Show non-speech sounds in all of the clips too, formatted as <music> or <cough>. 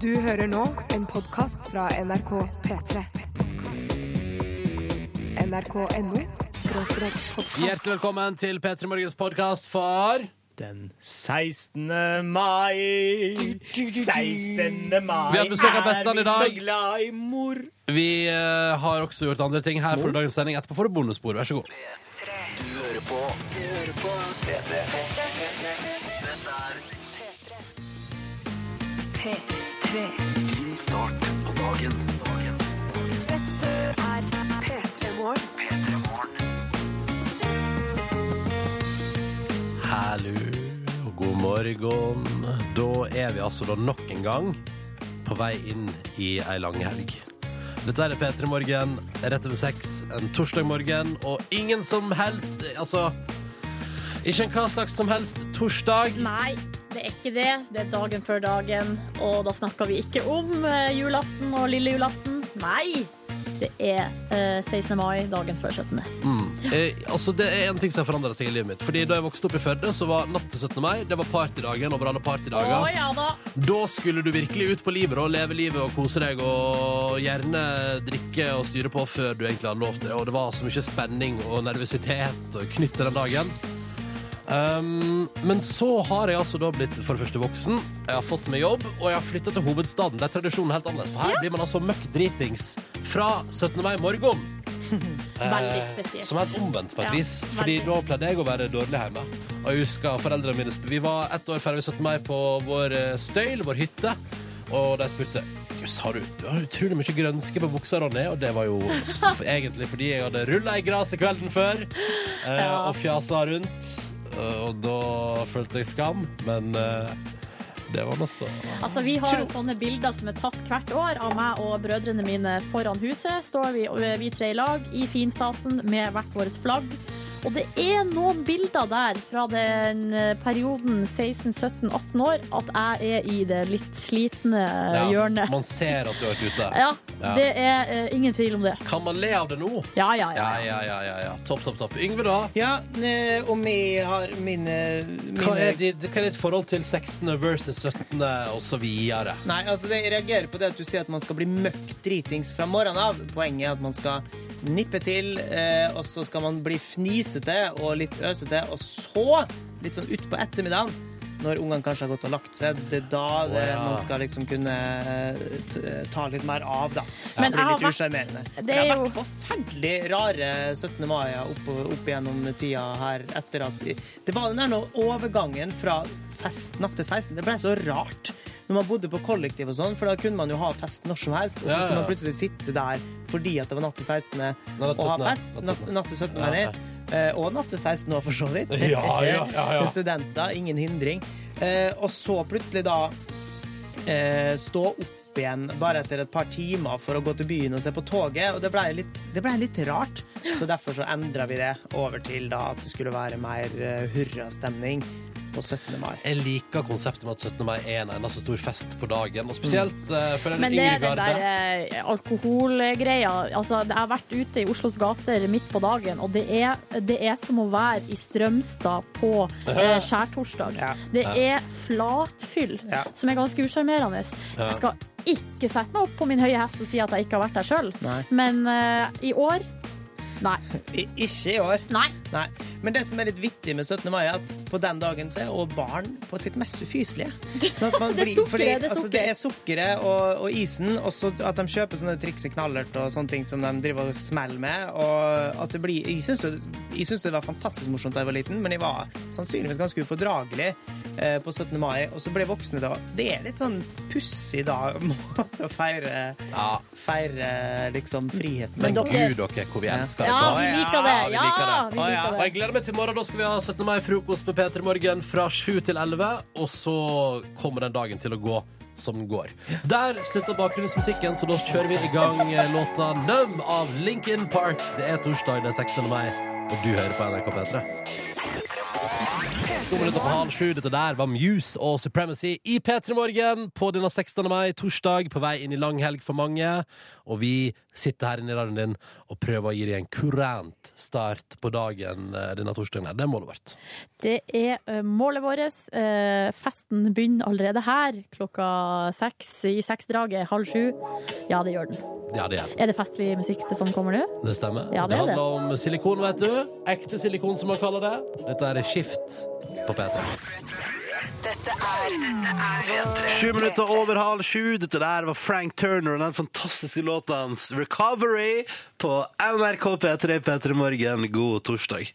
Du hører nå en podkast fra NRK P3. NRK.no skråstrek podkast. Hjertelig velkommen til P3 Morgens podkast for Den 16. mai 16. mai Vi har besøk av Bettan i dag. Er vi så glad i mor Vi eh, har også gjort andre ting her for dagens sending. Etterpå får du bonusspor. Vær så god. P3. Din start på dagen. dagen. Dette er P3 Morgen. P3 Morgen. Hallo og god morgen. Da er vi altså da nok en gang på vei inn i ei lang helg. Dette er P3 Morgen rett over seks en torsdag morgen, og ingen som helst Altså, ikke en hva slags som helst torsdag. Nei, det er ikke det. Det er dagen før dagen, og da snakker vi ikke om eh, julaften og lille julaften. Nei! Det er eh, 16. mai, dagen før 17. Eh, altså Det er en ting som har forandra seg i livet mitt. Fordi Da jeg vokste opp i Førde, så var natt til 17. mai Det var partydagen over alle Å partydager. ja da! Da skulle du virkelig ut på livet og leve livet og kose deg og gjerne drikke og styre på før du egentlig hadde lov til det. Og det var så mye spenning og nervøsitet og knytt til den dagen. Um, men så har jeg altså da blitt for det første voksen, jeg har fått meg jobb, og jeg har flytta til hovedstaden. Der er tradisjonen helt annerledes. For her blir man altså møkk dritings fra 17. mai morgen. Veldig Eh, spesielt. Som er helt omvendt på et Ja, vis. Fordi veldig. da pleide jeg å være dårlig hjemme. Og jeg husker foreldrene mine sp- Vi var ett år ferdig 17. mai på vår eh, støyl, vår hytte, og de spurte Jøss, har du, du har utrolig mye grønske på buksa, Ronny. Og det var jo <laughs> s- f- egentlig fordi jeg hadde rulla i gresset kvelden før eh, Ja. og fjasa rundt. Eh, Og da følte jeg skam, men eh, det var nå så. Altså, vi har jo sånne bilder som er tatt hvert år av meg og brødrene mine foran huset. Står vi, eh, vi tre i lag i finstasen med hvert vårt flagg. Og det er noen bilder der fra den eh, perioden 16-17-18 år at jeg er i det litt slitne eh, hjørnet. man ser at du har vært ute. Ja, Ja. det er eh, ingen tvil om det. Kan man le av det nå? Ja, ja, ja. Ja, ja, ja. ja, ja. Topp, topp, topp. Yngve, da? Ja, eh, om jeg har mine, Hva mine er, ditt, hva er ditt forhold til 16. versus 17. og så videre? Nei, altså det- jeg reagerer på det at du sier at man skal bli møkk dritings fra morgenen av. Poenget er at man skal nippe til, eh, og så skal man bli fnisete og litt øsete, og så, litt sånn utpå ettermiddagen, når ungene kanskje har gått og lagt seg, det er da det, Å, ja. man skal liksom kunne eh, t ta litt mer av, da. Men Bli jeg har litt vært- usjarmerende. det Det har er jo- vært forferdelig rare 17. mai opp, opp igjennom tida her etter at Det var den der nå overgangen fra fest natt til 16. Det ble så rart når man bodde på kollektiv og sånn, for da kunne man jo ha fest når som helst, og så Ja, ja. skulle man plutselig sitte der fordi at det var natt til 16. natt til og ha 17., fest. natt til 17.. Natt, natt til 17. Ja, mener jeg. Eh, Og natt til 16 år, for så vidt. Ja, ja, ja, ja. <laughs> Studenter, ingen hindring. Eh, Og så plutselig da eh, stå opp igjen bare etter et par timer for å gå til byen og se på toget. Og det ble litt, det ble litt rart, så derfor så endra vi det over til da at det skulle være mer eh, hurrastemning på 17. mai. Jeg liker konseptet med at 17. mai er en eneste stor fest på dagen. Og spesielt eh, for den Men det yngre er den garde. der eh, alkoholgreia. Altså, jeg har vært ute i Oslos gater midt på dagen, og det er, det er som å være i Strømstad på eh, skjærtorsdag. Ja. Det er flatfyll, Ja. som er ganske usjarmerende. Jeg skal ikke sette meg opp på min høye hest og si at jeg ikke har vært der sjøl, Nei. men eh, i år Nei. I, ikke i år. Nei. Nei. Men det som er litt vittig med 17. mai, er at på den dagen så er også barn på sitt mest ufyselige. Sånn at man <laughs> Det er blir- sukkeret, fordi, det er altså, det er sukkeret og, og isen, og så at de kjøper sånne triks i knallert og sånne ting som de driver og smeller med. Og at det blir, jeg syns jo- jeg syns det var fantastisk morsomt da jeg var liten, men jeg var sannsynligvis ganske ufordragelig eh, på 17. mai, og så ble jeg voksne da. Så det er litt sånn pussig da <laughs> måte å feire, Ja. feire liksom friheten. Men Men dere- gud, dere, hvor vi elsker Ja, det. vi ja, liker det. vi Ja, liker det. vi Å, ja. liker Og det. jeg gleder meg til i morgen. Da skal vi ha 17. mai-frokost med P3 Morgen fra 7 til 11. Og så kommer den dagen til å gå som den går. Der slutter bakgrunnsmusikken, så da kjører vi i gang eh, låta 'Numb' av Linkin Park. Det er torsdag den 16. mai, og du hører på NRK P3. P3. To minutter på halv sju. Dette der var Muse og Supremacy i P3 Morgen på denne 16. mai, torsdag, på vei inn i langhelg for mange. Og vi sitter her inne i radioen din og prøver å gi deg en kurant start på dagen eh, denne torsdagen. her. Det er målet vårt. Det er eh, målet vårt. Eh, Festen begynner allerede her klokka seks i seksdraget. Halv sju. Ja, det gjør den. Ja, det er det. Er det festlig musikk det som kommer nå? Det stemmer. Ja, det er det. handler om silikon, vet du. Ekte silikon, som man kaller det. Dette er Skift på P3. Dette er P3. Sju minutter over halv sju. Dette der var Frank Turner og den fantastiske låta hans 'Recovery' på NRK P3 P3 Morgen. God torsdag.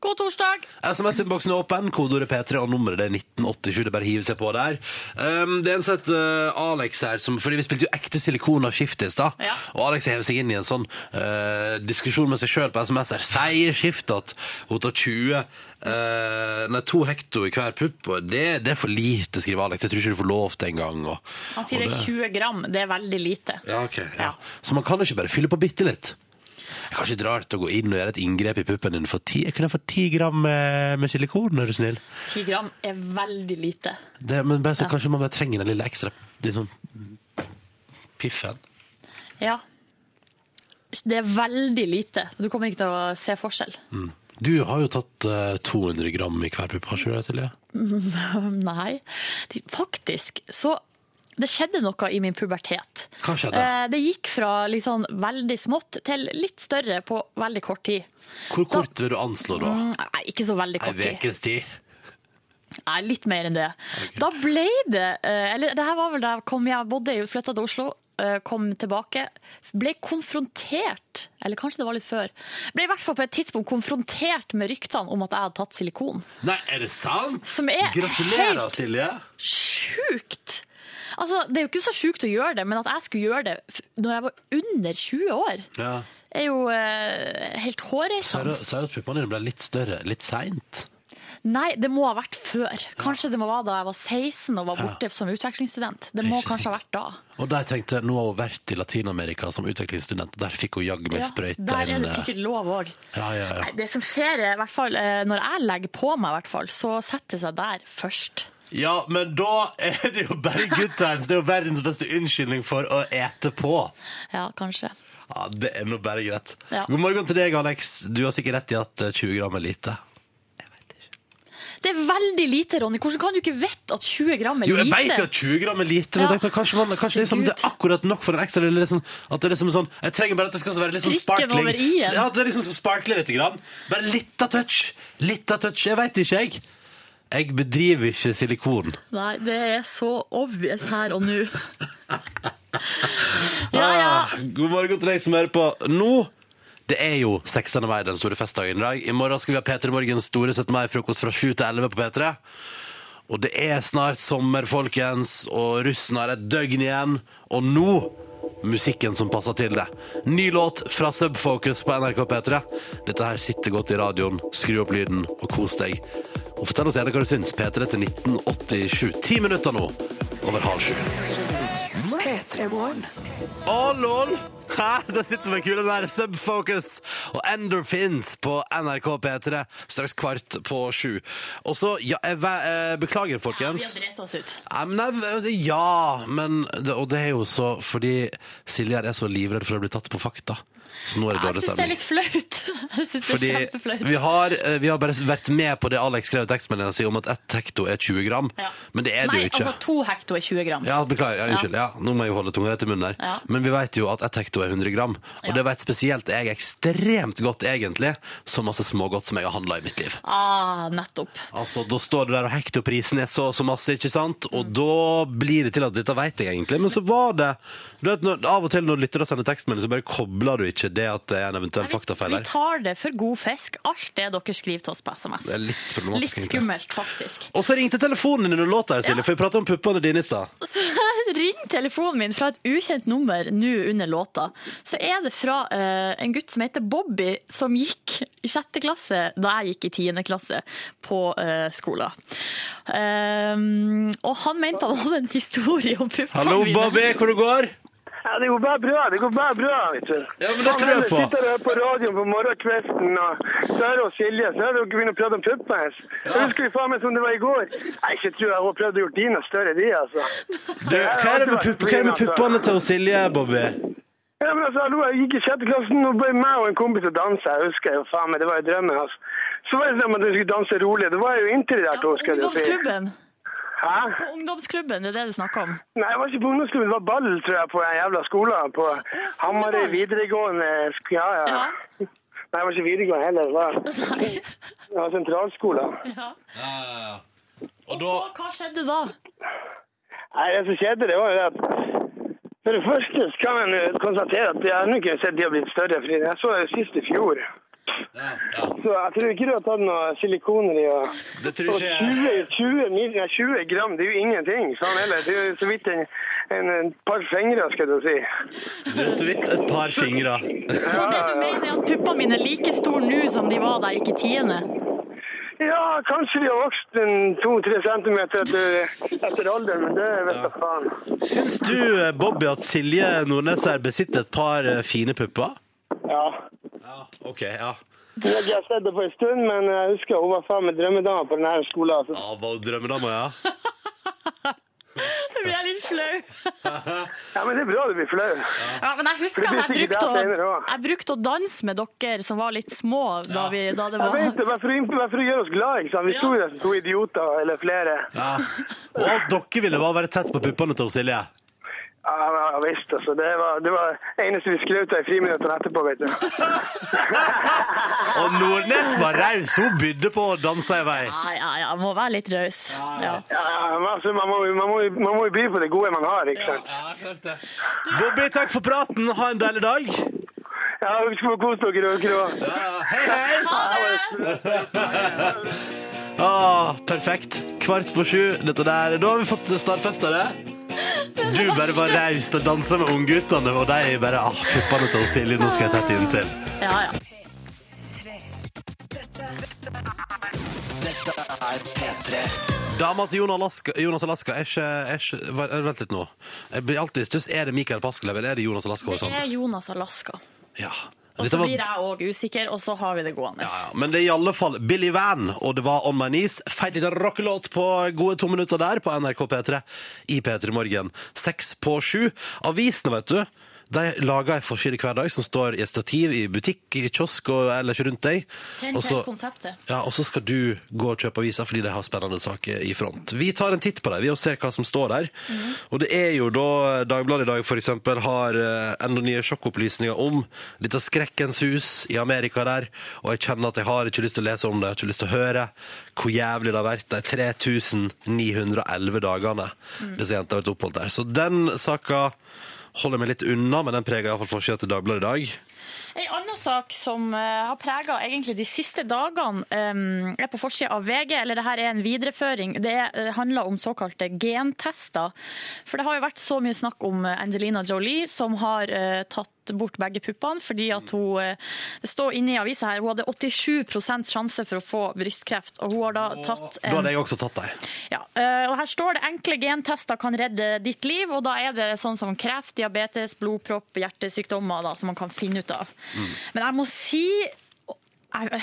God torsdag! SMS-innboksen er åpen. Kodeordet P3 og nummeret det er 1987. Det er bare å hive seg på der. Um, det er en som heter uh, Alex her, som, fordi vi spilte jo ekte silikon av skift i stad. Ja. Og Alex hever seg inn i en sånn uh, diskusjon med seg sjøl på SMS her. Sier skift at hun tar 20 uh, Nei, to hekto i hver pupp. Og det, det er for lite, skriver Alex. Jeg tror ikke du får lov til engang. Han sier det er 20 gram. Det er veldig lite. Ja, ok. Ja. Ja. Så man kan jo ikke bare fylle på bitte litt. Det er kanskje ikke rart å gå inn og gjøre et inngrep i puppen din for ti, jeg kunne få ti gram eh, med silikon, er du snill. 10 gram er veldig lite. Det, men bare, så kanskje man bare trenger den lille ekstra litt sånn piffen. Ja. Det er veldig lite. Du kommer ikke til å se forskjell. Du har jo tatt eh, 200 gram i hver pupp, har ikke du det, Silje? Nei. De- Faktisk så det skjedde noe i min pubertet. Hva skjedde? Eh, Det gikk fra liksom veldig smått til litt større på veldig kort tid. Hvor kort vil du anslå da? Mm, Nei, ikke så veldig Ei kort tid. ukes tid? Nei, litt mer enn det. Da ble det eh, Eller det her var vel da jeg kom jeg bodde i flytta til Oslo. eh, Kom tilbake, ble konfrontert Eller kanskje det var litt før. Ble i hvert fall på et tidspunkt konfrontert med ryktene om at jeg hadde tatt silikon. Nei, er det sant? Som er Gratulerer, helt- Silje! Sjukt! Altså, Det er jo ikke så sjukt å gjøre det, men at jeg skulle gjøre det f- når jeg var under 20 år, Ja. er jo eh, helt Sa du hårreisende. sa du at puppene dine ble litt større litt seint? Nei, det må ha vært før. Kanskje det må være da jeg var 16 og var borte som utvekslingsstudent. Det må Ikke kanskje ha sant. vært da. Og der tenkte jeg, nå har hun vært i Latin-Amerika som utviklingsstudent, og der fikk hun jaggu meg Ja, sprøyte. der er inn, det eh, sikkert lov òg. Ja, ja, ja. Det som skjer, er i hvert fall eh, når jeg legger på meg, i hvert fall, så setter det seg der først. ja, men da er det jo bare good times. Det er jo verdens beste unnskyldning for å ete på. Ja, kanskje. Ja, Det er nå bare greit. Ja. God morgen til deg, Alex. Du har sikkert rett i at eh, 20 gram er lite. Det er veldig lite, Ronny. Hvordan kan du ikke vite at 20 gram er Jo, jeg lite? vet jo at 20 gram er lite, men Ja. jeg tenkte, kanskje, man, kanskje liksom, det er Herregud. akkurat nok for en ekstra lille liksom, At det er liksom sånn Jeg trenger bare at det skal være litt sånn Prikken sparkling. over i-en. Ja, at det liksom skal sparkle litt. Grann. Bare litt av touch. Litt av touch. Jeg veit ikke, jeg. Jeg bedriver ikke silikon. Nei, det er så obvious her <laughs> og nå. ja, ja. Ah, God morgen til deg som hører på nå. Det er jo 16. mai, den store festdagen i dag. I morgen skal vi ha P3 Morgens store 17. mai-frokost fra 7 til 11 på P3. Og det er snart sommer, folkens, og russen har et døgn igjen. Og nå musikken som passer til det. Ny låt fra Subfocus på NRK P3. Dette her sitter godt i radioen. Skru opp lyden og kos deg. Og fortell oss gjerne hva du syns. P3 til 1987. Ti minutter nå over halv sju. P3-morgen. Å, lol! Hæ? Det sitter som en kule der. Subfocus og Endorphins på NRK P3 straks kvart på sju. Og så ja, jeg, ve- eh, Beklager, Vi folkens. har dritt oss ut. Ja, men, nei, ja, men det, Og det er jo så fordi Silje her er så livredd for å bli tatt på fakta. Så nå er det Jeg dårlig syns det stemning. er litt flaut. <laughs> Jeg synes det Fordi er kjempeflaut. vi har, eh, vi har bare vært med på det Alex skrev i tekstmeldingen sin om at ett hekto er 20 gram. Ja. Men det er det Nei, jo ikke. altså to hekto er 20 gram. Ja, beklager. Ja, unnskyld. Ja. Nå må jeg jo holde tunga rett i munnen her. Ja. Men vi vet jo at ett hekto er 100 gram. Og Ja. det vet spesielt jeg ekstremt godt, egentlig, så masse smågodt som jeg har handla i mitt liv. Ah, nettopp. Altså, Da står det der, og hektoprisen er så og så masse, ikke sant? Og da blir det til at dette vet jeg egentlig. Men så var det du vet, når, Av og til når lyttere sender tekstmelding, så bare kobler du ikke det at det er en eventuell faktafeil Vi her. tar det for god fisk, alt det dere skriver til oss på SMS. Det er litt problematisk, Litt egentlig. skummelt, faktisk. Og så ringte telefonen din under låta, her, Silje, Ja. for vi prata om puppene dine i stad. Så <laughs> ring telefonen min fra et ukjent nummer nå under låta. Så er det fra eh, en gutt som heter Bobby, som gikk i sjette klasse da jeg gikk i tiende klasse på eh, skolen. Ehm, og han mente han hadde en historie om puppene Hallo, mine. Bobby, hvor du går? Ja, det går bare bra. Det går bare bra, vet du. Ja, men det tror jeg på. Sitter her på radioen på morgenkvesten, og Søre og Silje, så har dere begynt å prate om puppen hennes. Så husker vi faen meg som det var i går. Nei, ikke tror jeg hun har prøvd å gjøre dine større, de, altså. Du, hva er det med, pupp, hva er det med puppene til Silje, Bobby? Ja, men altså, hallo, jeg gikk i sjette klassen, og bare meg og en kompis og dansa, jeg husker jeg jo faen meg, det var jo drømmen, altså. Så var det sånn at du skulle danse rolig, det var jo inntil det der, På to, skal du si. ungdomsklubben. Hæ? På ungdomsklubben, det er det du snakker om. Nei, jeg var ikke på ungdomsklubben, det var ball, tror jeg, på den jævla skolen, på Hamarøy videregående, sk- ja, ja. Ja. Nei, jeg var ikke videregående heller, det var, <laughs> det var sentralskolen. Ja. Eh, Og Så da hva skjedde da? Nei, det som skjedde, det var jo det at For det første så kan man jo konstatere at jeg har ennå ikke sett de har blitt større. Fordi jeg så det sist i fjor. ja, ja. Så jeg tror ikke du har tatt noe silikoner i. Og, Det tror og ikke jeg. 20, 20, mil- nei, 20 gram, det er jo ingenting. Sånn heller. Det er jo så vidt en, en, en par fingre, skal du si. Det er så vidt et par fingre. Så det du mener er at puppene mine er like store nå som de var da jeg gikk i <laughs> tiende? Ja, kanskje de har vokst en 2-3 centimeter etter, etter alderen, men det vet da faen. Syns du, eh, Bobby, at Silje Nordnes her besitter et par eh, fine pupper? Ja. Ja, OK. Ja. Jeg har ikke sett det på en stund, men jeg husker hun var faen meg drømmedama på denne skolen. Så ja var hun drømmedama, ja? Nå blir jeg litt flau. Ja, men det er bra du blir flau. Ja, men jeg husker at jeg Det blir sikkert brukte, det senere å, også. jeg brukte å danse med dere som var litt små da, vi, da det Jeg vet var det, bare for, å- bare for å gjøre oss glad, ikke sant? Vi sto jo der som to idioter, eller flere. ja. Og alt dere ville, var å være tett på puppene til Silje. Ja, ja, ja visst, altså. Det var det var det eneste vi skrøt av i friminuttene etterpå, vet du. Og Nordnes var raus. Hun bydde på å danse i vei. Nei, ja, ja, jeg må være litt raus. Ja. Ja, ja, men altså, man må, jo- man, må, jo- man må jo by på det gode man har, liksom. ikke sant? Bobby, takk for praten. Ha en deilig dag. Ja, vi skal få kose dere, dere også. Hei, hei. Ah, perfekt. Kvart på sju. Dette der. Da har vi fått stadfesta det. Du bare var raus og dansa med ungguttene, og de bare ah, puppene til Silje. Nå skal jeg tette inntil. Ja, ja. Dama til Jonas Alaska, Jonas Alaska er ikke, er ikke var- Vent litt nå. Jeg blir alltid i stuss. Er det Mikael Paskelev eller er det Jonas Alaska? Det Horisont? er Jonas Alaska. Ja. Og sånn. Dette så var- blir jeg òg usikker, og så har vi det gående. Ja, ja, men det er i alle fall Billy Van, og det var On My Knees. Feit liten rockelåt på gode to minutter der på NRK P3 i P3 Morgen. Seks på sju. Avisene, vet du. De lager en forside hver dag som står i et stativ i butikk, i kiosk og ellers rundt deg. Kjenn Og til så- konseptet. ja, og så skal du gå og kjøpe aviser fordi de har spennende saker i front. Vi tar en titt på dem, vi og ser hva som står der. Mhm. Og det er jo da eh, Dagbladet i dag for eksempel har eh, enda nye sjokkopplysninger om dette skrekkens hus i Amerika der, og jeg kjenner at jeg har ikke lyst til å lese om det, jeg har ikke lyst til å høre hvor jævlig det har vært de 3911 dagene Mm. disse jentene har vært oppholdt der. Så den saka holder jeg meg litt unna, men den preger iallfall forsida til Dagbladet i dag. Ei anna sak som eh, har prega egentlig de siste dagene, eh, er på forsida av VG, eller det her er en videreføring. Det er- eh, handler om såkalte gentester. For det har jo vært så mye snakk om eh, Angelina Jolie, som har eh, tatt bort begge puppene, fordi at hun eh, det står inne i avisa her, hun hadde 87 sjanse for å få brystkreft, og hun har da tatt Da hadde jeg også tatt dem. ja, eh, og her står det enkle gentester kan redde ditt liv, og da er det sånn som kreft, diabetes, blodpropp, hjertesykdommer da, som man kan finne ut av. Men jeg må si jeg,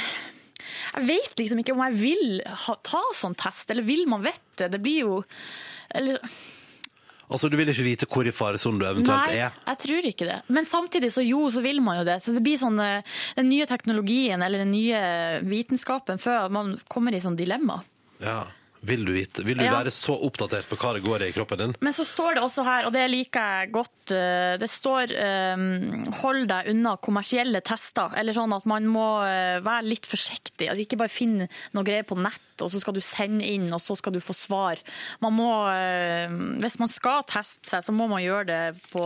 jeg vet liksom ikke om jeg vil ha, ta sånn test, eller vil man vite det? Det blir jo eller, Altså, du vil ikke vite hvor i faresonen du eventuelt Nei, er. jeg tror ikke det. Men samtidig så jo, så vil man jo det. Så det blir sånn eh, den nye teknologien eller den nye vitenskapen før man kommer i sånn dilemma. Ja. Vil du vite? Vil du Ja. være så oppdatert på hva det går i kroppen din? Men så står det også her, og det liker jeg godt, eh, det står eh, 'hold deg unna kommersielle tester'. Eller sånn at man må eh, være litt forsiktig. At ikke bare finne noe greier på nett, og så skal du sende inn, og så skal du få svar. Man må, eh, hvis man skal teste seg, så må man gjøre det på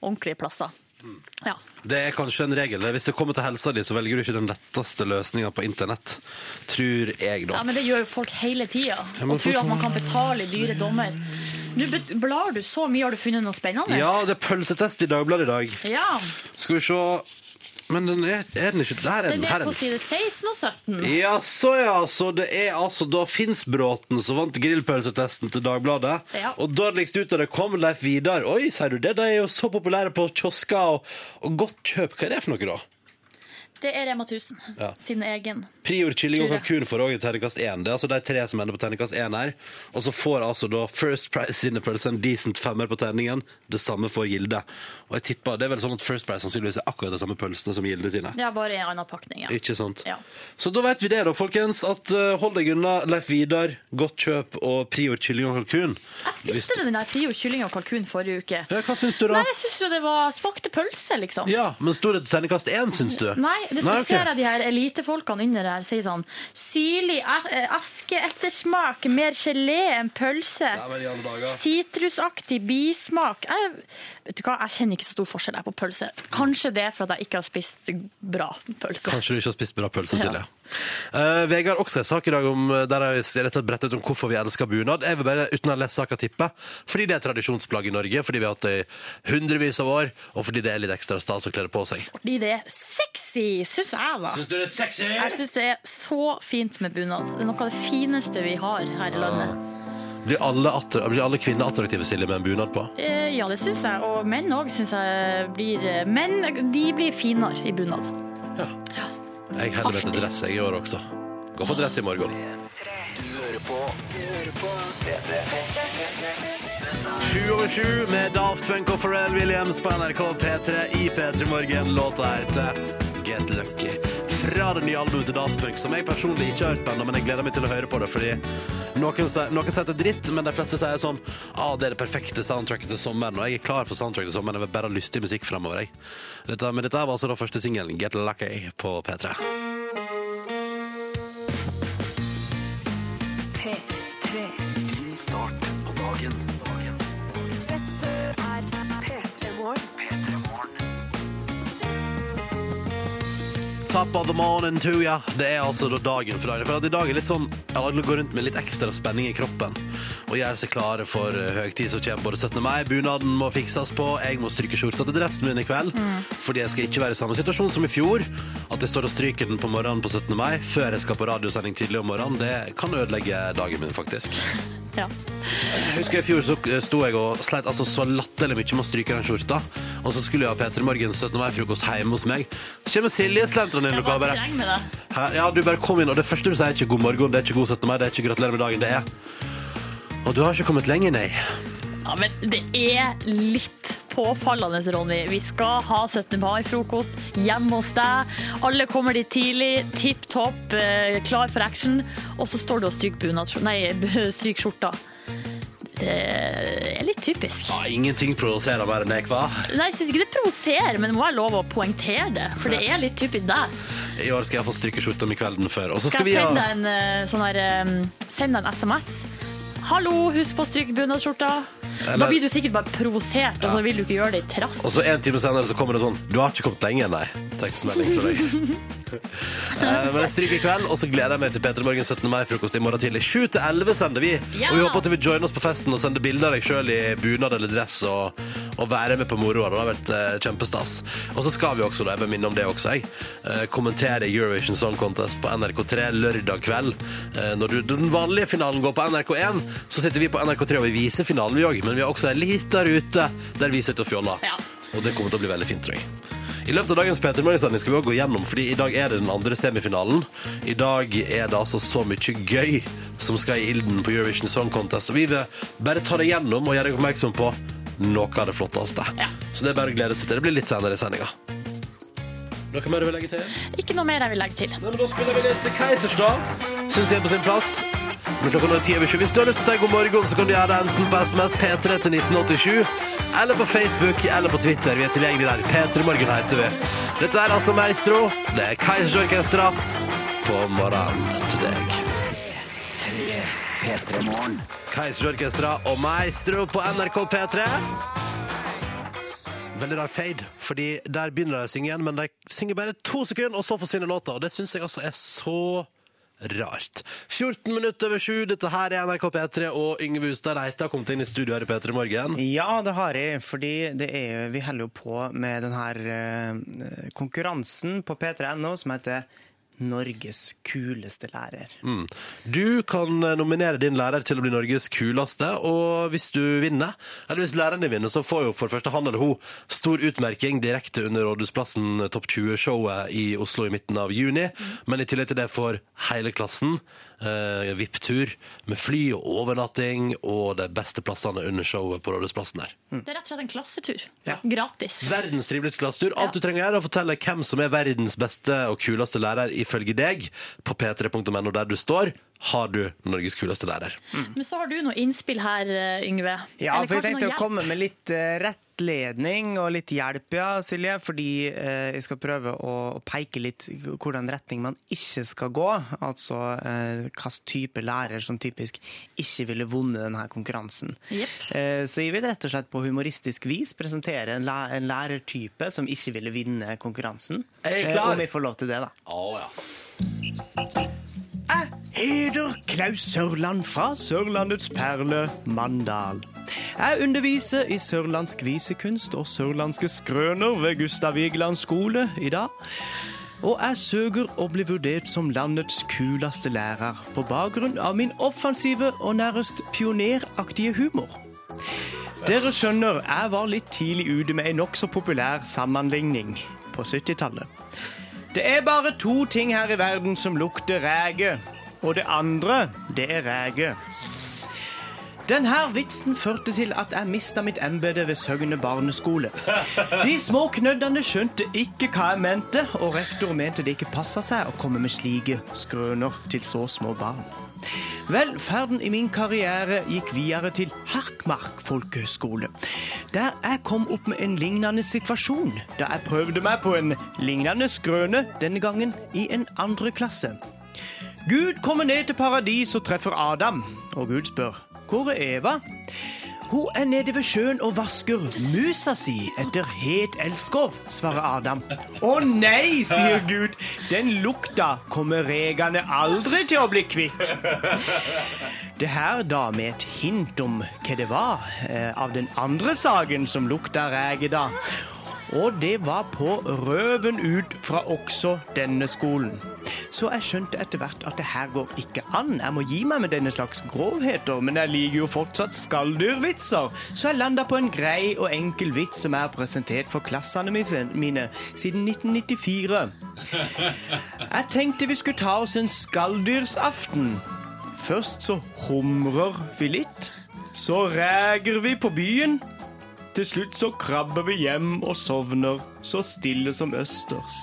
ordentlige plasser. Mm. Ja. Det er kanskje en regel. Hvis det kommer til helsa di, så velger du ikke den letteste løsninga på internett. Tror jeg, da. ja, men det gjør jo folk hele tida. men Og tror folk at man må- kan betale dyre dommer. Nå bet- blar du så mye, har du funnet noe spennende? Ja, det er pølsetest i Dagbladet i dag. ja. Skal vi se Men den er, er den ikke Der er den. Den her er er på den. side 16 og 17. Ja, så ja, så det er altså da Finnsbråten som vant grillpølsetesten til Dagbladet. Ja. Og dårligst ut av det kom Leif Vidar. Oi, sier du det? De er jo så populære på kiosker og, og godt kjøp. Hva er det for noe, da? Det er Rema 1000 Ja. sin egen. Prior kylling og Tror jeg. kalkun får òg terningkast 1. Det er altså de tre som ender på terningkast 1 her. Og så får altså da First Price sine pølser en decent femmer på terningen. Det samme får Gilde. Og jeg tipper, det er vel sånn at First Price sannsynligvis er akkurat de samme pølsene som Gilde sine. Ja, bare i en annen pakning, ja. Ikke sant? Ja. Så da vet vi det, da, folkens. At eh, hold deg unna Leif Vidar, Godt kjøp og Prior kylling og kalkun. Jeg Hvis- spiste den der Prio kylling og kalkun forrige uke. Ja, hva syns du, da? Nei, jeg syns jo det var smakte pølse, liksom. Ja, Men sto det til terningkast 1, syns du? Nei, det så Nei, ok. ser jeg de her elitefolkene under her sier sånn Syrlig a- eh, aske etter smak, mer gelé enn pølse. Nei, men i alle dager. Sitrusaktig bismak. Jeg, vet du hva, jeg kjenner ikke så stor forskjell her på pølse. Kanskje det er for at jeg ikke har spist bra pølse. Kanskje du ikke har spist bra pølse, Ja. Silje. Eh, Vegard har også en sak i dag om, eh, der har jeg rett og slett brettet ut om hvorfor vi elsker bunad. Jeg vil bare, uten å ha lest saka, tippe. Fordi det er tradisjonsplagg i Norge, fordi vi har hatt det i hundrevis av år, og fordi det er litt ekstra stas å kle det på seg. Fordi det er sexy, syns jeg, da. du det er sexy? Jeg syns det er så fint med bunad. Det er noe av det fineste vi har her i landet. Blir alle, attra- blir alle kvinner attraktive, Silje, med en bunad på? Eh, Ja, det syns jeg. Og menn òg syns jeg blir Men de blir finere i bunad. Jeg heller meg til dress jeg i år også. Gå på dress i morgen. Sju over sju med Daft Punk og Pharrell Williams på NRK P3 i P3 Morgen. Låta heter Get Lucky. Fra det nye albumet til Daft Punk, som jeg personlig ikke har hørt på ennå, men jeg gleder meg til å høre på det, fordi noen, sier- noen sier at det er dritt, men de fleste sier sånn ah, det er det perfekte soundtracket til sommeren, og jeg er klar for soundtracket til sommeren, jeg vil bare ha lystig musikk framover, jeg. Dette, men dette her var altså da første singelen, Get Lucky, på P3. P3. Din start på dagen. dagen. Dette er P3 Morgen. P3 Morgen. Top of the morning to ya. Det er altså da dagen for dagen. For at i dag er litt sånn Alle går rundt med litt ekstra spenning i kroppen og gjør seg klare for eh, høytid som kommer både 17. mai. Bunaden må fikses på. Jeg må stryke skjorta til dressen min i kveld. Fordi jeg skal ikke være i samme situasjon som i fjor. At jeg står og stryker den på morgenen på 17. mai før jeg skal på radiosending tidlig om morgenen, det kan ødelegge dagen min, faktisk. Ja. Jeg husker i fjor så eh, sto jeg og sleit altså så latterlig mye med å stryke den skjorta. Og så skulle jeg ha Peter Morgens 17. mai-frokost hjemme hos meg. Så kommer Silje slentrende inn i Jeg var lokalet. bare, streng med deg. Her, ja, du bare kom inn, og det første du sier er ikke god morgen, det er ikke god 17. mai, det er ikke gratulerer med dagen, det er. Og du har ikke kommet lenger, nei. Ja, men det er litt påfallende, Ronny. Vi skal ha 17. mai-frokost hjemme hos deg. Alle kommer dit tidlig, tipp topp, eh, klar for action. Og så står du og stryker bunad, nei, <laughs> stryker skjorta. Det er litt typisk. Ja, ingenting provoserer mer enn jeg, hva? Nei, jeg syns ikke det provoserer, men må jeg love å poengtere det? For det er litt typisk deg. I år skal jeg få stryke skjorta mi kvelden før, og så skal Skal vi jeg ha... sende deg en eh, sånn her eh, Send deg en SMS. Hallo, husk på å stryke bunadskjorta. Da Eller- blir du sikkert bare provosert, og så vil du ikke gjøre det i trass. Og så en time senere så kommer det sånn Du har ikke kommet lenger, nei. Tekstmelding fra deg. Eh, Men jeg stryker i kveld, og så gleder jeg meg til Peter Morgen 17. mai-frokost i morgen tidlig. 7 til 11 sender vi. Ja! Og vi håper at du vil joine oss på festen og sende bilder av deg sjøl i bunad eller dress og, og være med på moroa. Det har vært eh, kjempestas. Og så skal vi også, da, jeg vil minne om det også, jeg, eh, kommentere Eurovision Song Contest på NRK3 lørdag kveld. Eh, når du, den vanlige finalen går på NRK1, så sitter vi på NRK3 og vi viser finalen, vi òg. Men vi har også en lita rute der vi sitter og fjoller. Ja. Og det kommer til å bli veldig fint, tror jeg. I løpet av dagens Peter Morgensending skal vi også gå gjennom, fordi i dag er det den andre semifinalen. I dag er det altså så mye gøy som skal i ilden på Eurovision Song Contest, og vi vil bare ta det gjennom og gjøre deg oppmerksom på noe av det flotteste. Ja. Så det er bare å glede seg til. Det blir litt senere i sendinga. Noe mer du vil legge til? Nei, Ikke noe mer jeg vil legge til. Mm. men da spiller vi litt Keisersdag. Syns det er på sin plass. Men klokka nå er ti over sju. Hvis du har lyst til å si god morgen, så kan du gjøre det enten på SMS P3 til 1987, eller på Facebook eller på Twitter. Vi er tilgjengelige der. P3 Morgen heter vi. Dette er altså Maestro. Det er Keisersorkestra på morgenen til deg. P3 Morgen. Keisersorkestra og Maestro på NRK P3. Veldig rar fade, fordi der begynner de å synge igjen, men de synger bare to sekunder, og så forsvinner låta. Og det syns jeg altså er så rart. 14 minutter over sju, dette her er NRK P3, og Yngve Hustad Reita kom inn i studio her i P3 Morgen. Ja, det har jeg. Fordi det er, jo- vi holder jo på med den her eh, konkurransen på p3.no som heter Norges kuleste lærer. Mm. Du kan eh, nominere din lærer til å bli Norges kuleste, og hvis du vinner, eller hvis læreren din vinner, så får jo for det første han eller hun stor utmerking direkte under Rådhusplassen eh, Topp 20-showet i Oslo i midten av juni, men i tillegg til det får hele klassen eh, VIP-tur med fly og overnatting og de beste plassene under showet på Rådhusplassen der. Det er rett og slett en klassetur. Ja. Gratis. Verdens triveligste klassetur. Alt du trenger å gjøre er å fortelle hvem som er verdens beste og kuleste lærer ifølge deg på p3.no der du står. Har du Norges kuleste lærer? Mm. Men så har du noe innspill her, eh, Yngve. Ja, Eller kanskje for jeg noe tenkte å hjelp. komme med litt eh, rettledning og litt hjelp, ja, Silje. Fordi eh, jeg skal prøve å, å peke litt hvordan retning man ikke skal gå. Altså eh, hvilken type lærer som typisk ikke ville vunnet denne konkurransen. Jepp. Eh, så jeg vil rett og slett på humoristisk vis presentere en, læ en lærertype som ikke ville vinne konkurransen. Er jeg Eh, klar? om jeg får lov til det, da. Å ja. Jeg heter Klaus Sørland fra Sørlandets perle Mandal. Jeg underviser i sørlandsk visekunst og sørlandske skrøner ved Gustav Vigeland skole i dag. Og jeg søker å bli vurdert som landets kuleste lærer på bakgrunn av min offensive og nærmest pioneraktige humor. Dere skjønner, jeg var litt tidlig ute med en nokså populær sammenligning på 70-tallet. Det er bare to ting her i verden som lukter ræge. Og det andre, det er ræge. Denne vitsen førte til at jeg mista mitt embete ved Søgne barneskole. De små knøddene skjønte ikke hva jeg mente, og rektor mente det ikke passa seg å komme med slike skrøner til så små barn. Vel, ferden i min karriere gikk videre til Harkmark folkehøgskole, der jeg kom opp med en lignende situasjon da jeg prøvde meg på en lignende skrøne, denne gangen i en andre klasse. Gud kommer ned til paradis og treffer Adam, og Gud spør hvor er Eva? Hun er nede ved sjøen og vasker musa si etter het elskov, svarer Adam. Å nei, sier Gud, den lukta kommer regene aldri til å bli kvitt. Det her da med et hint om hva det var eh, av den andre saken som lukta rege da. Og det var på røven ut fra også denne skolen. Så jeg skjønte etter hvert at det her går ikke an. Jeg må gi meg med denne slags grovheter, men jeg liker jo fortsatt skalldyrvitser. Så jeg landa på en grei og enkel vits som jeg har presentert for klassene mine siden 1994. Jeg tenkte vi skulle ta oss en skalldyrsaften. Først så humrer vi litt. Så reger vi på byen. Til slutt så krabber vi hjem og sovner, så stille som østers.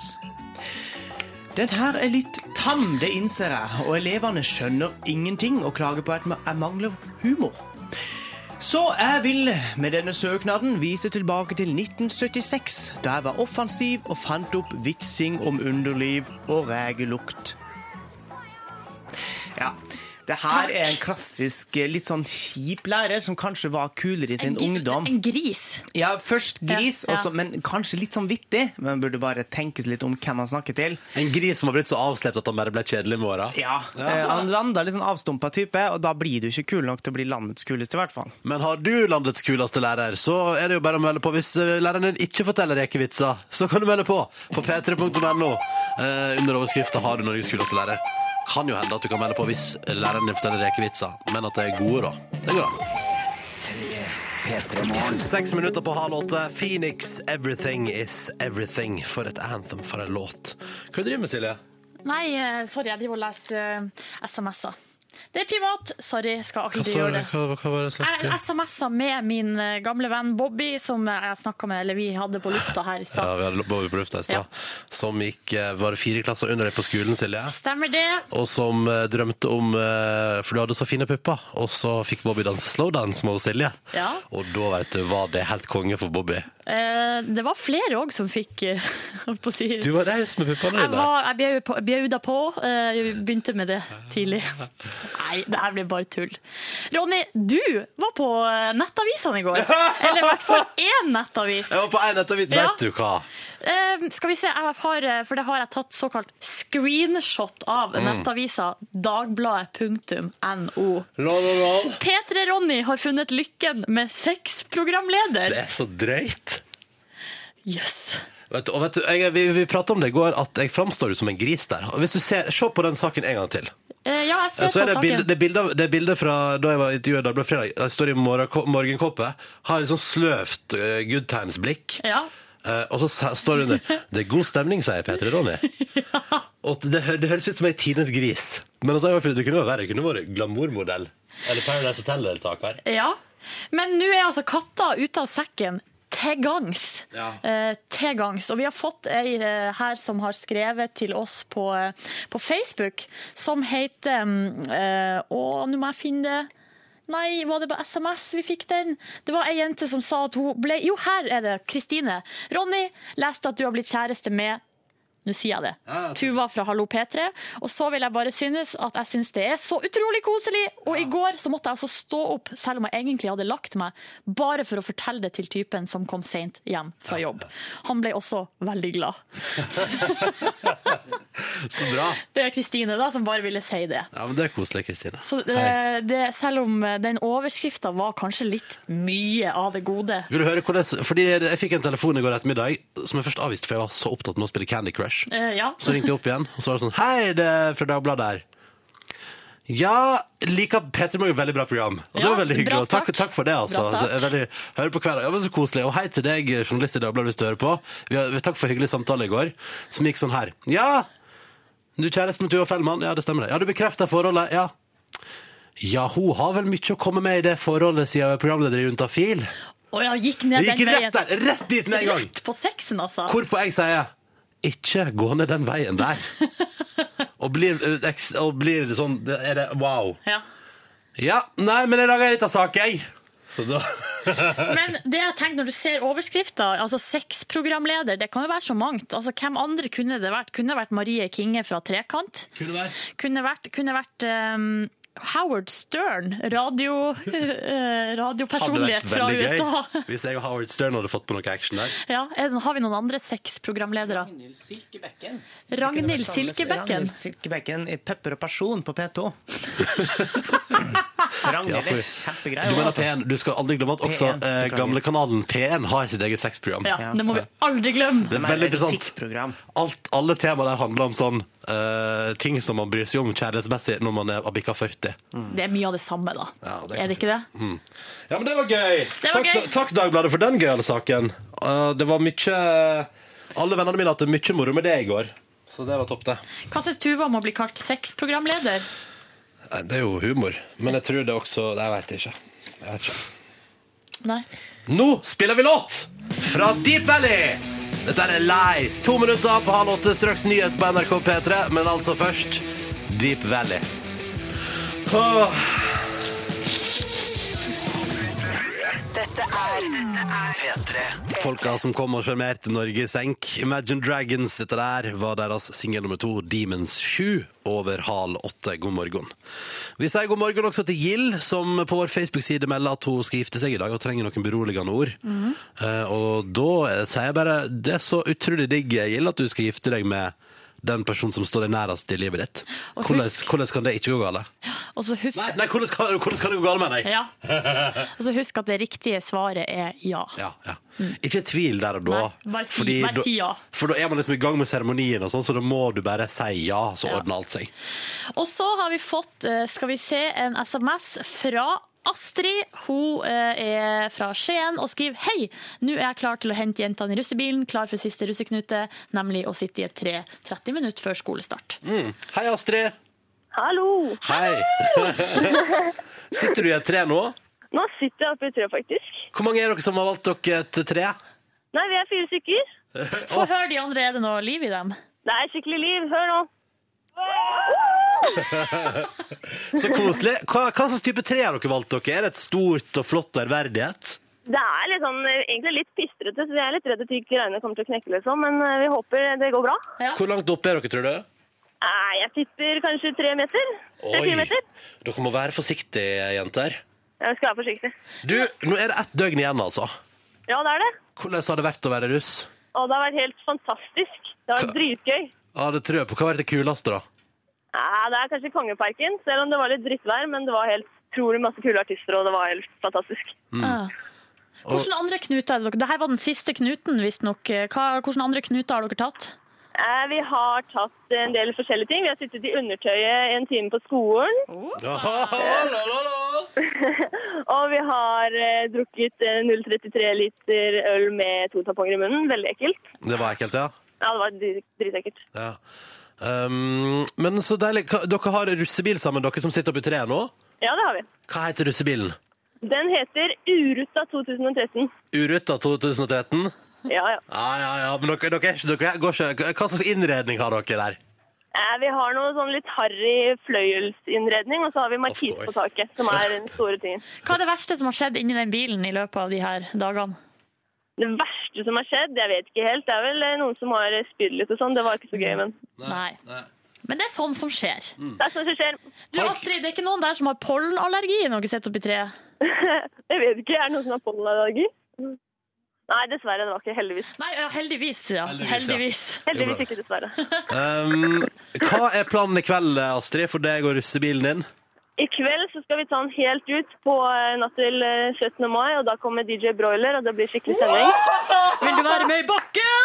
Den her er litt tam, det innser jeg, og elevene skjønner ingenting og klager på at jeg mangler humor. Så jeg vil med denne søknaden vise tilbake til 1976, da jeg var offensiv og fant opp vitsing om underliv og regelukt. Ja, det her er en klassisk eh, litt sånn kjip lærer som kanskje var kulere i En sin gri- ungdom. En gris. Ja, først gris, Ja, ja. og så- men kanskje litt sånn vittig. Man burde bare tenkes litt om hvem man snakker til. En gris som har blitt så avslept at han bare ble kjedelig med åra. Ja, eh, Han landa litt sånn avstumpa type, og da blir du ikke kul nok til å bli landets kuleste, i hvert fall. Men har du landets kuleste lærer, så er det jo bare å melde på. Hvis eh, læreren din ikke forteller rekevitser, så kan du melde på på p3.no eh, under overskriften 'Har du Norges kuleste lærer'. Kan jo hende at du kan melde på hvis læreren din forteller rekevitser, men at de er gode, da. Det går an. Seks minutter på halv åtte. Phoenix, 'Everything Is Everything'. For et anthem, for en låt. Hva driver du med, Silje? Nei, eh, sorry, jeg driver og leser eh, SMS-er. Det er privat. Sorry, skal aldri Sorry, gjøre det. hva, hva var det jeg Jeg sa? SMS-er med min eh, gamle venn Bobby, som jeg snakket med, eller vi hadde på lufta her i Ja, stad. vi hadde Bobby på lufta i Ja. stad. Som gikk eh, Var det fire klasser under deg på skolen, Silje? Stemmer det? Og som eh, drømte om eh, For du hadde så fine pupper. Og så fikk Bobby danse slowdance med Silje. Ja. Og da vet du, var det helt konge for Bobby. Eh, Det var flere òg som fikk eh, <laughs> holdt på å si Du var raus med puppene Jeg, dine. var, jeg bjau på- bjauda på. eh, Jeg begynte med det tidlig. Nei, det her ble bare tull. Ronny, du var på eh, nettavisene i går. Eller i hvert fall én nettavis. <laughs> Jeg var på en etter mitt, Ja. vet du hva. Eh, skal vi se, jeg har, eh, for det har jeg tatt såkalt screenshot av Mm. nettavisa dagbladet.no. Roll, roll, roll. P3 Ronny har funnet lykken med sexprogramleder. Det er så drøyt. Yes. Vet du, og vet du, jeg, vi, vi pratet om det i går, at jeg framstår ut som en gris der. Hvis du ser, Se på den saken en gang til. Eh, ja, jeg ser Så er på det saken. bilde, det bildet, det bildet fra da jeg var intervjuet i Dagbladet Fredag. Jeg står i morgen- morgenkåpe, har litt sånn sløvt eh, good times-blikk. Ja. Eh, og så sa- står det under 'Det er god stemning', sier P3 <laughs> Ronny. Og det, hø- det høres ut som ei tidenes gris. Men altså, jeg var det kunne vært verre. Det kunne vært glamourmodell. Eller Paradise <laughs> Hotel-deltaker. Ja. Men nå er altså katta ute av sekken. Til gangs. Ja. Eh, til gangs. Og vi har fått ei eh, her som har skrevet til oss på, eh, på Facebook, som heter mm, eh, Å, nå må jeg finne det. Nei, var det på SMS vi fikk den? Det var ei jente som sa at hun ble Jo, her er det. Kristine. Ronny, leste at du har blitt kjæreste med nå sier jeg det. Tuva fra Hallo P3. Og så vil jeg bare synes at jeg synes det er så utrolig koselig! Og i går så måtte jeg altså stå opp, selv om jeg egentlig hadde lagt meg, bare for å fortelle det til typen som kom seint hjem fra jobb. Han ble også veldig glad. Så bra. Det er Kristine da som bare ville si det. Ja, men Det er koselig, Kristine. Så Hei. eh, det, selv om eh, den overskrifta var kanskje litt mye av det gode. Vil du høre hvordan, fordi Jeg fikk en telefon i går ettermiddag som jeg først avviste, for jeg var så opptatt med å spille Candy Crush. Eh, ja. Så ringte jeg opp igjen, og så var det sånn Hei, det er fra Dagbladet her. Ja, liker Peter Morgen veldig bra program. Og det Ja, var veldig hyggelig. bra og Takk, start. takk for det, altså. Bra start. Veldig, hører på hver dag. Ja, men så koselig. Og hei til deg, journalist i Dagbladet, hvis du hører på. Vi har, takk for hyggelig samtale i går, som gikk sånn her. Ja! Du kjæresten til Tuva Fellmann? Ja, det stemmer det. Ja, du bekrefter forholdet? Ja. Ja, hun har vel mye å komme med i det forholdet, siden jeg er programleder i Juntafil. <laughs> Og jeg gikk ned Det gikk den veien. rett der! Rett dit med en gang! Rett på sexen, altså. Hvorpå jeg sier ikke gå ned den veien der. og, blir, eh, eks- og blir det sånn Er det wow? <laughs> Ja. Ja, nei, men jeg lager ei lita sak, jeg. Så da <laughs> Men det jeg tenker når du ser overskrifter, altså sexprogramleder, det kan jo være så mangt. Altså, hvem andre kunne det vært? Kunne det vært Marie Kinge fra Trekant? Kunne være. Kunne det vært, kunne det vært ehm, Howard Stern, radio, <laughs> eh, Hadde vært radiopersonlighet fra veldig USA. <laughs> gøy hvis jeg og Howard Stern hadde fått på noe action der. Ja, er det- har vi noen andre sexprogramledere? Ragnhild Silkebekken. Ragnhild Silkebekken. Ragnhild Silkebekken i Pepper og person på <laughs> P2. Ja, Ragnhild for- er kjempegreie. Du mener altså. P1, du skal aldri glemme at også P1, eh, beklager. gamle kanalen P1 har sitt eget sexprogram. Ja, det må vi aldri glemme. Det er veldig interessant. Etikkprogram. Alt, alle tema der handler om sånn eh, ting som man bryr seg om kjærlighetsmessig når man er- har bikka 40. Det er mye av det samme, da. Ja, det er er det ikke det? Ja, men det var gøy! Det var takk, gøy. takk, Dagbladet, for den gøyale saken. Eh, det var mye Alle vennene mine hadde mye moro med det i går. Så det var topp, det. Hva syns Tuva om å bli kalt sexprogramleder? Nei, Eh, Det er jo humor. Men jeg tror det også Nei, Jeg veit ikke. Jeg vet ikke. Nei. Nå spiller vi låt fra Deep Valley! Dette er Lies. To minutter på halv åtte, straks nyhet på NRK P3, men altså først Deep Valley. Åh, Dette er P3 folka som kom og sjarmerte Norge i senk. Imagine Dragons, dette der var deres singel nummer to, Demons 7, over halv åtte. God morgen. Vi sier god morgen også til Gill, som på vår Facebook-side melder at hun skal gifte seg i dag og trenger noen beroligende ord. Mhm. Eh, og da eh, sier jeg bare det er så utrolig digg, Gill, at du skal gifte deg med den personen som står deg nærest i livet ditt. Og Hvordan, husk- hvordan kan det ikke gå galt? Og så husk Nei, nei hvordan, kan, hvordan kan det gå galt med deg? Ja. Og så husk at det riktige svaret er ja. Ja, ja. Ikke tvil der og da. Nei, bare si- fordi bare da- si ja. For da er man liksom i gang med seremonien, og sånn, så da må du bare si ja, så ordner alt seg. Og så har vi fått, eh, skal vi se, en SMS fra Astrid, hun eh, er fra Skien og skriver Hei, nå er jeg klar til å hente jentene i russebilen, klar for siste russeknute, nemlig å sitte i et tre 30 minutter før skolestart. Mm, Hei, Astrid. Hallo! Hei. <laughs> Sitter du i et tre nå? Nå sitter jeg oppe i trøya, faktisk. Hvor mange er dere som har valgt dere et tre? Nei, vi er fire stykker. Få høre de andre, er det noe liv i dem? Det er skikkelig liv. Hør nå. Så koselig. Hva, hva slags type tre har dere valgt dere? Er det et stort og flott og ærverdighet? Det er litt sånn, eh, egentlig litt pistrete, så vi er litt redd at ikke greiene kommer til å knekke, liksom. Men eh, vi håper det går bra. Hvor langt oppe er dere, tror du? Nei, jeg tipper kanskje tre meter. Tre-fire meter. Dere må være forsiktige, jenter. Jeg skal være forsiktig. Du, nå er det ett døgn igjen, altså. Ja, det er det. Hvordan har det vært å være russ? Og det har vært helt fantastisk. Det har vært dritgøy. Ja, det tror jeg på. Hva var det kuleste, da? Nei, det er kanskje Kongeparken, selv om det var litt drittvær, men det var helt utrolig masse kule artister, og det var helt fantastisk. Ah. Hvilke andre knuter er det dere Dette var den siste knuten, visstnok. Hvilke andre knuter har dere tatt? Eh, Vi har tatt en del forskjellige ting. Vi har sittet i undertøyet en time på skolen, <laughs> og vi har eh, drukket eh, 0,33 liter øl med to tamponger i munnen. Veldig ekkelt. Det var ekkelt, ja. Ja, det var dri- dritekkelt. ja. Um, men så deilig. Hva- Dere har russebil sammen, dere som sitter oppi treet nå. Ja, det har vi. Hva heter russebilen? Den heter Uruta 2013. Uruta 2013? Ja, ja. Ja, ja, ja. Men dere, dere, er ikke- dere går ikke Hva slags innredning har dere der? Eh, Vi har noe sånn litt harry fløyelsinnredning, og så har vi markis course. på taket, som er den store tingen. Hva er det verste som har skjedd inni den bilen i løpet av de her dagene? Det verste som har skjedd, jeg vet ikke helt, det er vel eh, noen som har eh, spydd litt og sånn. Det var ikke så gøy, men Nei. Men det er sånn som skjer. det er sånt som skjer. Du, Astrid, det er ikke noen der som har pollenallergi når dere sitter oppi treet? Jeg vet ikke, er det noen som har pollenallergi? Nei, dessverre, det var ikke. Heldigvis. Nei, ja, heldigvis, ja. Heldigvis, ja. Heldigvis. Heldigvis ikke, dessverre. Um, hva er planen i kveld, Astrid, for deg og russebilen din? I kveld så skal vi ta den helt ut på eh, natt til eh, 17. mai, og da kommer DJ Broiler, og det blir skikkelig stemning. Vil du være med i bakken?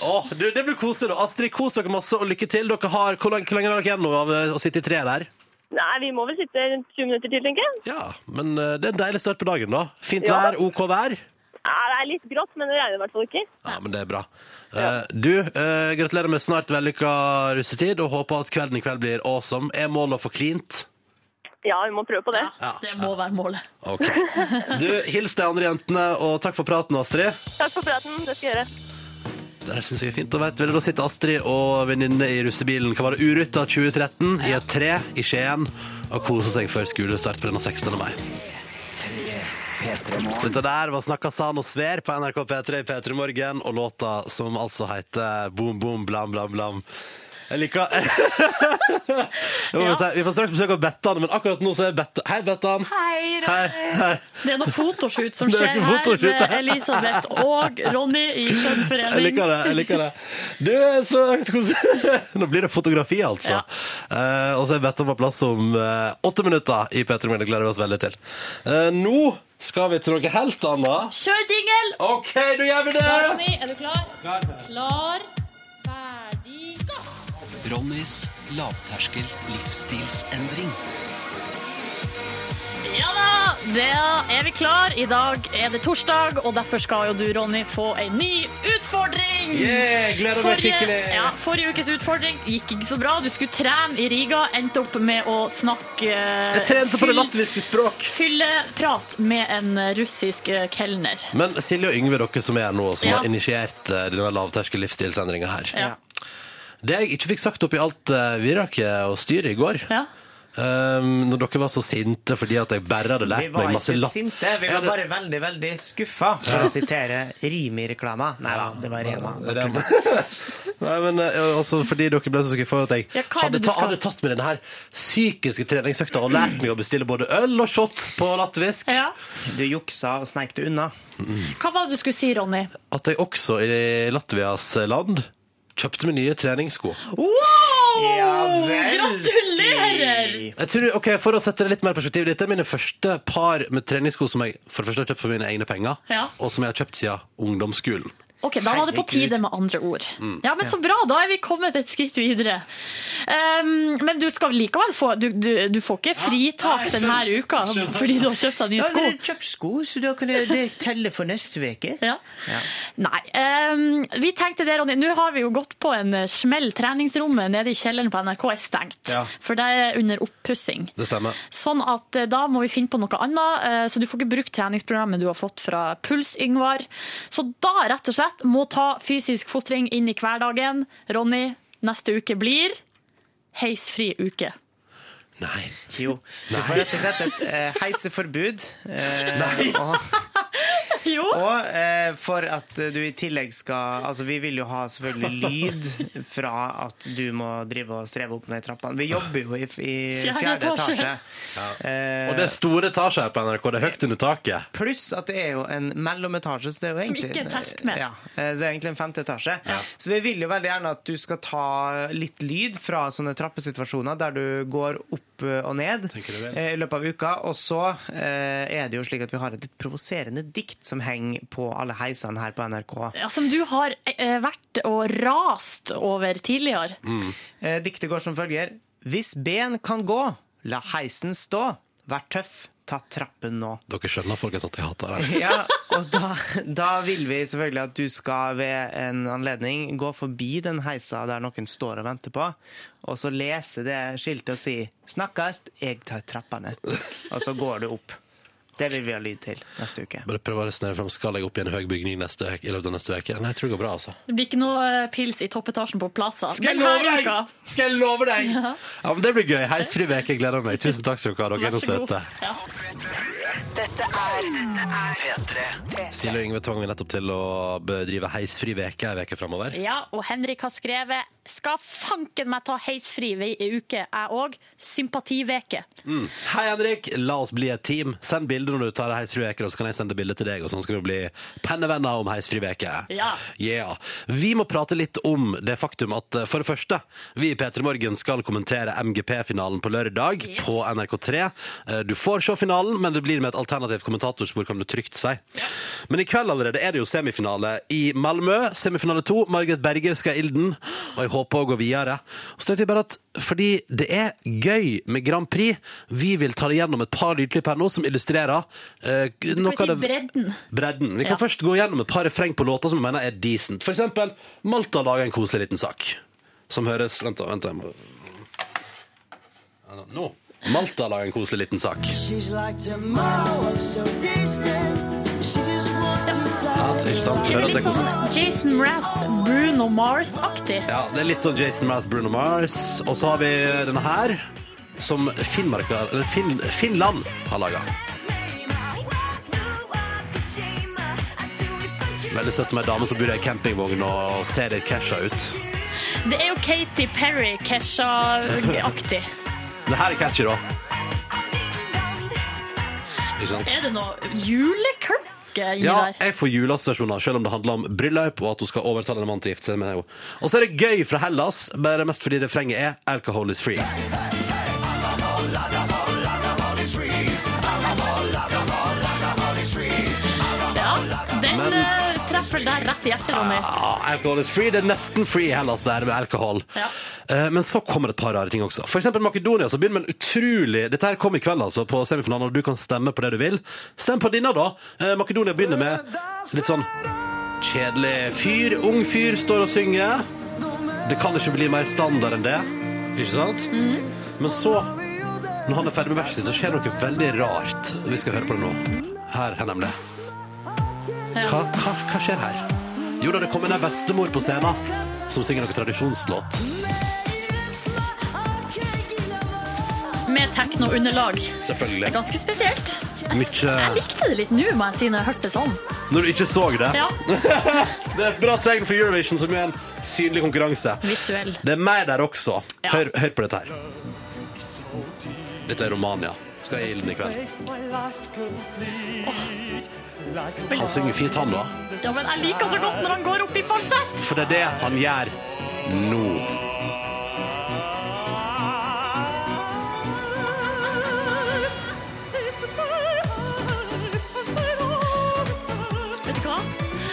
Åh, du, det blir koselig. da. Astrid, kos dere masse og lykke til. Dere har, hvor, lang- hvor lenge har dere igjen nå av eh, å sitte i treet der? Nei, vi må vel sitte rundt 20 minutter til, tenker jeg. Ja, men eh, det er en deilig start på dagen, da. Fint Ja. vær, OK vær. Ja, det er litt grått, men det regner i hvert fall ikke. Ja, men det er bra. Eh, du, eh, gratulerer med snart vellykka russetid, og håper at kvelden i kveld blir awesome. Er målet å få klint? Ja, vi må prøve på det. Det må være målet. <laughs> OK. Du, hils de andre jentene, og takk for praten, Astrid. Takk for praten, det skal jeg gjøre. Det her synes jeg er fint. Og vet, du, da sitter Astrid og venninne i russebilen Kan være Uruta 2013 i et tre i Skien og koser seg før skolestart på denne 16. mai. Dette der var Snakka san og sver på NRK P3 i P3 Morgen, og låta som altså heter Boom Boom Blam Blam Blam. Jeg liker <laughs> Jeg må bare si, Vi får straks besøk av Bettan, men akkurat nå så er Bettan Hei, Bettan. Hei, Hei, hei. Det er <laughs> noe fotoshoot som Det er skjer noe her fotoshoot med her. Elisabeth og Ronny <laughs> i Jeg Skjønnforening. liker det. jeg liker det Du, så koselig. <laughs> Nå blir det fotografi, altså. Ja. Eh, og så er Bettan på plass om eh, åtte minutter i P3 Morgen. Det gleder vi oss veldig til. Eh, nå skal vi til noe helt annet. Kjør jingle! OK, da gjør vi det! Ronny, er du klar? Klar. ferdig, gå! Ronnys lavterskel livsstilsendring. Ja da, da er vi klar. I dag er det torsdag, og derfor skal jo du, Ronny, få en ny utfordring. Yeah, gleder meg Forrige, skikkelig. ja, forrige ukes utfordring gikk ikke så bra. Du skulle trene i Riga, endte opp med å snakke eh, Jeg trente på det fyll- latviske språk. Fylleprat med en eh, russisk eh, kelner. Men Silje og Yngve, dere som er her nå, som Ja. har initiert eh, denne lavterskel livsstilsendringa her. Ja. Det jeg ikke fikk sagt oppi alt uh, viraket og styret i går, Ja. Um, når dere var så sinte fordi at jeg bare hadde Vi lært var meg masse ikke lapp... sinte, vi var bare veldig, veldig skuffa, for å sitere Rimi-reklama. Nei da, det var Rema. <laughs> Nei, men eh, altså, fordi dere ble så skuffa at jeg Ja, hva er hadde, det du ta, skal- hadde tatt med denne her psykiske treningsøkta og lært meg å bestille både øl og shots på latvisk. Ja. Du juksa og sneik deg unna. Hva var det du skulle si, Ronny? At jeg også i Latvias land kjøpte meg nye treningssko. Ja vel, gratulerer! Ski. Jeg tror, ok, For å sette det litt mer i perspektiv, dette er mine første par med treningssko som jeg for det første har kjøpt for mine egne penger, Ja. og som jeg har kjøpt siden ungdomsskolen. Ok, Da var det på Herregud. Mm. tide med andre ord. Ja, men Så bra, da er vi kommet et skritt videre. Um, men du skal likevel få Du, du, du får ikke fritak denne uka fordi du har kjøpt deg nye Ja, sko. dere har kjøpt sko, så da kan det, det telle for neste uke. Ja. Nei. ehm, vi tenkte det, Ronny. Nå har vi jo gått på en eh, smell. Treningsrommet nede i kjelleren på NRK er stengt, Ja. for det er under oppussing. Det stemmer. Sånn at eh, da må vi finne på noe annet, eh, så du får ikke brukt treningsprogrammet du har fått fra Puls Yngvar. Så da rett og slett må ta fysisk fostring inn i hverdagen. Ronny, neste uke blir heisfri uke. Nei. Jo. Du får rett og slett et eh, heiseforbud. Eh, og, Jo. Og eh, for at du i tillegg skal Altså, vi vil jo ha selvfølgelig lyd fra at du må drive og streve opp ned trappene. Vi jobber jo i, i Fjerde fjerde etasje. etasje. Eh, Og det er store etasjer her på NRK. Det er høyt under taket. Pluss at det er jo en mellometasje. Så det er jo Som egentlig, ikke er telt med. Ja, eh, så det er egentlig en femte etasje. Så vi vil jo veldig gjerne at du skal ta litt lyd fra sånne trappesituasjoner der du går opp eh, og ned Tenker du vel? eh, i løpet av uka. Og så eh, er det jo slik at vi har et litt provoserende dikt som henger på alle heisene her på NRK. Ja, som du har eh, vært og rast over tidligere. Eh, Diktet går som følger. Hvis ben kan gå, la heisen stå. Vær tøff, ta trappen nå. Dere skjønner folkens at jeg hater det. <laughs> Ja, og da, da vil vi selvfølgelig at du skal ved en anledning gå forbi den heisa der noen står og venter på, og så lese det skiltet og si 'Snakkast, jeg tar trappene'. Og så går du opp. Det vil vi ha lyd til neste uke. Bare prøv å resonnere fram. Skal jeg opp i en høy bygning neste, i løpet av neste uke? Nei, jeg tror det går bra, altså. Det blir ikke noe eh, pils i toppetasjen på Plaza. Skal jeg love deg? Skal jeg love deg? Ja, men Det blir gøy. Heisfri veke. Jeg gleder meg. Tusen takk skal dere ha. Dere er Vær noe så god. søte. Ja. Dette er P3. Silje og Yngve tvang meg nettopp til å bedrive heisfri veke ei veke framover. ja, og Henrik har skrevet 'Skal fanken meg ta heisfri vei i uke, jeg òg'. Sympativeke. Mm. Hei, Henrik. La oss bli et team. Send bilder når du tar heisfri veke, og så kan jeg sende bilder til deg, og sånn skal vi bli pennevenner om heisfri veke. Ja. Yeah. Vi må prate litt om det faktum at eh, for det første, vi i P3 Morgen skal kommentere MGP-finalen på lørdag Yes. på NRK3. Eh, Du får se finalen, men det blir med et alternativt kommentatorspor, kan du trygt si. Men i kveld allerede er det jo semifinale i Malmø. Semifinale to. Margaret Berger skal i ilden, og jeg håper å gå videre. Og så tenkte jeg bare at fordi det er gøy med Grand Prix, vi vil ta det gjennom et par lydklipp her nå som illustrerer eh, noe Skal vi av si det bredden? bredden. Vi kan Ja. først gå gjennom et par refreng på låter som jeg mener er decent. For eksempel Malta lager en koselig liten sak. Som høres Vent, da. vent da, jeg må... Ja, da, Nå. Malta lager en koselig liten sak. Ja, ikke sant? Du hører Det er at det litt er koselig. sånn Jason Mraz, Bruno Mars-aktig. Ja, det er litt sånn Jason Mraz, Bruno Mars. Og så har vi denne her, som Finnmarka, eller Finn, Finland har laga. Veldig søtt med ei dame som bor i ei campingvogn og ser det casha ut. Det er jo Katy Perry, Kesha-aktig. Det her er catchy, da. Ikke sant? Er det noe juleklokke inni Ja, der? jeg får juleassosiasjoner, selv om det handler om bryllup og at hun skal overtale en mann til å gifte seg med henne. Og så er det gøy fra Hellas, bare mest fordi refrenget er 'Alcohol is free'. Ja, den Men- eh, treffer deg rett i hjertet, Ronny. Ja, alcohol is free. Det er nesten free i Hellas der med alkohol. Ja. Eh, Men så kommer det et par rare ting også. For eksempel Makedonia som begynner med en utrolig Dette her kom i kveld, altså, på semifinalen, og du kan stemme på det du vil. Stem på denne, da! Eh, Makedonia begynner med litt sånn kjedelig fyr. Ung fyr står og synger. Det kan ikke bli mer standard enn det. Ikke sant? Men så, når han er ferdig med verset sitt, så skjer noe veldig rart. Vi skal høre på det nå. Her er nemlig hva, hva, hva skjer her? Jo da, det kommer en bestemor på scenen som synger noen tradisjonslåt. Med tekno-underlag. Selvfølgelig. Ganske spesielt. Jeg, Mykje- jeg likte det litt nå, må jeg si, når jeg hørte det sånn. Når du ikke så det. Ja, Det er et bra tegn for Eurovision, som er en synlig konkurranse. visuell. Det er mer der også. Ja. Hør, hør på dette her. Dette er Romania. Skal i ilden i kveld. Han synger fint, han, da. Ja, men jeg liker så godt når han går opp i falsett. For det er det han gjør nå. Vet du hva?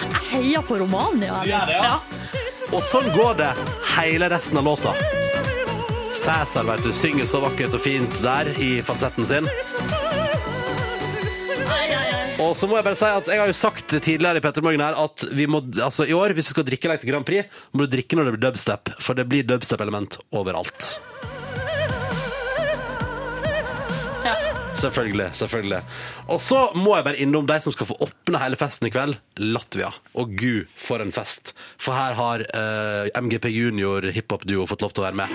Jeg heier på Romania. gjør det, ja? Og sånn går det hele resten av låta. Cæsar, vet du, synger så vakkert og fint der i falsetten sin. Ai, ai, ai. Og så må jeg bare si at jeg har jo sagt tidligere i Petter Morgen her at vi må, altså i år, hvis du skal drikke like til Grand Prix, må du drikke når det blir dubstep, for det blir dubstep-element overalt. Selvfølgelig, selvfølgelig. Og så må jeg bare innom de som skal få åpne hele festen i kveld. Latvia. Og gud, for en fest. For her har eh, MGP Junior hiphop-duo fått lov til å være med.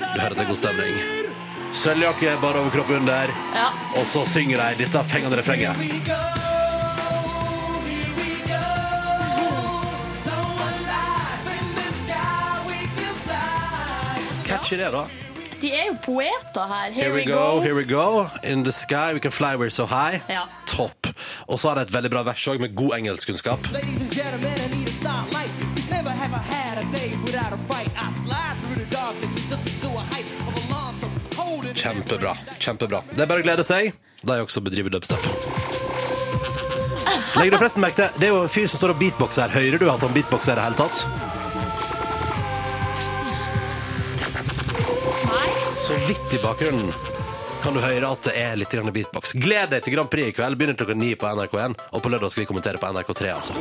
Du hører at det er god stemning. Sølvjakke, bare overkropp under, Ja. og så synger de dette fengende refrenget. Catchy det, da. De er jo poeter her. Here, Here we go, here we go. In the sky we can fly we're so high. Ja. Topp. Og så har de et veldig bra vers òg, med god engelskkunnskap. Ladies and gentlemen, I need a starlight. Cause never have I had a day without a fight. I slide through the darkness and took me to a height of alarm. So hold it. Kjempebra. kjempebra Det er bare å glede seg. De også bedriver dubstep. Legger du forresten merke til Det er jo en fyr som står og beatboxer her. Hører du at han beatboxer i det hele tatt? Så vidt i bakgrunnen kan du høre at det er litt grann beatbox. Gled deg til Grand Prix i kveld. Begynner klokka ni på NRK1. Og på lørdag skal vi kommentere på NRK3, altså.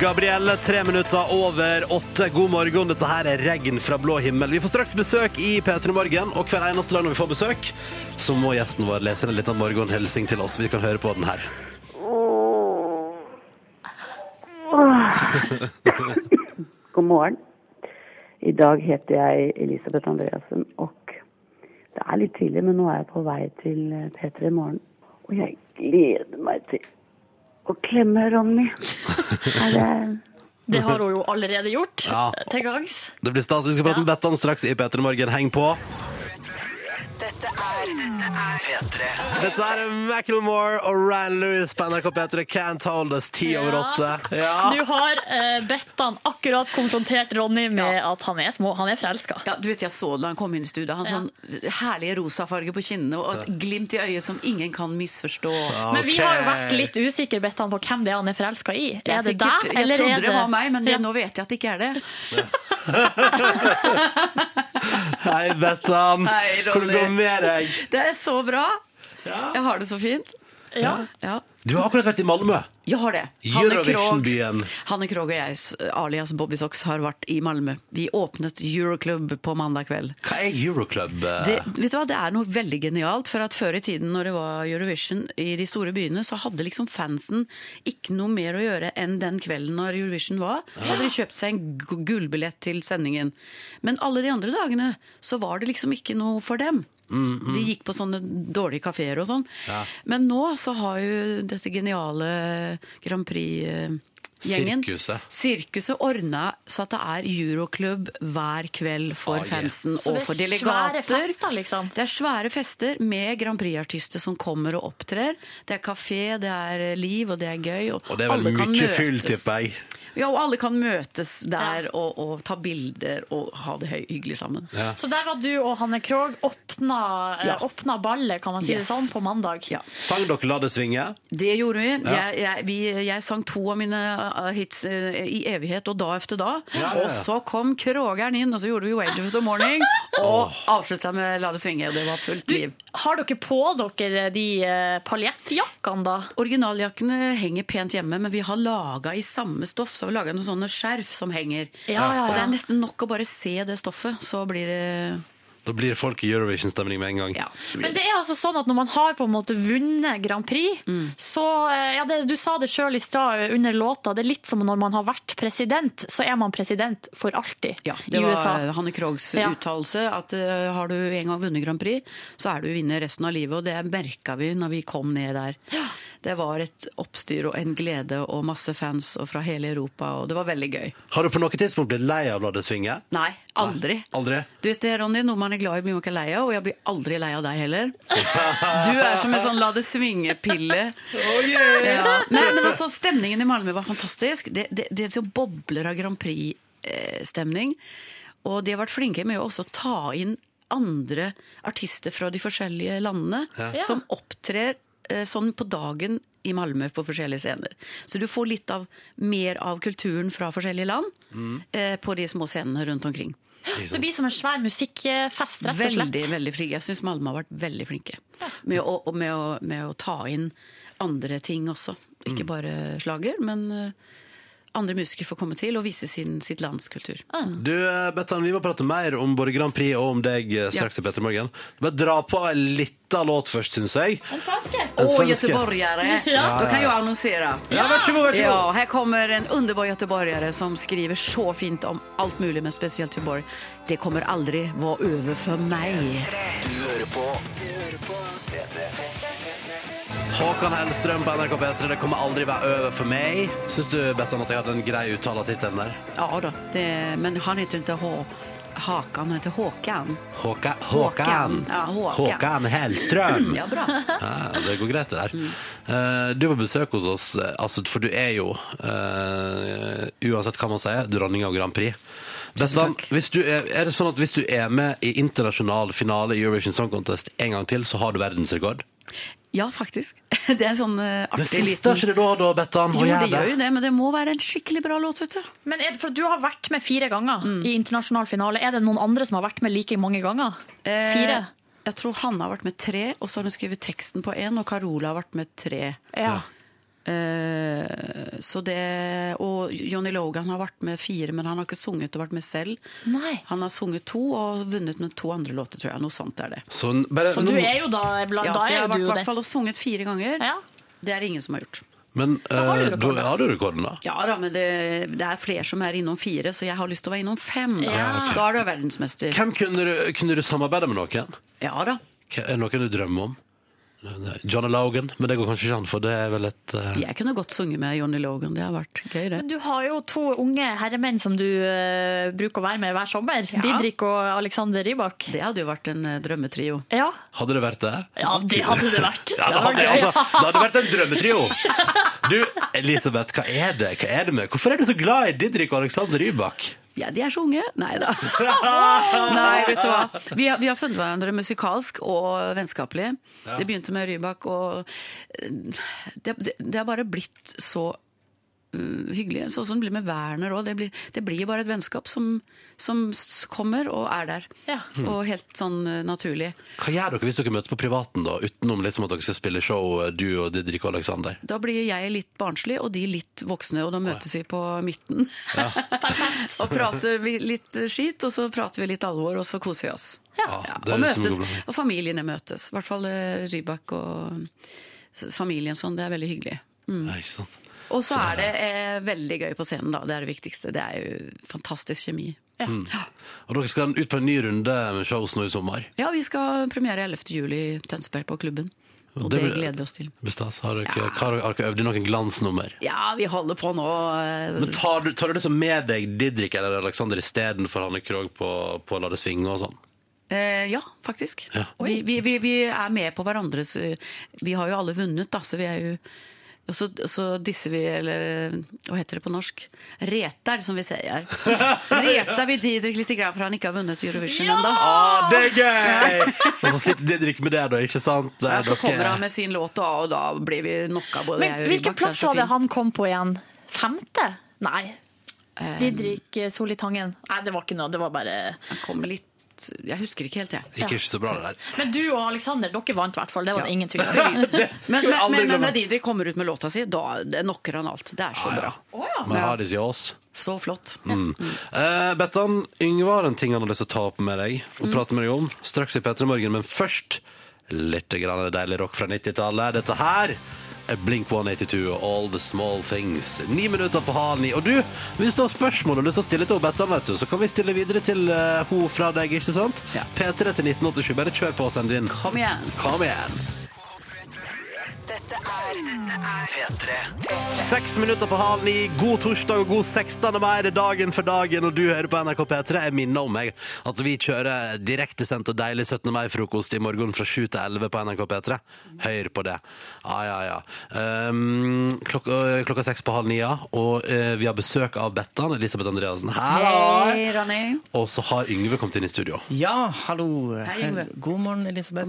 Gabrielle, tre minutter over åtte. God morgen. Dette her er regn fra blå himmel. Vi får straks besøk i P3 Morgen, og hver eneste dag når vi får besøk, så må gjesten vår lese en liten morgenhilsing til oss. Vi kan høre på den her. God morgen. I dag heter jeg Elisabeth Andreassen, og det er litt tidlig, men nå er jeg på vei til eh, P3 i morgen. Og jeg gleder meg til å klemme Ronny. Er det Det har hun jo allerede gjort. Ja. Til gangs. Det blir stas. Vi skal prate med Bettan straks i P3 Morgen. Heng på. Dette er P3. Dette er Macklemore og Ryan Lewis på NRK P3. Can't hold us ti over åtte. Ja. Nå har eh, Bettan akkurat konfrontert Ronny med at han er små, han er forelska. Ja, du vet, Jeg så da han kom inn i studio. Han sånn herlige rosafarge på kinnene og et glimt i øyet som ingen kan misforstå. Men vi har jo vært litt usikre Bettan, på hvem det er han er forelska i. Det er Er det sikkert- deg, jeg eller trodde er det det var meg, men det- Ja. nå vet jeg at det ikke er det. Hei, Bettan. Hei, Hvordan går Ronny. det med deg? Det er så bra. Jeg har det så fint. Ja. ja. Du har akkurat vært i Malmö. Jeg har det. Hanne Krogh- Eurovision-byen. Hanne Krogh og jeg, s- alias Bobby Socks, har vært i Malmö. Vi åpnet Euroclub på mandag kveld. Hva er Euroclub? eh? Det, vet du hva, det er noe veldig genialt, for at før i tiden når det var Eurovision i de store byene, så hadde liksom fansen ikke noe mer å gjøre enn den kvelden når Eurovision var. Så hadde de kjøpt seg en gu- gullbillett til sendingen. Men alle de andre dagene så var det liksom ikke noe for dem. Mm, mm. De gikk på sånne dårlige kafeer og sånn. Ja. Men nå så har jo dette geniale Grand Prix-gjengen Sirkuset. Sirkuset ordna så at det er euroklubb hver kveld for Ah, yeah. fansen Så og det er for svære delegater. fester, liksom. Det er svære fester med Grand Prix-artister som kommer og opptrer. Det er kafé, det er liv, og det er gøy. Og, Og det er vel alle kan mye møtes. fyll, tipper jeg. Ja, og alle kan møtes der og, og ta bilder og ha det høy- hyggelig sammen. Ja. Så der var du og Hanne Krogh åpna, eh, Ja. åpna ballet, kan man si Yes. det sånn, på mandag. Sang dere 'La det svinge'? Det gjorde vi. Ja. Jeg, jeg, vi. jeg sang to av mine uh, hits uh, i evighet og da efter da. Ja, ja, ja. Og så kom Krogeren inn, og så gjorde vi 'Wait of <laughs> the Morning'. Og avslutta med 'La det svinge', og det var fullt liv. Har dere på dere de eh, paljettjakkene, da? Originaljakkene henger pent hjemme, men vi har laga i samme stoff. Så har vi laga noen sånne skjerf som henger. Ja, ja, ja. Og det er nesten nok å bare se det stoffet, så blir det Da blir folk i Eurovision-stemning med en gang. Men det er altså sånn at når man har på en måte vunnet Grand Prix, Mm. så eh, ja, det, Du sa det sjøl i stad eh, under låta, det er litt som når man har vært president, så er man president for alltid Ja, i det var eh, USA. Hanne Krogs Ja. uttalelse at eh, har du en gang vunnet Grand Prix, så er du vinner resten av livet. Og det merka vi når vi kom ned der. Det var et oppstyr og en glede og masse fans og fra hele Europa, og det var veldig gøy. Har du på noe tidspunkt blitt lei av 'La det svinge'? Nei, aldri. Aldri? Du vet det, Ronny, Noe man er glad i, blir man ikke lei av, og jeg blir aldri lei av deg heller. Du er som en sånn la det svinge-pille. Oh, ja. Nei, men altså, Stemningen i Malmö var fantastisk. Det, det, det er så bobler av Grand Prix-stemning. Og de har vært flinke med å også ta inn andre artister fra de forskjellige landene Ja. som opptrer eh, sånn på dagen i Malmö på forskjellige scener. Så du får litt av, mer av kulturen fra forskjellige land Mm. eh, på de små scenene rundt omkring. Så det blir som en svær musikkfest, rett og slett. Veldig, veldig flinke. Jeg syns Malmö har vært veldig flinke med å, og med, Mm. å, med å ta inn andre ting også. Ikke bare slager, men eh, andre musikere får komme til og vise sin, sitt lands kultur. Ah. Du, eh, Bettan, vi må prate mer om både Grand Prix og om deg eh, straks i Petter Morgen. Bare dra på en liten låt først, syns jeg. En svenske. En Åh, svenske. <laughs> göteborgare! Ja. Då kan jag annonsera. Ja, varsågod, varsågod. Ja, här kommer en underbar göteborgare som skriver så fint om allt möjligt, men speciellt Göteborg. Det kommer aldrig vara över för mig. Du hører på Håkan Hellstrøm på NRK P3, det kommer aldri være over for meg. Syns du, Bettan, at jeg hadde en grei uttale av tittelen der? Ja då, det, men han heter inte H Hakan, han heter Håkan. Håka, Håkan. Håkan. Ja, Håkan. Håkan Hellstrøm. Ja, bra. Ja, det går greit, det der. Mm. Eh, du var på besøk hos oss, eh, altså, for du er jo, eh, uansett hva man sier, dronning av Grand Prix. Bettan, hvis du er, er det sånn at hvis du er med i internasjonal finale i Eurovision Song Contest en gang til, så har du verdensrekord? Ja, faktisk. <laughs> Det er en sånn eh, Det artig frister ikke det da, da, Bettan? Jo, å gjøre det gjør jo det, men det må være en skikkelig bra låt, vet du. Men er, det- for Du har vært med fire ganger Mm. i internasjonal finale. Er det noen andre som har vært med like mange ganger? Eh, Fire? Jeg tror Hanne har vært med tre, og så har hun skrevet teksten på én, og Carola har vært med tre. Ja. Eh, så det, og Johnny Logan har vært med fire, men han har ikke sunget og vært med selv. Han har sunget to og vunnet med to andre låter, tror jeg. Noe sånt er det. Sånn, bare, Så du er jo da blant ja, da så jeg er har jo vært du i jo hvert det. fall og sunget fire ganger. Det er det ingen som har gjort. Men har du eh, rekorden, da har du rekorden, da. Ja da, men det, det er flere som er innom fire, så jeg har lyst til å være innom fem. Da, Ja, ok. da er du verdensmester. Hvem kunne du, kunne du samarbeide med noen? Ja da. Hva- Er det noen du drømmer om? Nei, Johnny Logan, men det går kanskje ikke an, for det er vel et eh, Jeg kunne godt sunget med Johnny Logan, det har vært gøy, det. Men du har jo to unge herremenn som du eh, bruker å være med hver sommer. Didrik og Alexander Rybak. Det hadde jo vært en eh, drømmetrio. Ja. Hadde det vært det? Ja, det hadde det vært. Ja, det, hadde, altså, det hadde vært en drømmetrio. Du, Elisabeth, hva er det Hva er det med? Hvorfor er du så glad i Didrik og Alexander Rybak? Ja, de er så unge. Nei da. Nei, vet du hva. Vi har, vi har funnet hverandre musikalsk og vennskapelig. Ja. Det begynte med Rybak, og eh, det, det, det har bare blitt så mm, hyggelig. Sånn som det blir med Werner òg. Det, blir- det blir bare et vennskap som, som s- kommer og er der. Og helt sånn eh, naturlig. Hva gjør dere hvis dere møtes på privaten, da, utenom liksom at dere skal spille show, eh, du og Didrik og Alexander? Da blir jeg litt barnslig, og de litt voksne, og da møtes vi på midten. <laughs> og prater vi litt skit, og så prater vi litt alvor, og så koser vi oss. Ja, Ah, det er liksom- det som Og, er god møtes, blanding. og familiene møtes. I hvert fall eh, Rybak og s- familien sånn. Det er veldig hyggelig. Mm. Nei, ikke sant? Og så er det eh, veldig gøy på scenen, da. Det er det viktigste. Det er jo fantastisk kjemi. Mm. Og dere skal ut på en ny runde med shows nå i sommer. Ja, vi skal premiere 11. juli i Tønsberg på klubben. Og det, blir- gleder vi oss til. Bestas, har dere, hva har dere- har dere øvd inn noen glansnummer? Ja, vi holder på nå. eh, Men tar du, tar du liksom med deg Didrik eller Alexander istedenfor Hanne Krogh på, på La det svinge og <laughs> sånn? Eh, ja, faktisk. Vi, vi, vi, vi er med på hverandres eh, Vi har jo alle vunnet, da, så vi er jo og så, så disser vi, eller eh, hva heter det på norsk? Reter, som vi sier. Reter vi Didrik litt grann for han ikke har vunnet Eurovision ennå. Ah, det er gøy! og så sliter Didrik med det, da, ikke sant? Ja, så Dere- kommer han med sin låt, og, og da blir vi knocka både Men jeg og hvilken Rybak. plass var det han kom på igjen? Femte? Nei. Didrik eh, Solli Tangen. Nei, det var ikke noe. Det var bare Han kom litt Jeg husker ikke helt, jeg. Det gikk ikke så bra, det der. Men du og Alexander, dere vant i hvert fall. Det var det ingen tvil Men, om. men, vi aldri men, men glemme. når Didrik kommer ut med låta si, da det knocker han alt. Det er så bra. Ah, Men har de sier oss. Så flott. Mm. Eh, Bettan, Yngve har en ting han har lyst til å ta opp med deg og Mm. prate med deg om straks i P3 Morgen, men først litt grann deilig rock fra 90-tallet. Dette her er Blink 182 og All The Small Things. Ni minutter på halv ni. Og du, hvis du har spørsmål og lyst til å stille til Bettan, vet du, så kan vi stille videre til uh, ho fra deg, ikke sant? P3 til 1987. Bare kjør på og send inn. Kom igjen. Kom igjen. Dette er P3. Seks minutter på halv ni. God torsdag og god 16. mai. Det er dagen for dagen, og du hører på NRK P3. Jeg minner om meg at vi kjører direktesendt og deilig 17. mai-frokost i morgen fra 7 til 11 på NRK P3. Hør på det. Ja, ja, ja. Um, klokka, klokka seks på halv ni, ja. Og eh, vi har besøk av Bettan. Elisabeth Andreassen. Hallo! Hei, Ronny. Og så har Yngve kommet inn i studio. Ja, hallo. Eh, Hei, Yngve. God morgen, Elisabeth.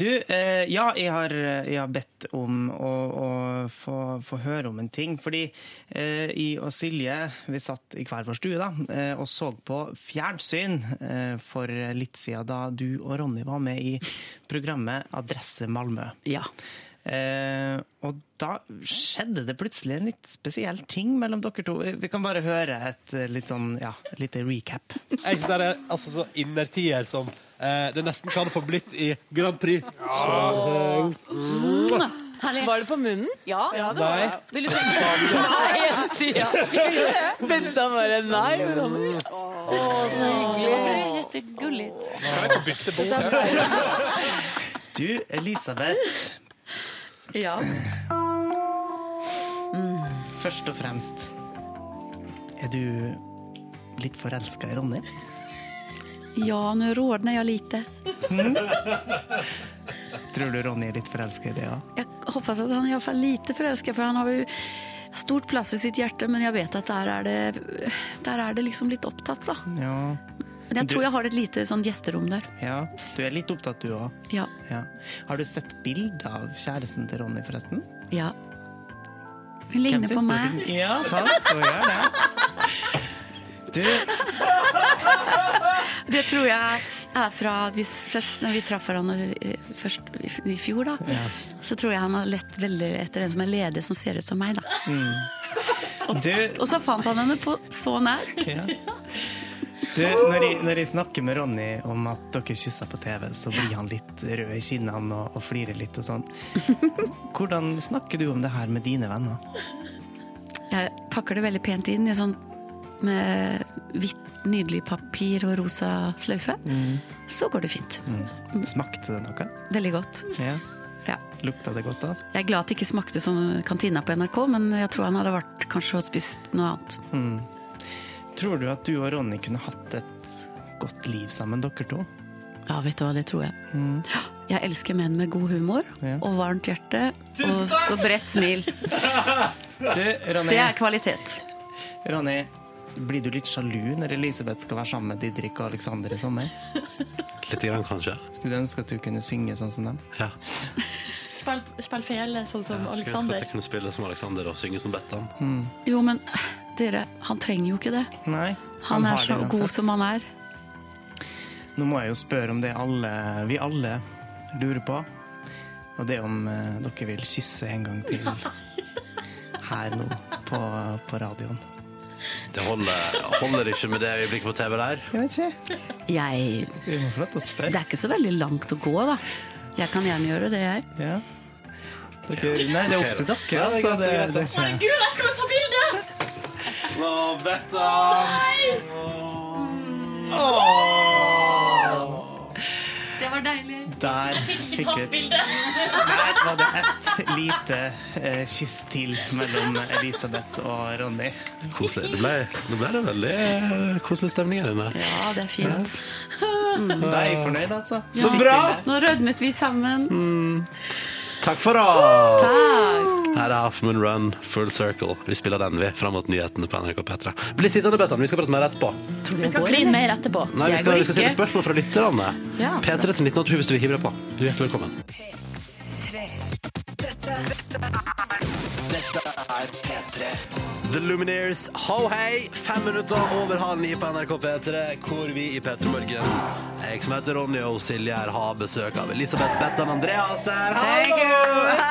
Du, eh, ja, jeg har, jeg har bedt om å, å få, få høre om en ting. Fordi eh, jeg og Silje vi satt i hver vår stue da, eh, og så på fjernsyn eh, for litt siden da du og Ronny var med i programmet Adresse Malmö. Ja. Eh, og da skjedde det plutselig en litt spesiell ting mellom dere to. Vi kan bare høre et eh, litt sånn, ja, et lite recap. Jeg synes det er altså, så innertier som eh, det nesten kan få blitt i Grand Prix. Mm. Var det på munnen? Ja. det var det. Nei. <laughs> Vil du sjekke? Nei, en side. Benda bare nei. men han- Å, så hyggelig. Jettegullig. Du, Elisabeth. Ja. Først og fremst, er du litt forelska i Ronny? Ja, nu rodnar jag lite. <laughs> Tror du Ronny er litt forelska i det òg? Jag hoppas att han är i alla fall lite förälskad för han har ju stort plass i sitt hjärta men jag vet att där är det, där är det liksom lite upptatt då. Ja. Men jag Du- tror jag har ett litet sånt gästerum där. ja. Du er litt opptatt, du òg? Ja. Ja. Har du sett bilde av kjæresten til Ronny, forresten? Ja. Hun ligner Hvem på syns du meg. ligner- <laughs> Ja, sant. Hun gjør det. Du, <laughs> Det tror jeg er fra at vi, først når vi traff hverandre eh, først i f- i fjor, da. Så tror jeg han har lett veldig etter en som er ledig, som ser ut som <laughs> meg, da. du, Og så fant han henne på så nær. Ja. du når, jeg, når jeg snakker med Ronny om at dere kysser på TV, så blir han litt rød i kinnene og, og flirer litt og <laughs> sånn. Hvordan snakker du om det her med dine venner? Jeg pakker det veldig pent inn i sånn med hvitt, nydelig papir og rosa sløyfe. Så går det fint. Mm. Smakte det noe? Veldig godt. Ja. Ja. Lukta det godt da? Jeg er glad det ikke smakte som kantina på NRK, men jeg tror han hadde vært kanskje og spist noe annet. Mm. Tror du at du og Ronny kunne hatt et godt liv sammen, dere to? Ja, vet du hva, det tror jeg. Mm. Jeg elsker menn med god humor og varmt hjerte Tusen og takk! så <laughs> bredt smil. Du, Ronny, Det er kvalitet. Ronny, blir du litt sjalu når Elisabeth skal være sammen med Didrik og Aleksander i sommer? Litt grann, kanskje. Skulle du ønske at du kunne synge sånn som dem? Ja. Spill, spill fele, sånn som Skulle ønske at Alexander. jeg kunne spille som Alexander og synge som Bettan. Jo, men dere, han trenger jo ikke det. Nei. Han har det er så god uansett. som han er. Nå må jeg jo spørre om det alle, vi alle lurer på. Og det er om eh, dere vil kysse en gang <laughs> til her nå på, på radioen. Det holder, holder ikke med det øyeblikket på TV der. Jeg vet ikke. Jeg Det er ikke så veldig langt å gå, da. Jeg kan gjerne gjøre det, jeg. Ja. Dere, nei, det er opp til dere. Ja, det er altså, greit, det, det er greit, det da. er ikke- Gud, jeg skal jo ta bilde! Å, Bettan! Det var deilig. Der fikk vi Der var det et lite eh, kyss til mellom Elisabeth og Ronny. Koselig. Det ble, det ble det veldig eh, koselig stemning her inne. Ja, det er fint. Da er jeg fornøyd, altså. Så bra! Nå rødmet vi sammen. Takk for oss! Takk. Her er Half Moon Run, Full Circle. Vi spiller den, vi, fram mot nyhetene på NRK P3. Bli sittende, Bettan. Vi skal prate mer etterpå. Vi skal kline mer etterpå. Nei, vi Jeg skal, går vi skal stille ikke. spørsmål fra lytterne. Ja. P3 til 1987 hvis du vil hive deg på. Du er hjertelig velkommen. Tre. Dette, dette er Dette er P3. The Lumineers, ho hei! Fem minutter over halv ni på NRK P3, hvor vi i P3 Morgen Jeg som heter Ronny og Silje her har besøk av Elisabeth Bettan Andreas her.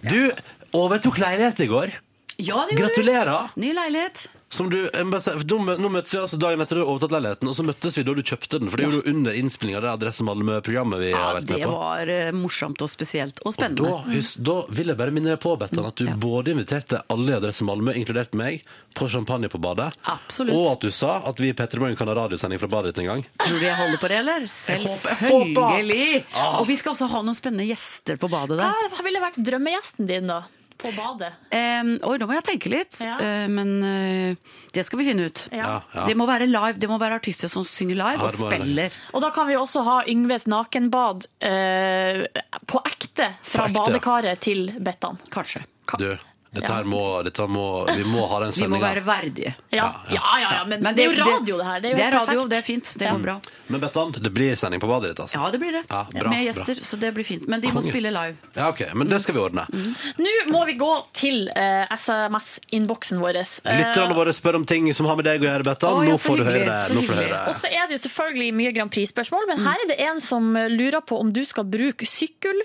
Du overtok leilighet i går. Ja, det gjorde du. Gratulerer. Ny leilighet. Som du, jeg må bare si, for nå mø- nå møttes vi altså dagen etter du har overtatt leiligheten, og så møttes vi da du kjøpte den. For det gjorde du under innspillinga av det Adresse Malmö-programmet vi har vært Det med på. var eh, morsomt og spesielt og Og da, spennende. hus, da vil jeg bare minne deg på, Bettan, at du både inviterte alle i Adresse Malmö, inkludert meg, på champagne på badet. Absolutt. Og at du sa at vi i Petter Morgen kan ha radiosending fra badet ditt en gang. Tror du jeg holder på det, eller? Selvfølgelig! Ah. Og vi skal også ha noen spennende gjester på badet der. Hva ville vært drømmegjesten din, da? På badet? Um, oi, nå må jeg tenke litt, Ja. Eh, men eh, det skal vi finne ut. Ja. Ja, ja. Det må være live, det må være artister som synger live Ja, og det må være spiller. Og da kan vi også ha Yngves nakenbad eh, på ekte fra På ekte, ja. badekaret til Bettan. Kanskje. Du, Dette her må, dette må Vi må ha den <laughs> Vi må sendinga. være verdige. Ja, ja, ja, ja, men, Men det, er det- jo radio, det her. Det er jo det er helt radio, perfekt. det er fint. Det går bra. Men Bettan, det blir sending på badet ditt, altså? Ja, det blir det. Ja, bra, Med gjester, så det blir fint. Men de må Konge. spille live. Ja, ok, Men det skal vi ordne. Mm. Nå må vi gå til eh, SMS-innboksen vår. Eh, Lytterne våre spør om ting som har med deg å gjøre, Bettan. Å, ja, Nå så får du høre hyggelig, det. så Nå får du hyggelig. høre Og så er det jo selvfølgelig mye Grand Prix-spørsmål, men her er det en som lurer på om du skal bruke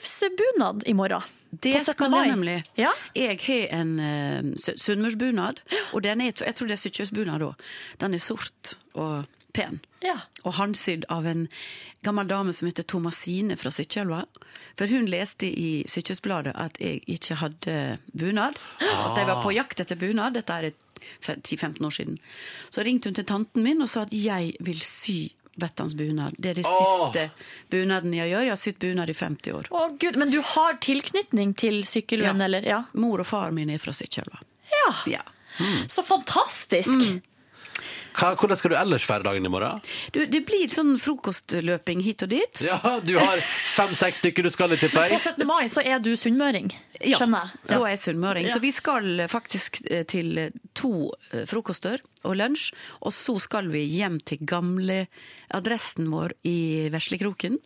sykkelvsbunad i morgen. Det På 17. skal mai. jeg nemlig. Jeg har en uh, sunnmørsbunad, og den er, jeg tror det er sykkjøsbunad òg. Den er sort og pen. Og håndsydd av en gammel dame som heter Tomasine fra Sykkjelva. For hun leste i Sykkjøsbladet at jeg ikke hadde bunad. At jeg var på jakt etter bunad. Dette er et fe- 10-15 år siden. Så ringte hun til tanten min og sa at jeg vil sy Bettans bunad. Det er det Åh! siste bunaden jeg gjør. Jeg har sydd bunad i 50 år. Å gud, Men du har tilknytning til sykkelen, Ja. eller? Ja. Mor og far min er fra Sykkjelva. ja. Mm. Så fantastisk! Mm. Hva, hvordan skal du ellers feire dagen i morgen? Du, det blir sånn frokostløping hit og dit. <laughs> Ja, Du har fem-seks stykker du skal i, tipper På jeg. 17. mai så er du sunnmøring, Ja, skjønner jeg. da er jeg sunnmøring. Ja. Så vi skal faktisk eh, til to eh, frokoster og lunsj, og så skal vi hjem til gamle adressen vår i Veslekroken.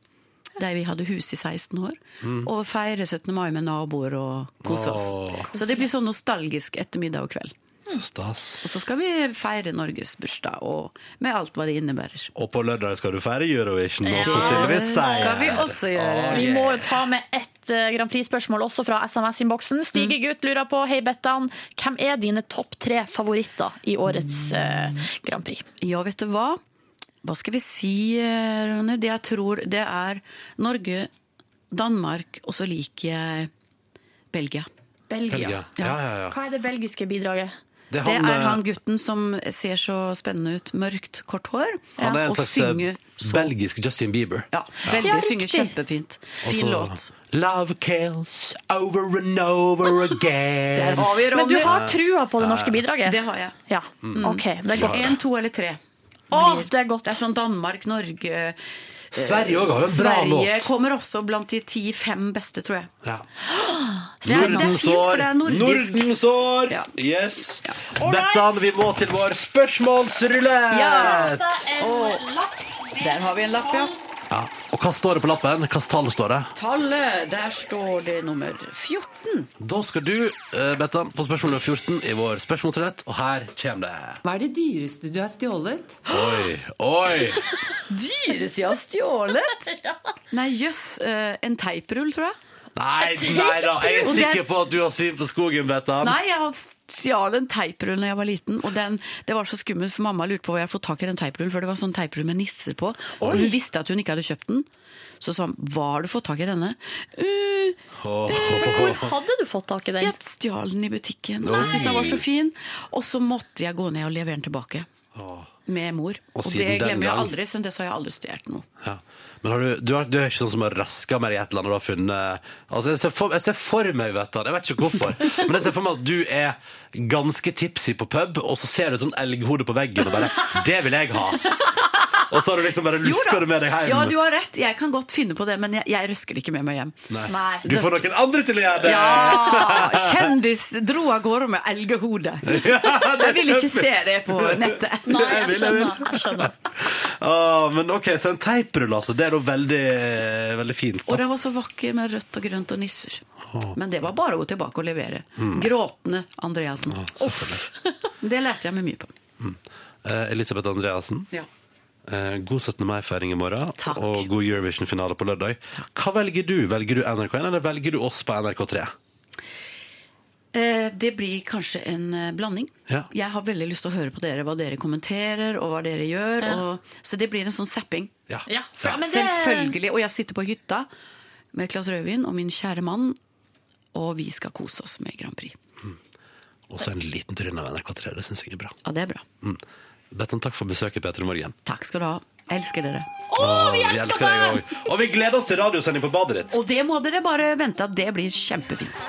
Der vi hadde hus i 16 år. Mm. Og feire 17. mai med naboer og kose oss. Åh. Så det blir sånn nostalgisk ettermiddag og kveld. Så stas. Og så skal vi feire Norges bursdag, og med alt hva det innebærer. Og på lørdag skal du feire Eurovision, og Ja, sannsynligvis det seier. skal vi også gjøre. Å, Vi yeah. må jo ta med ett eh, Grand Prix-spørsmål også fra SMS-innboksen. Mm. Stige Gutt lurer på Hei Bettan, hvem er dine topp tre favoritter i årets eh, Grand Prix? Ja, vet du hva? Hva skal vi si, eh, Ronny? Det jeg tror, det er Norge, Danmark, og så liker jeg Belgia. Belgia. Belgia. Ja, ja, ja. Hva er det belgiske bidraget? Det, Det er han, er eh, han gutten som ser så spennende ut. Mørkt, kort hår. Han er en og slags synger eh, belgisk Justin Bieber. Ja, veldig synger kjempefint. Fin låt. Love kills over and over <laughs> again. Der har vi Men du Ronny. har trua på det norske Ja, ja. bidraget? Det har jeg. Ja, Mm. ok. Det er godt. En, to eller tre. Åh, blir. det er godt. Det er sånn Danmark, Norge eh, Sverige også har jo en bra Sverige låt. kommer også blant de ti-fem beste, tror jeg. Ja. Det er, det er fint, for det er nordisk. Nordens år! Yes. All right. Bettan, vi må til vår spørsmålsrulett. Der har vi en lapp, ja. Ja. Og hva står det på lappen? Hvilket tall står det? Tallet, der står det nummer 14. Da skal du, eh, Bettan, få spørsmål nummer 14 i vår spørsmålsrulett, og her kommer det. Hva er det dyreste du har stjålet? Oi, oi. Dyreste jeg har stjålet? Nei, jøss. eh, En teiprull, tror jeg. Nei, nei da. Jeg er Og sikker det- på at du har syn på skogen, Bettan. Nei, jeg har stjal en teiprull da jeg var liten, og den, det var så skummelt, for mamma lurte på hvor jeg hadde fått tak i den teiprullen, for det var sånn teiprull med nisser på, og hun visste at hun ikke hadde kjøpt den. Så sa hun, hva har du fått tak i denne? «Eh, Men hvor hadde du fått tak i den? Jeg stjal den i butikken, og jeg syntes den var så fin. Og så måtte jeg gå ned og levere den tilbake, med mor. Og, siden det den glemmer jeg gang- aldri, så det har jeg aldri stjålet noe. Ja. Men har du, du, har, du er ikke sånn som har raska mer i et eller annet du har funnet Altså, jeg ser for, jeg ser for meg, vet du, jeg vet ikke hvorfor, men jeg ser for meg at du er ganske tipsy på pub, og så ser du et sånt elghode på veggen og bare Det vil jeg ha! Og så har du liksom bare Jo da. luska det med deg hjem. Ja, du har rett. Jeg kan godt finne på det, men jeg, jeg røsker det ikke med meg hjem. Nei. Du får noen andre til å gjøre det! Ja! Kjendis dro av gårde med <laughs> elghode. Jeg vil ikke se det på nettet. Nei, jeg Jeg vil, jeg vil. skjønner, Ah, men OK, så en teiprull, altså. Det er da veldig, veldig fint. Og den var så vakker med rødt og grønt og nisser. Men det var bare å gå tilbake og levere. Mm. Gråtende Andreassen. Uff. Det lærte jeg meg mye på. Eh, Elisabeth Andreassen. Ja. Eh, god 17. mai-feiring i morgen, og god Eurovision-finale på lørdag. Hva velger du? Velger du NRK1, eller velger du oss på NRK3? Eh, Det blir kanskje en eh, blanding. Ja. Jeg har veldig lyst til å høre på dere, hva dere kommenterer og hva dere gjør. Ja. Og, så det blir en sånn zapping. Ja. for- men det- Selvfølgelig. Og jeg sitter på hytta med et glass rødvin og min kjære mann, og vi skal kose oss med Grand Prix. Og så en liten tur innom NRK3. Det syns jeg er bra. Ja, det er bra. Mm. Bettan, takk for besøket, Peter i morgen. Takk skal du ha. Jeg elsker dere. Å, vi elsker, deg òg! Og vi gleder oss til radiosending på badet ditt. Og det må dere bare vente at det blir kjempefint.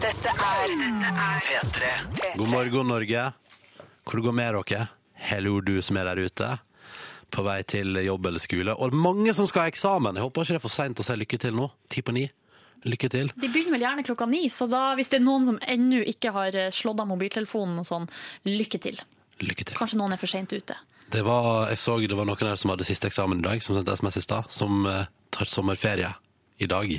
Dette er P3. God morgen, Norge. Hvor det går med dere? Hello, du som er der ute. På vei til jobb eller skole. Og mange som skal ha eksamen. Jeg håper ikke det er for seint å si lykke til nå. Ti på ni. Lykke til. De begynner vel gjerne klokka ni, så da, hvis det er noen som ennå ikke har eh, slått av mobiltelefonen og sånn, lykke til. Lykke til. Kanskje noen er for seint ute. Det var, jeg så det var noen her som hadde siste eksamen i dag, som sendte SMS i stad, som eh, tar sommerferie i dag.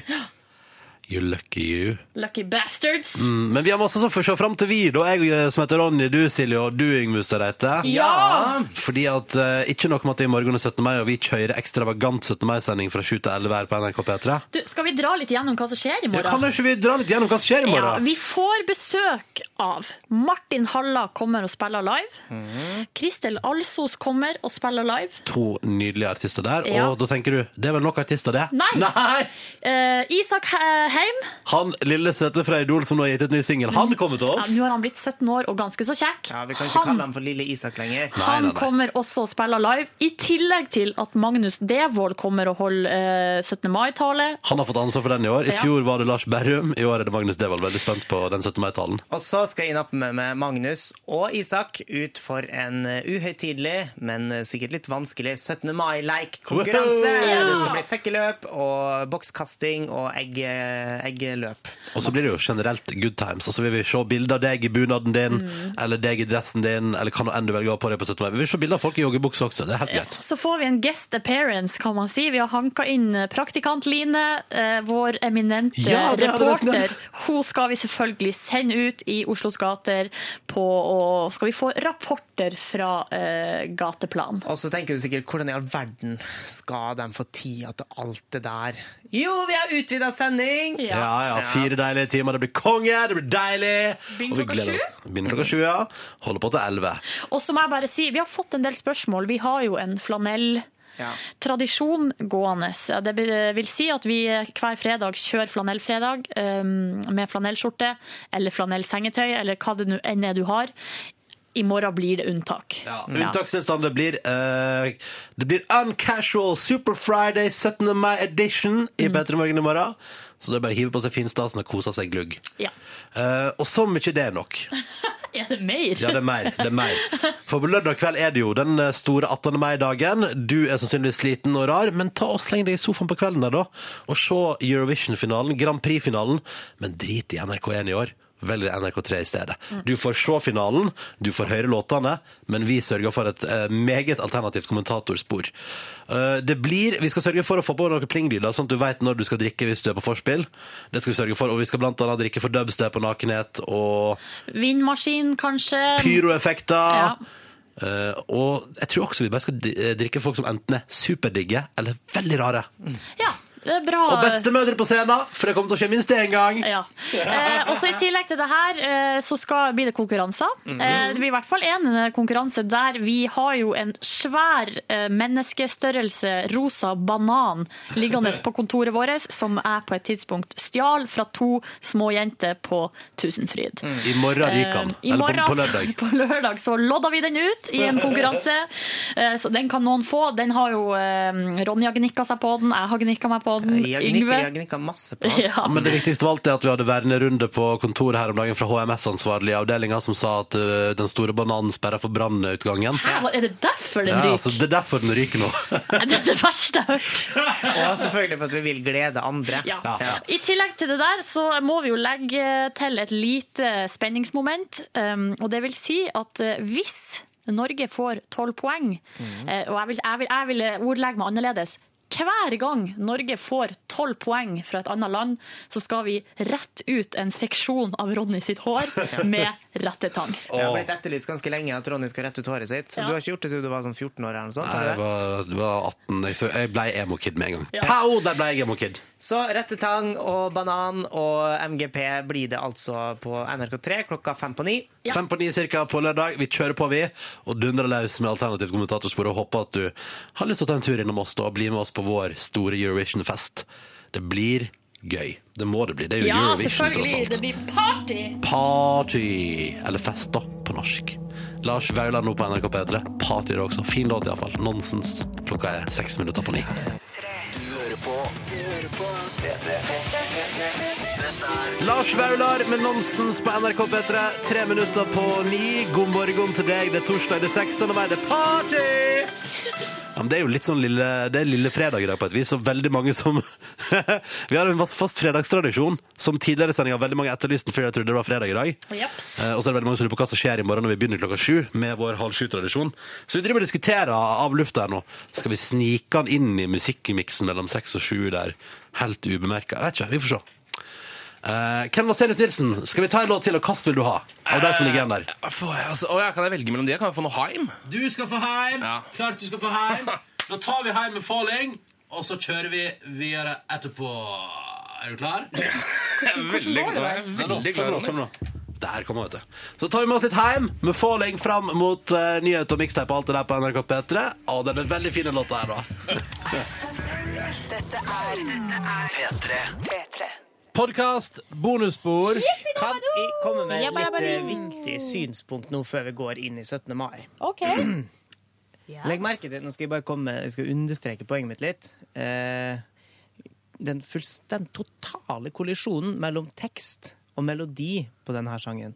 You lucky you. Lucky bastards! Mm, men vi har masse som får se fram til, vi. Da jeg eh, som heter Ronny, du Silje og du Yngve Ustadreite. Ja! Fordi at eh, ikke nok med at det er i morgen er 17. mai, og vi kjører ekstravagant 17. mai-sending fra 7 til 11 her på NRK P3. Du, skal vi dra litt gjennom hva som skjer i Ja, kan morgen? ikke vi dra litt gjennom hva som skjer i Ja, morgen? vi får besøk av Martin Halla kommer og spiller live. Kristel Alsos kommer og spiller live. To nydelige artister der, Ja. og da tenker du det er vel nok artister, det? Nei! Eh, Isak He- Heim. Han lille søte fra Idol som nå har gitt ut ny singel, han kommer til Mm. Ja, oss. Nå har han blitt 17 år og ganske så kjekk. Ja, vi kan ikke Han- kalle ham for Lille Isak lenger. Han kommer også og spiller live, i tillegg til at Magnus Devold kommer og holder eh, 17. mai-tale. Han har fått ansvar for den i år. I Ja. fjor var det Lars Berrum, i år er det Magnus Devold. Veldig spent på den 17. mai-talen. Og så skal jeg nappe med meg Magnus og Isak ut for en eh, uhøytidelig, men eh, sikkert litt vanskelig 17. mai-leik-konkurranse. Woho! Ja! Det skal bli sekkeløp og bokskasting og egg, eh, eggeløp. Og så blir det jo generelt good times. Og så vil vi se bilder av deg i bunaden din, Mm. eller deg i dressen din, eller hva nå enn du velger å ha på deg på 17. mai. Vi vil se bilder av folk i joggebukse også. Det er helt greit. Så får vi en guest appearance, kan man si. Vi har hanka inn praktikant Line, eh, vår eminente Ja, det hadde vært reporter. nett. Hun skal vi selvfølgelig sende ut i Oslos gater, på, og skal vi få rapporter fra eh, gateplan. Og så tenker du sikkert hvordan i all verden skal de få tida til alt det der? Jo, vi har utvida sending! Ja. ja, Fire deilige timer. Det blir konge, det blir deilig. Begynner Og vi klokka gleder sju? oss. Begynner klokka sju, ja. Holder på til elleve. Og så må jeg bare si, vi har fått en del spørsmål. Vi har jo en flanell. Tradisjon gående. Ja, Det be- vil si at vi hver fredag kjører flanellfredag um, med flanellskjorte eller flanellsengetøy eller hva det nå enn er du har. I morgen blir det unntak. Ja. Unntakstilstand, det blir eh, Det blir Uncasual Super Friday 17. mai edition i Mm. P3 Morgen i morgen. Så det er bare å hive på seg finstasen og kose seg glugg. Ja. Eh, og så mye det er nok. Er det mer? Ja, det er mer. det er mer For på lørdag kveld er det jo den eh, store 18. mai-dagen. Du er sannsynligvis sliten og rar, men ta og sleng deg i sofaen på kvelden der, da. Og se Eurovision-finalen, Grand Prix-finalen. Men drit i NRK1 i år. Velg NRK3 i stedet. Du får se finalen, du får høre låtene, men vi sørger for et eh, meget alternativt kommentatorspor. Eh, det blir, Vi skal sørge for å få på noen plinglyder, sånn at du vet når du skal drikke hvis du er på forspill. Det skal vi sørge for, og vi skal blant annet drikke for dubstep og nakenhet og Vindmaskin, kanskje. pyroeffekter. Ja. Eh, og jeg tror også vi bare skal di- eh, drikke folk som enten er superdigge eller veldig rare. Mm. Det er bra. Og bestemødre på scenen, for det kommer til å skje minst én gang. Ja. Eh, og så I tillegg til det her eh, så skal, blir det konkurranser. Mhm. Eh, det blir i hvert fall en eh, konkurranse der vi har jo en svær eh, menneskestørrelse rosa banan liggende på kontoret vårt, som jeg på et tidspunkt stjal fra to små jenter på Tusenfryd. I morgen ryker han. Eh, i Eller på- morgen- på lørdag. <laughs> På lørdag så lodda vi den ut i en konkurranse. Eh, Så den kan noen få. Den har jo eh, Ronja gnikka seg på den, jeg har gnikka meg på den. Jeg Yngve. gnikker, jeg gnikker masse på han. <laughs> Ja. Men det viktigste av alt er at vi hadde vernerunde på kontoret her om dagen fra HMS-ansvarlig i avdelinga som sa at eh, den store bananen sperra for brannutgangen. Hæ, hva- er det derfor den Ja, ryker? altså, det er derfor den ryker nå. Det er det verste jeg har hørt. Og selvfølgelig for at vi vil glede andre. Ja. I tillegg til det der, så må vi jo legge til et lite spenningsmoment. Um, og det vil si at eh, hvis Norge får tolv poeng, eh, og jeg vil, jeg, vil, jeg vil ordlegge meg annerledes hver gang Norge får tolv poeng fra et annet land, så skal vi rett ut en seksjon av Ronny sitt <laughs> hår med rettetang. Det har blitt etterlyst ganske lenge at Ronny skal rette ut håret sitt. Du har ikke gjort det siden du var sånn 14 år? eller noe sånt, har <laughs> Nei, du jeg det? var, det var 18. Jeg, så, jeg ble emo-kid med en gang. Ja. Pow, der ble jeg emo-kid. Så rettetang og banan og MGP blir det altså på NRK3 klokka fem på ni. Fem på ni cirka på lørdag. Vi kjører på, vi. Og dundrer løs med alternativt kommentatorspor. Og håper at du har lyst til å ta en tur innom oss da, og bli med oss på vår store Eurovision-fest. Det blir gøy. Det må det bli. Det er jo Ja, Eurovision, tross selvfølgelig. alt. Det blir party! Party! Eller fest, da, på norsk. Lars Vaular nå på NRK P3. Party det også. Fin låt, iallfall. Nonsens. Klokka er seks minutter på ni. Du hører på Du hører på P3. Dette er Lars Vaular med Nonsens på NRK P3. Tre minutter på ni. God morgen til deg. Det er torsdag det er 16. mai. Det er party! Ja, Ja, men det er jo litt sånn lille, det er lille fredag i dag på et vis, og veldig mange som <laughs> Vi har en fast- fast fredagstradisjon som tidligere i sendinga veldig mange etterlyste den fordi de trodde det var fredag i dag. Eh, Og så er det veldig mange som lurer på hva som skjer i morgen når vi begynner klokka sju med vår halv sju-tradisjon. Så vi driver og diskuterer av lufta her nå. Skal vi snike den inn i musikkmiksen mellom seks og sju der, helt ubemerka? Jeg vet ikke, vi får se. Eh, Ken Vasenius Nilsen, skal vi ta en låt til, og hva vil du ha? Av de som ligger igjen der. Får jeg, altså, å, ja, kan jeg velge mellom de? Kan jeg få noe heim? Du skal få heim. Klart du skal få heim. Da tar vi heim med Falling, og så kjører vi videre etterpå. Er du klar? Jeg er veldig klar. Jeg er veldig klar, Ronny. Der kommer vet du. Så tar vi med oss litt heim med Falling fram mot uh, nyhet og mixtape og alt det der på NRK P3. Og den er veldig fin, den låta her, da. Dette er P3. P3. Podkast, bonusspor Kan jeg komme med et litt eh, Jabba-dabba-doo. viktig synspunkt nå før vi går inn i 17. mai? OK. Legg merke til, nå skal jeg bare komme med, jeg skal understreke poenget mitt litt. Eh, den fullstendig totale kollisjonen mellom tekst og melodi på denne her sangen.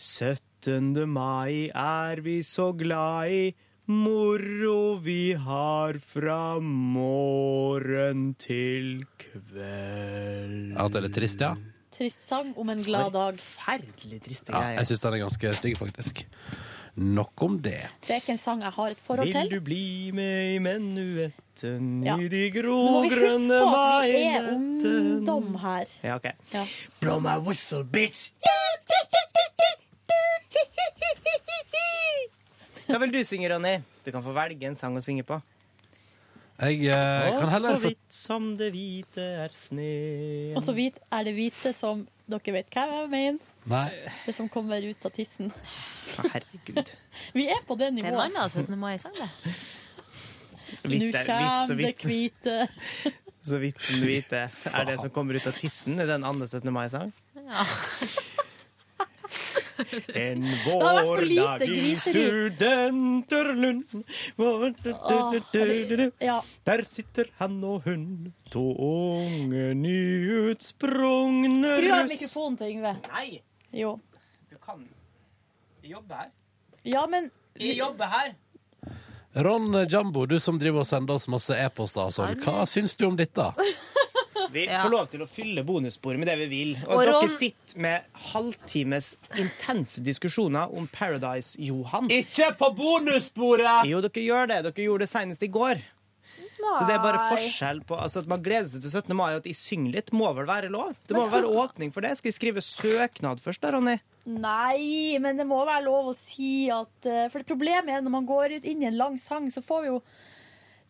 17. mai er vi så glad i, moro vi har fra morgen til kveld. At det er litt trist, ja? Trist sang om en glad dag. Forferdelig triste ja jeg syns den er ganske stygg, faktisk. Nok om det. Det er ikke en sang jeg har et forhold Vil til. du bli med i menuetten Ja. i de Men må vi huske grå-grønne på at vi er veinetten? ungdom her. Ja, ok. Ja. Blow my whistle, bitch! Hva vil du synge, Ronny? Du kan få velge en sang å synge på. Jeg eh, Og kan så heller få vidt som det hvite er sneen Og så vidt Altså, er det hvite som Dere vet hva jeg mener? Nei. Det som kommer ut av tissen. Herregud. Vi er på det Det er en nivået. annen 17. mai-sang, det. Nå Hvitt er- hvitt, så kommer det vidt. hvite. Så vidt den hvite er det som kommer ut av tissen i den andre 17. mai-sang. <laughs> En vært for lite vårdag i griseri. studenterlund vår- du- Åh, du- du- du- du. Ja. Der sitter han og hun, to unge nyutsprungne Skru av russ. mikrofonen til Yngve. Nei! Jo. Du kan jobbe her. Ja, men Jeg jobber her. Ron Jambo, du som driver og sender oss masse e-poster og sånn, hva syns du om dette? Vi Ja. får lov til å fylle bonussporet med det vi vil. Og, Og Ron- dere sitter med halvtimes intense diskusjoner om Paradise Johan. Ikke på bonussporet! Jo, dere gjør det. Dere gjorde det senest i går. Så det er bare forskjell på altså, at man gleder seg til 17. mai, og at jeg synger litt, må vel være lov? Det må Men- vel være åpning for det? Skal jeg skrive søknad først da, Ronny? Nei, men det må være lov å si at eh, For det problemet er når man går ut inn i en lang sang, så får vi jo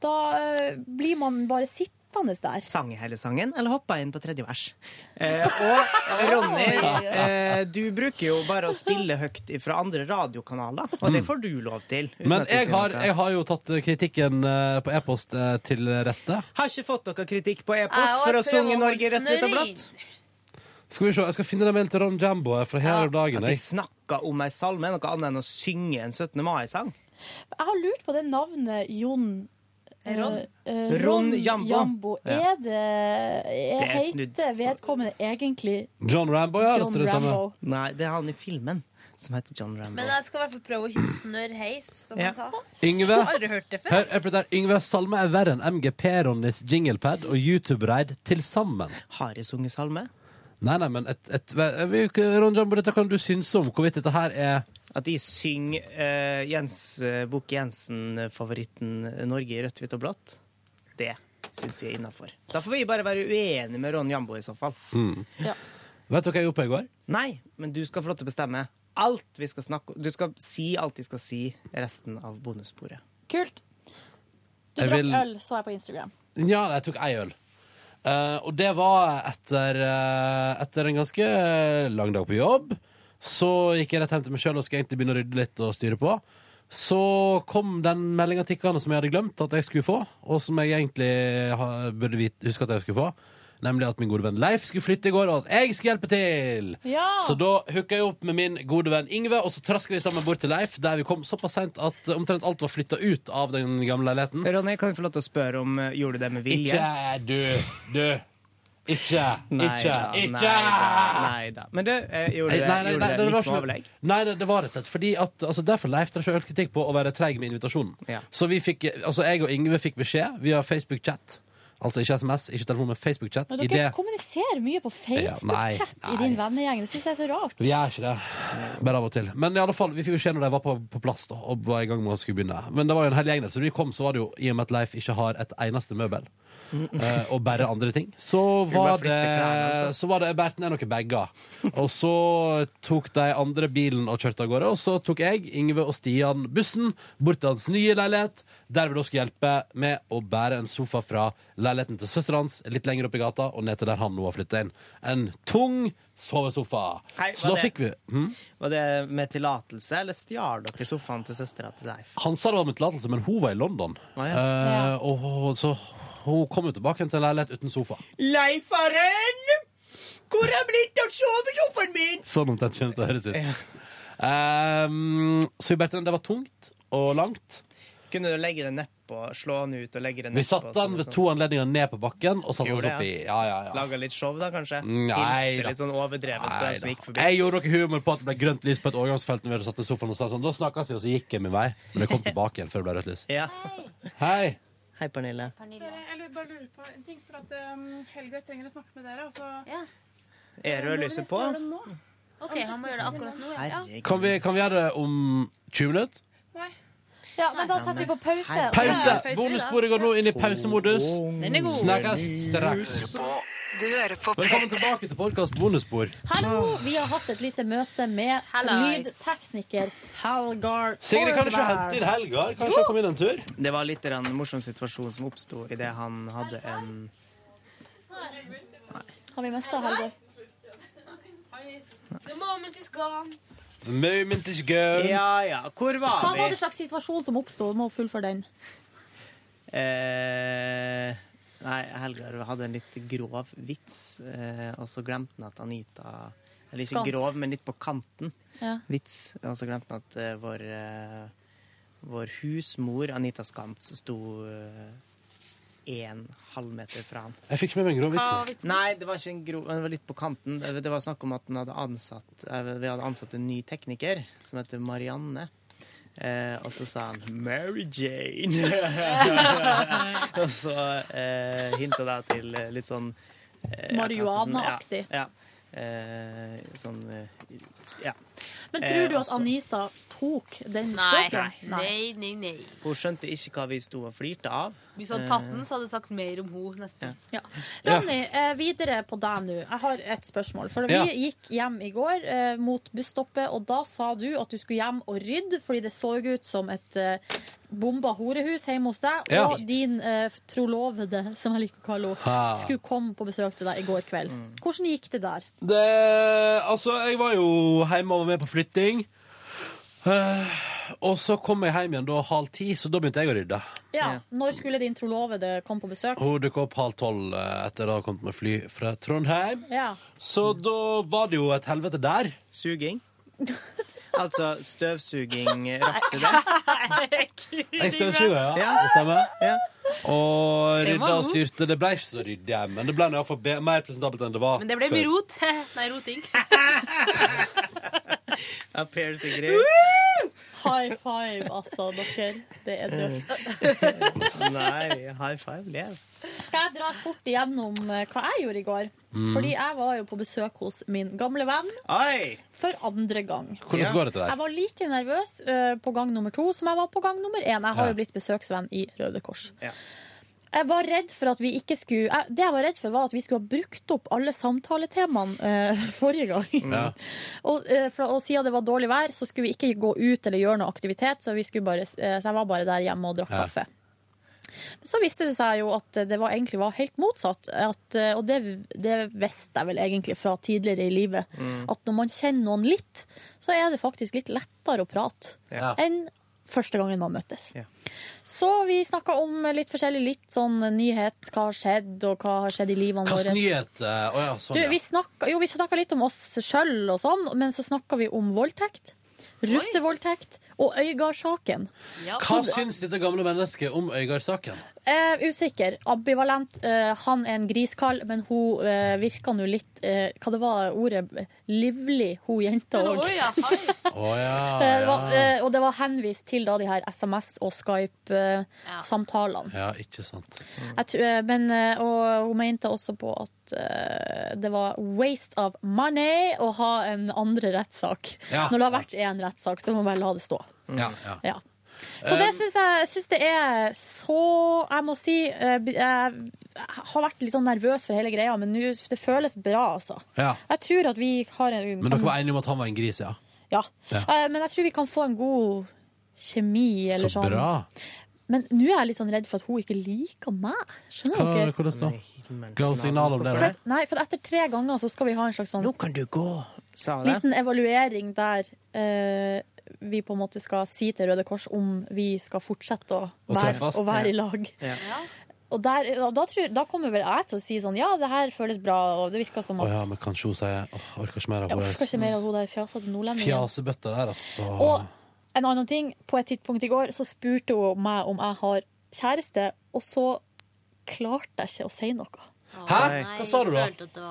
Da eh, blir man bare sittende der. Sang hele sangen, eller hoppa inn på tredje vers? Eh, <laughs> og Ronny, eh, du bruker jo bare å spille høyt fra andre radiokanaler, og det får du lov til. uten Men at jeg sier har, noe. jeg har jo tatt kritikken eh, på e-post eh, til rette. Har ikke fått noe kritikk på Jeg e-post har for å prøvd synge å Norge rett ut snurre av blått. Skal vi se, Jeg skal finne den mailen til Ron Jambo eh, fra her om At dagen. de Jeg. snakka om ei salme, noe annet enn å synge en 17. mai-sang. Jeg har lurt på det navnet Jon eh, Ron. eh, Ron Jambo. Ja. Er det er, Det er snudd. Heter vedkommende egentlig John Rambo, ja. det John står det samme. Rambo. Nei, det er han i filmen som heter John Rambo. Men jeg skal i hvert fall prøve å ikke snørre heis, som Ja. han sa. Yngve, Jeg har aldri hørt det før. hør hør på det der. Yngve, salme er verre enn MGP Ronnys jinglepad og YouTube-raid til sammen. Har jeg sunget salme? Nei, nei, men et, et, vi- Ron Jambo, dette kan du synes om. Hvorvidt dette her er At de synger eh, Jens eh, Bukke Jensen-favoritten Norge i rødt, hvitt og blått. Det syns jeg er innafor. Da får vi bare være uenige med Ron Jambo i så fall. mm. Ja. Vet du hva jeg gjorde på i går? Nei, men du skal få lov til å bestemme alt vi skal snakke om. Du skal si alt de skal si resten av bonussporet. Kult. Du Jeg drakk vil- øl, så jeg på Instagram. Ja, jeg tok ei øl. Eh, og det var etter, eh, etter en ganske eh, lang dag på jobb. Så gikk jeg rett hjem til meg sjøl og skulle egentlig begynne å rydde litt og styre på. Så kom den meldinga tikkende som jeg hadde glemt at jeg skulle få, og som jeg egentlig ha- burde vite, huske at jeg skulle få. Nemlig at min gode venn Leif skulle flytte i går, og at jeg skulle hjelpe til! Ja. Så da hooka jeg opp med min gode venn Ingve, og så traska vi sammen bort til Leif, der vi kom såpass seint at omtrent alt var flytta ut av den gamle leiligheten. Ronny, kan jeg få lov til å spørre om eh, gjorde du det med vilje? Ikke du, du. <laughs> Ikke! Nei Ikke! da, Ikke! nei da, nei da. Men du, eh, Nei, gjorde det, nei, nei, nei, det gjorde det var litt med ikke- overlegg? Nei, nei, det var rett og slett fordi at altså, Derfor Leif dere selvkritikk på å være treig med invitasjonen. Så vi fikk, altså jeg og Ingve fikk beskjed via Facebook-chat. Altså ikke SMS, ikke telefon, men Facebook-chat. Men i dere det- kommuniserer mye på nei, Facebook-chat i din vennegjeng. Det syns jeg er så rart. Vi gjør ikke det. Bare av og til. Men i alle fall, vi fikk jo se når de var på, på plass da, og var i gang med å skulle begynne. Men det var jo en hel gjeng der, så når vi kom, så var det jo, i og med at Leif ikke har et eneste møbel, eh, og bare andre ting, så Mm. Skulle bare var flytte det, klærne, altså. så var det bært ned noen bager. Og så tok de andre bilen og kjørte av gårde, og så tok jeg, Ingve og Stian bussen bort til hans nye leilighet, der vi da skulle hjelpe med å bære en sofa fra leiligheten til søsteren hans, litt lenger opp i gata, og ned til der han nå har flyttet inn. En tung sovesofa. Hei, så var da det- fikk vi hm? Var det med tillatelse, eller stjal dere sofaen til søstera til Leif? Han sa det var med tillatelse, men hun var i London. Eh, og hun- så hun kom jo tilbake til en leilighet uten sofa. Leifaren! Hvor er blitt av sovesofaen min? Sånn omtrent kommer det til å høres ut. Ehm, så vi bare den, det var tungt og langt. Kunne du legge den nedpå, slå den ut og legge den Vi nedpå? satte den ved to anledninger ned på bakken og satte oss Gjorde det, oppi. Ja, ja, ja. Laga litt show, da, kanskje? Nei, Hilste da. litt sånn overdrevent på Nei dem som da. gikk forbi? Jeg gjorde noe humor på at det ble grønt lys på et overgangsfelt når vi hadde satt i sofaen og sa sånn, da snakkes vi, og så gikk jeg min vei. Men jeg kom tilbake igjen før det ble rødt lys. Ja. Hei! Hei, Pernille. Dere, jeg lurer- bare lurer på en ting, for at um, Helge trenger å snakke med dere. altså. Og så Er du lyset på? OK, han må gjøre det akkurat nå. Ja. Kan vi, kan vi gjøre det om 20 minutter? Ja, men da setter vi på pause. Pause! Bonussporet går nå inn i pausemodus. Den er god. Snakkes straks. Du hører på Velkommen tilbake til podkast bonusspor. Hallo! Vi har hatt et lite møte med Hallais. lydtekniker Helgar Sigrid, kan du ikke Torvald. hente inn Helgar? Jo. Kanskje han kommer inn en tur? Det var litt en morsom situasjon som oppsto idet han hadde en Har vi mista Helgar? The moment is gone. The moment is gone. Ja, ja. Hvor var Hva vi? var det slags situasjon som oppsto? Du Må fullføre den. Eh, nei, Helgar hadde en litt grov vits, eh, og så glemte han at Anita Eller ikke Skans. grov, men litt på kanten Ja. vits. Og så glemte han at eh, vår, eh, vår husmor, Anita Skans, sto eh, en halvmeter fra han. Jeg fikk med meg en grov vits. jeg. Nei, det var ikke en grov, men det var litt på kanten. Det det var snakk om at den hadde ansatt, eh, vi hadde ansatt en ny tekniker som heter Marianne. Eh, og så sa han 'Mary Jane'. <laughs> og så eh, hinta det til eh, litt sånn eh, ja, Marihuana-aktig. Ja, ja. Eh, sånn eh, ja. Men Eh, tror du og at så- Anita tok den Nei. spøken? Nei, nei, nei. Hun skjønte ikke hva vi sto og flirte av. Hvis du hadde tatt den, så hadde du sagt mer om henne nesten. Ja. Ronny, eh, videre på deg nå. Jeg har et spørsmål. For vi Ja. gikk hjem i går eh, mot busstoppet, og da sa du at du skulle hjem og rydde, fordi det så ut som et eh, bomba horehus hjemme hos deg. Ja. Og din eh, trolovede, som jeg liker å kalle Ha. henne, skulle komme på besøk til deg i går kveld. Hvordan gikk det der? Det, altså, jeg var jo hjemme og var med på flytting. Eh, og så kom jeg hjem igjen da halv ti, så da begynte jeg å rydde. Ja, Når skulle din trolovede komme på besøk? Hun dukka opp halv tolv eh, etter å ha kommet med fly fra Trondheim. Ja. Så da var det jo et helvete der. Suging. Altså støvsuging eh, rakk du det? Jeg støvsuga, ja. Ja. Det stemmer. Og Det var rydda og rot. styrte. Det ble ikke så ryddig, men det ble nå i hvert fall be- mer presentabelt enn det var Men det ble mye rot. Nei, roting. Ja, Per Sigrid. High five, altså, dere. Det er dølt. Nei, high five, lev. Skal jeg dra fort igjennom eh, hva jeg gjorde i går? Mm. Fordi jeg var jo på besøk hos min gamle venn Oi! for andre gang. Hvordan Ja. går det til deg? Jeg var like nervøs eh, på gang nummer to som jeg var på gang nummer én. Jeg har Ja. jo blitt besøksvenn i Røde Kors. Ja. Jeg var redd for at vi ikke skulle jeg, Det jeg var redd for, var at vi skulle ha brukt opp alle samtaletemaene eh, <laughs> forrige gang. Ja. Og, eh, fra, og siden det var dårlig vær, så skulle vi ikke gå ut eller gjøre noe aktivitet, så, vi skulle bare, eh, så jeg var bare der hjemme og drakk Ja. kaffe. Men Så viste det seg jo at det var, egentlig var helt motsatt, at, eh, og det, det visste jeg vel egentlig fra tidligere i livet, Mm. at når man kjenner noen litt, så er det faktisk litt lettere å prate Ja. enn første gangen man møttes. Så vi snakka om litt forskjellig, litt sånn nyhet, hva har skjedd, og hva har skjedd i livene Hvilken våre. nyhet? eh, Å ja, sånn, Du, ja. vi snakka, jo, vi snakka litt om oss sjøl og sånn, men så snakka vi om voldtekt. Russevoldtekt og Øygard-saken. Hva syns dette gamle mennesket om Øygard-saken? Eh, Eh, usikker. Ambivalent. Eh, han er en griskall, men hun eh, virka nå litt eh, Hva det var ordet? Livlig, hun jenta òg. Eh, <laughs> det var- eh, Og det var henvist til da de her SMS- og eh, Skype-samtalene. Ja, ikke sant. Jeg tror- eh, men, eh, og hun mente også på at eh, det var waste of money å ha en andre rettssak. Ja. Når det har vært én rettssak, så må man bare la det stå. Ja, Mm. ja. Ja. Så Eh, det syns jeg, synes det er så Jeg må si eh, b- jeg har vært litt sånn nervøs for hele greia, men nå- det føles bra, altså. Ja. Jeg tror at vi har en Men dere var enige om at han var en gris, ja? Ja. Ja. Eh, Men jeg tror vi kan få en god kjemi, eller Så sånn. bra. Men nå er jeg litt sånn redd for at hun ikke liker meg. Skjønner Hva, dere? hvordan da? Ga hun signal om det? For, da? at- nei, for etter tre ganger så skal vi ha en slags sånn Kan du gå? Sa det. liten evaluering der eh, vi på en måte skal si til Røde Kors om vi skal fortsette å Å være, treffes. å være i lag. Ja. <laughs> Og der, og da, tror, da kommer vel jeg til å si sånn Ja, det her føles bra, og det virker som Å at ja, men kanskje hun sier åh, jeg orker ikke mer av Jeg orker ikke mer henne. av hun der fjasete nordlendingen. Fjasebøtta der, altså. Og en annen ting, på et tidspunkt i går så spurte hun meg om jeg har kjæreste, og så klarte jeg ikke å si noe. Hæ? Hva sa du da?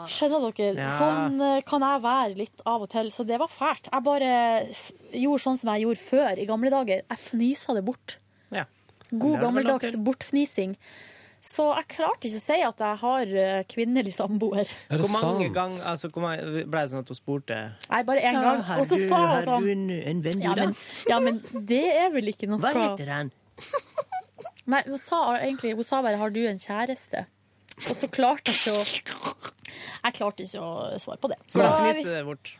Skjønner dere? Ja. Sånn eh, kan jeg være litt av og til, så det var fælt. Jeg bare f gjorde sånn som jeg gjorde før i gamle dager. Jeg fnisa det bort. Ja. Det er det God vel lov gammeldags til. bortfnising. Så jeg klarte ikke å si at jeg har eh, kvinnelig samboer. Hvor mange ganger altså, hvor mange, Ble det sånn at hun spurte? Nei, bare én Ja, gang. har Og så du- sa har hun sånn du en- en venn i ja, men, den?» ja, men det er vel ikke noe Hva heter han? Nei, hun sa egentlig Hun sa bare 'har du en kjæreste'? Og så klarte jeg ikke å Jeg klarte ikke å svare på det. Så Hvordan vi- fniste det bort?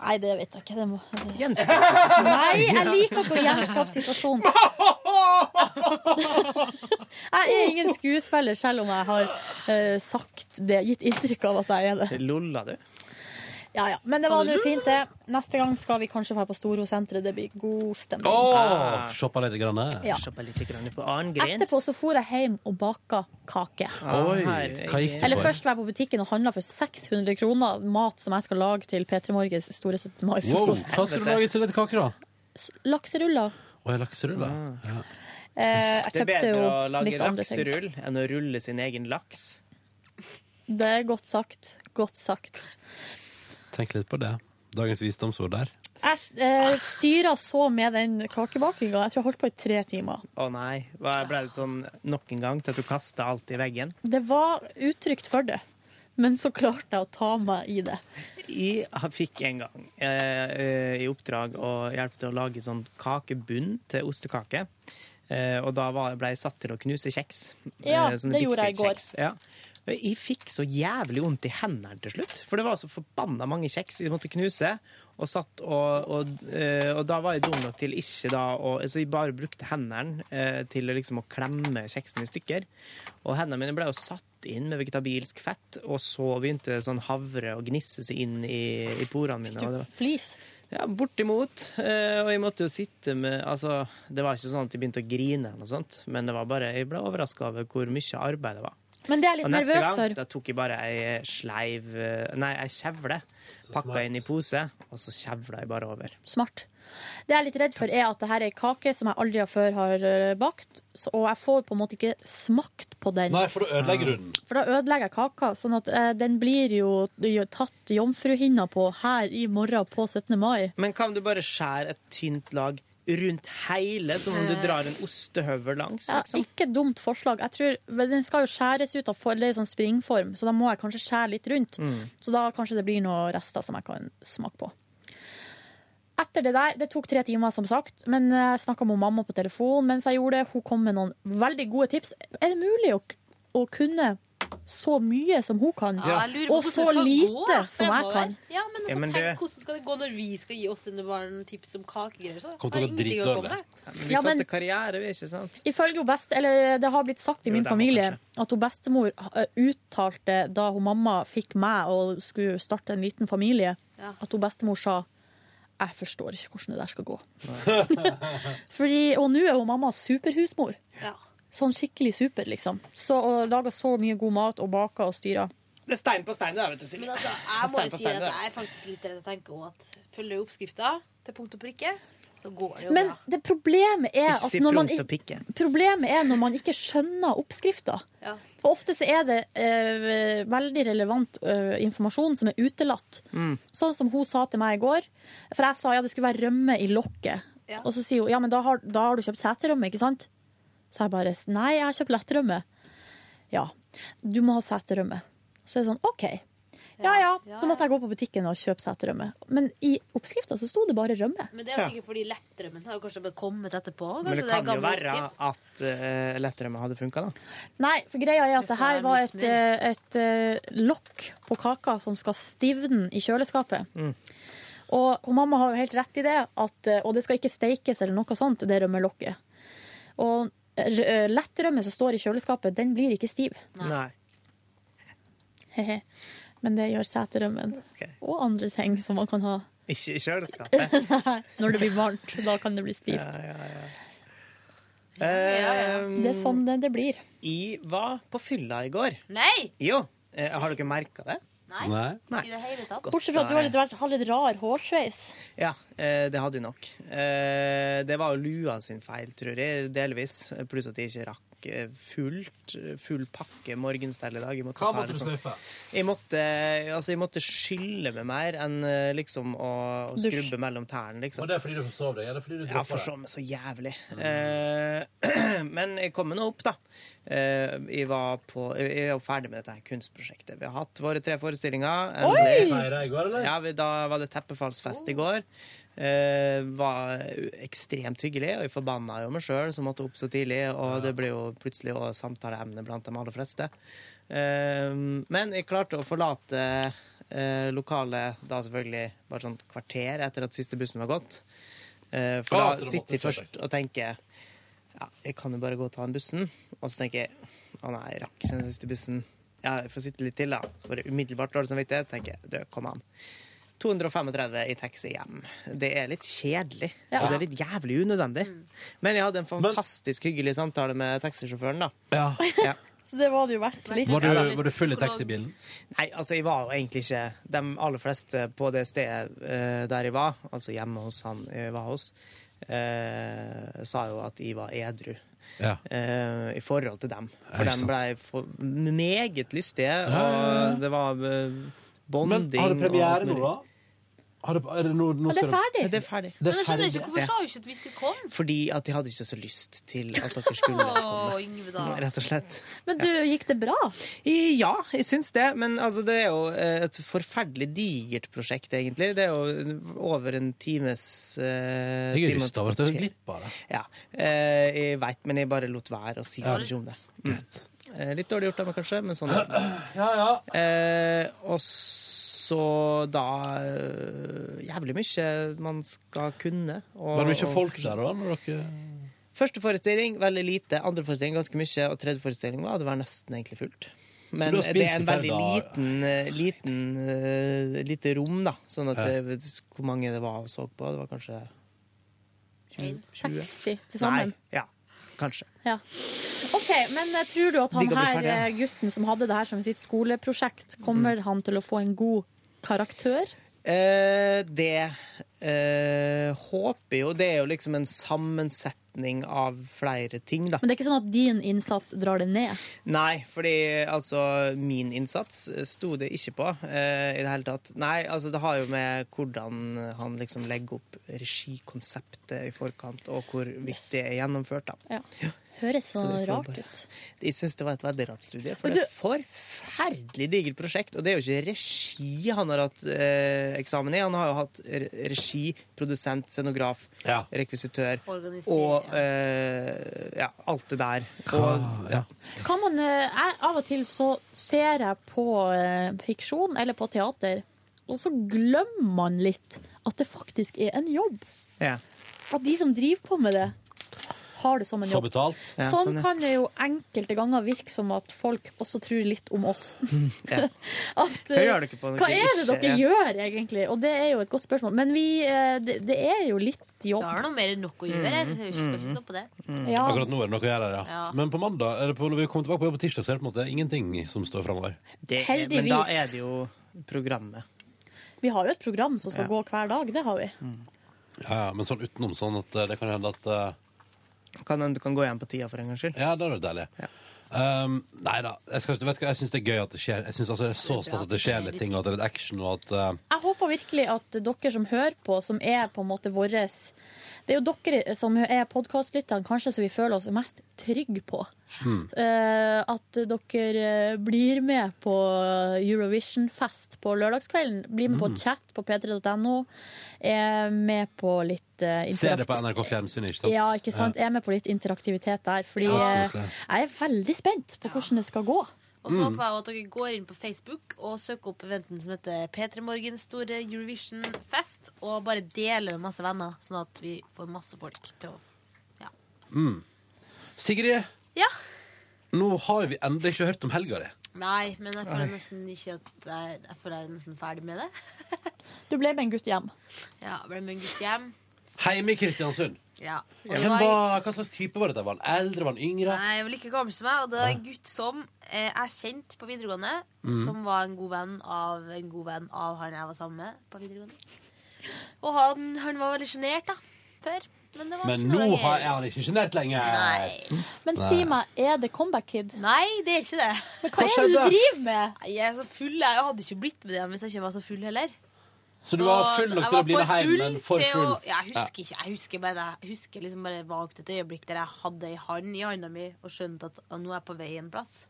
Nei, det vet jeg ikke. Det må... Gjenskap. Nei, jeg liker ikke å gjenskape situasjonen. <laughs> Jeg er ingen skuespiller, selv om jeg har eh, sagt det, gitt inntrykk av at jeg er det. Lolla du? Ja, ja. Men det var nå fint, det. Neste gang skal vi kanskje dra på Storosenteret. Det blir god stemning. Ah. Åh, Shoppa litt grann. Ja. Shoppa litt grann på annen grens. Etterpå så for jeg hjem og baka kake. Ah, Oi, hva gikk du Eller for? først var jeg på butikken og handla for 600 kroner mat som jeg skal lage til P3 Morgens store 17. Wow, mai-frokost. hva skulle du lage til dette kake, da? Lakseruller. Å, jeg lakseruller? Mm. Ja. Eh, jeg Det er kjøpte bedre jo å lage litt andre ting. lakserull enn å rulle sin egen laks. Det er godt sagt. Godt sagt. Tenk litt på det. Dagens visdomsord der. Jeg eh, styra så med den kakebakinga. Jeg tror jeg holdt på i tre timer. Å nei. Hva Ble det sånn nok en gang til at du kasta alt i veggen? Det var utrygt for det, men så klarte jeg å ta meg i det. Jeg fikk en gang eh, eh, i oppdrag å hjelpe til å lage sånn kakebunn til ostekake. Eh, og da var, ble jeg satt til å knuse kjeks. Eh, Ja, sånne det gjorde jeg i går. bitzekjeks. Ja. Og Jeg fikk så jævlig vondt i hendene til slutt, for det var så forbanna mange kjeks jeg måtte knuse. Og, satt og, og, eh, og da var jeg dum nok til ikke da å Så jeg bare brukte hendene eh, til å liksom å klemme kjeksen i stykker. Og hendene mine ble jo satt inn med vegetabilsk fett, og så begynte sånn havre å gnisse seg inn i, i porene mine. og det var- Flis. ja, bortimot. Eh, Og jeg måtte jo sitte med Altså, det var ikke sånn at jeg begynte å grine, eller noe sånt, men det var bare, jeg ble overraska over hvor mye arbeid det var. Men det er jeg Og litt neste nervøs gang for. da tok jeg bare ei sleiv eh, Nei, ei kjevle. Pakka inn i pose, og så kjevla jeg bare over. Smart. Det jeg er litt redd for, er at det her er ei kake som jeg aldri har før har eh, bakt, så- og jeg får på en måte ikke smakt på den. Nei, for da ødelegger du den. For da ødelegger jeg kaka, sånn at eh, den blir jo jo tatt jomfruhinna på her i morgen på 17. mai. Men kan du bare skjære et tynt lag rundt hele, som om du drar en ostehøvel langs? Eh. Ja, Liksom? ikke dumt forslag. Jeg tror, men Den skal jo skjæres ut av for, det er jo sånn springform, så da må jeg kanskje skjære litt rundt. Mm. Så da kanskje det blir noen rester som jeg kan smake på. Etter det der, det tok tre timer, som sagt, men jeg snakka med mamma på telefon mens jeg gjorde det. Hun kom med noen veldig gode tips. Er det mulig å, å kunne så mye som hun kan, Ja, jeg lurer på og hvordan så det skal gå lite som jeg fremover. kan? Ja, men, altså, Ja, men det- tenk hvordan skal det gå når vi skal gi oss sine barn tips om kakegreier? Så Kommer til å har gå ingenting komme dritdårlig. med. Ja, men vi Ja, men- satser karriere, vi, ikke sant? Ifølge hun best, eller Det har blitt sagt i Jo, min det må familie at hun bestemor eh, uttalte da hun mamma fikk meg og skulle starte en liten familie, at hun bestemor sa jeg forstår ikke hvordan det der skal gå. <laughs> Fordi, og nå er hun mamma superhusmor. Sånn skikkelig super, liksom. Så, og lager så mye god mat og baker og styrer. Det er stein på stein, det der, vet du, Silje. Men altså, Det er jeg må stein jo på si at stein, det der. jeg er faktisk litt redd. Jeg tenker også at følger jeg oppskrifta til punkt og prikke, så så går det jo Men bra. det problemet er at Ikke når man, prompt å ikk- pikke. problemet er når man ikke skjønner oppskrifta. Og ofte så er det eh, veldig relevant eh, informasjon som er utelatt. Mm. Sånn som hun sa til meg i går. For jeg sa ja, det skulle være rømme i lokket. Og så sier hun ja, men da har, da har du kjøpt seterømme, ikke sant? Så jeg bare nei, jeg har kjøpt lettrømme. Ja, du må ha seterømme. Så er det sånn OK. Ja ja. Så måtte jeg gå på butikken og kjøpe seterømme. Men i oppskrifta så sto det bare rømme. Men det er jo sikkert fordi lettrømmen har jo kanskje bare kommet etterpå. Kanskje Men det er kan jo gammel være oppskrift. at uh, lettrømme hadde funka, da. Nei, for greia er at det her være var et, mye eh, et eh, lokk på kaka som skal stivne i kjøleskapet. Mm. Og, og mamma har jo helt rett i det, at, eh, og det skal ikke steikes eller noe sånt, det rømmelokket. Og eh, r- eh, lettrømme som står i kjøleskapet, den blir ikke stiv. Nei. Hehe. Men det gjør seterømmen. Og andre ting som man kan ha. <laughs> Ikke i kjøleskapet. Når det blir varmt, da kan det bli stivt. Eh, Det er sånn det, det blir. Jeg var på fylla i går. Nei! Jo. Eh, har dere merka det? I det hele tatt. Bortsett fra at du har litt, vært- har litt rar hårsveis. Ja, eh, det hadde jeg nok. Eh, det var jo lua sin feil, tror jeg, delvis. Pluss at jeg ikke rakk eh, fullt, full pakke morgenstell i dag. Jeg måtte Hva ta måtte det du sånn- sløyfe? Jeg måtte, altså, jeg måtte skylle meg mer enn eh, liksom å, å Dusj. skrubbe mellom tærne, liksom. Var det fordi du forsov deg? Er det fordi du Ja, droppa forsov det? Mm. meg så jævlig. Eh, <clears throat> men jeg kom meg nå opp, da. Eh, jeg, var på, jeg jeg var ferdig med dette her kunstprosjektet. Vi har hatt våre tre forestillinger. Oi! Endelig. Feira i går, eller? Ja, vi, da var det teppefallsfest i går. Eh, var ekstremt hyggelig, og jeg forbanna jo meg sjøl som måtte opp så tidlig. Og det ble jo plutselig også samtaleemne blant de aller fleste. Eh, men jeg klarte å forlate eh, lokalet da selvfølgelig bare sånn kvarter etter at siste bussen var gått. Eh, for Ah, så da du måtte sitter jeg før først og tenker ja, jeg kan jo bare gå og ta den bussen. Og så tenker jeg å nei, jeg rakk ikke den siste bussen. Ja, jeg får sitte litt til, da. Så får jeg umiddelbart dårlig samvittighet. tenker jeg, du, kom an. 235 i taxi hjem. Det er litt kjedelig. Ja. Og det er litt jævlig unødvendig. Men jeg hadde en fantastisk hyggelig samtale med taxisjåføren, da. Ja. Så det var det jo verdt litt. Nei, altså jeg var jo egentlig ikke De aller fleste på det stedet eh, der jeg var, altså hjemme hos han jeg var hos, eh, sa jo at jeg var edru. Ja. eh, I forhold til dem. Ja, For ikke de sant. blei for meget lystige, og ja, ja. det var eh, Men bonding har du premiere og alt nå, mulig. da? Har du, er det nå, nå Ja, det er skal du- ferdig. Ja, det er ferdig. Men jeg skjønner ikke, Ja. Hvorfor sa du ikke at vi skulle komme? Fordi at jeg hadde ikke så lyst til at dere skulle Åh, Yngve, da. komme, rett og slett. Men du, gikk det bra? Ja, jeg syns det. Men altså, det er jo et forferdelig digert prosjekt, egentlig. Det er jo over en times eh, Jeg er time og rystet over at du kvarter. har glipp av det. Ja. Eh, jeg veit, men jeg bare lot være å si Ja. så mye om det. Mm. Eh, litt dårlig gjort av meg, kanskje, men sånn er det. <clears throat> Eh, og så da eh, Jævlig mye man skal kunne. og- Var det mye og- folk der da? Når dere... Første forestilling veldig lite, andre forestilling ganske mye, og tredje forestilling var det var nesten egentlig fullt. Så Men du har det spilt er en i flere veldig liten, eh, liten eh, lite rom, da. Sånn at jeg vet ikke hvor mange det var og så på. Det var kanskje 60 til sammen. Nei, ja, kanskje. Ja. OK, men eh, tror du at De han kan bli her, ferdige. eh, gutten som hadde det her som sitt skoleprosjekt, Mm. kommer han til å få en god karakter? Eh, det eh, håper jo Det er jo liksom en sammensetning av flere ting, da. Men det er ikke sånn at din innsats drar det ned? Nei, fordi altså min innsats sto det ikke på eh, i det hele tatt. Nei, altså det har jo med hvordan han liksom legger opp regikonseptet i forkant, og hvor vidt det er gjennomført, da. Ja. Høres så, Så vi får rart bare- ut. Jeg syns det var et veldig rart studie, Og for det er et forferdelig digert prosjekt. Og det er jo ikke regi han har hatt eh, eksamen i, han har jo hatt re- regi, produsent, scenograf, rekvisitør Organiser, og eh, ja, alt det der. Ah. Og, ja. Kan man, eh, jeg, av og til så ser jeg på eh, fiksjon eller på teater, og så glemmer man litt at det faktisk er en jobb. Ja. At de som driver på med det, har det som en Får jobb. betalt. Ja, sånn, sånn, ja. kan det jo enkelte ganger virke som at folk også tror litt om oss. <laughs> Ja. <laughs> At, Hva eh, gjør dere på hva dere er det ikke- dere ja. gjør, egentlig? Og det er jo et godt spørsmål. Men vi, eh, det, det er jo litt jobb. Det er noe mer enn nok å gjøre her. Mm, Det er jo ikke- skal ikke stå på det. Ja. Akkurat nå er det noe å gjøre her, ja. Ja. Men på mandag, eller på, når vi kommer tilbake på jobb på tirsdag, så er det på en måte ingenting som står framover. Det er- men da Heldigvis. er det jo programmet. Vi har jo et program som skal Ja. gå hver dag, det har vi. Ja, ja, men sånn utenom sånn at eh, det kan hende at eh, Kan hende du kan gå igjen på tida for en gangs skyld. Ja, det hadde vært deilig. Um, nei da. Jeg, skal, vet du hva, jeg syns det er gøy at det skjer. Jeg synes altså, det er så Det er bra stas at at det det skjer skjer litt litt. ting, og at det er litt action, og at eh, Jeg håper virkelig at dere som hører på, som er på en måte våres Det er jo dere som er podkastlytterne kanskje som vi føler oss mest trygge på. hmm. Eh, at dere eh, blir med på Eurovision-fest på lørdagskvelden. Blir med på Mm. chat på p3.no. Er med på litt uh, Ser det på NRK Fjernsyn, ikke sant? Ja, ikke sant? Jeg er med på litt interaktivitet der, fordi Ja, eh, koselig. jeg er veldig spent på hvordan det skal gå. Og så håper jeg at dere går inn på Facebook og søker opp eventen som heter P3 Morgen store Eurovision-fest, og bare deler med masse venner, sånn at vi får masse folk til å Mm. Sigrid, Ja. nå har vi endelig ikke hørt om helga di. Nei, men jeg føler Nei. nesten ikke at jeg, jeg føler jeg er nesten ferdig med det. Du ble med en gutt hjem. Ja, ble med en gutt hjem. Hjemme i Kristiansund. Ja. Og det Hvem var- var, hva slags type var dette? Var han eldre? Var han yngre? Nei, jeg var like gammel som meg, og det var en Ja. gutt som eh, jeg kjente på videregående, Mhm. som var en god venn av en god venn av han jeg var sammen med på videregående. Og han, han var veldig sjenert, da, før. Men, det var Men ikke noe nå lenger. har, er han ikke sjenert lenger. Nei. Men Nei. si meg, er det Comeback Kid? Nei, det er ikke det. Men Hva er det du driver med? Jeg er så full. Jeg hadde ikke blitt med det hvis jeg ikke var så full heller. <laughs> Så du var full nok til å bli med hjem, men for til full? Å, ja, jeg husker ikke. Jeg husker bare, jeg husker liksom bare vagt et øyeblikk der jeg hadde ei hand i handa mi og skjønte at ah, nå er jeg på vei en plass.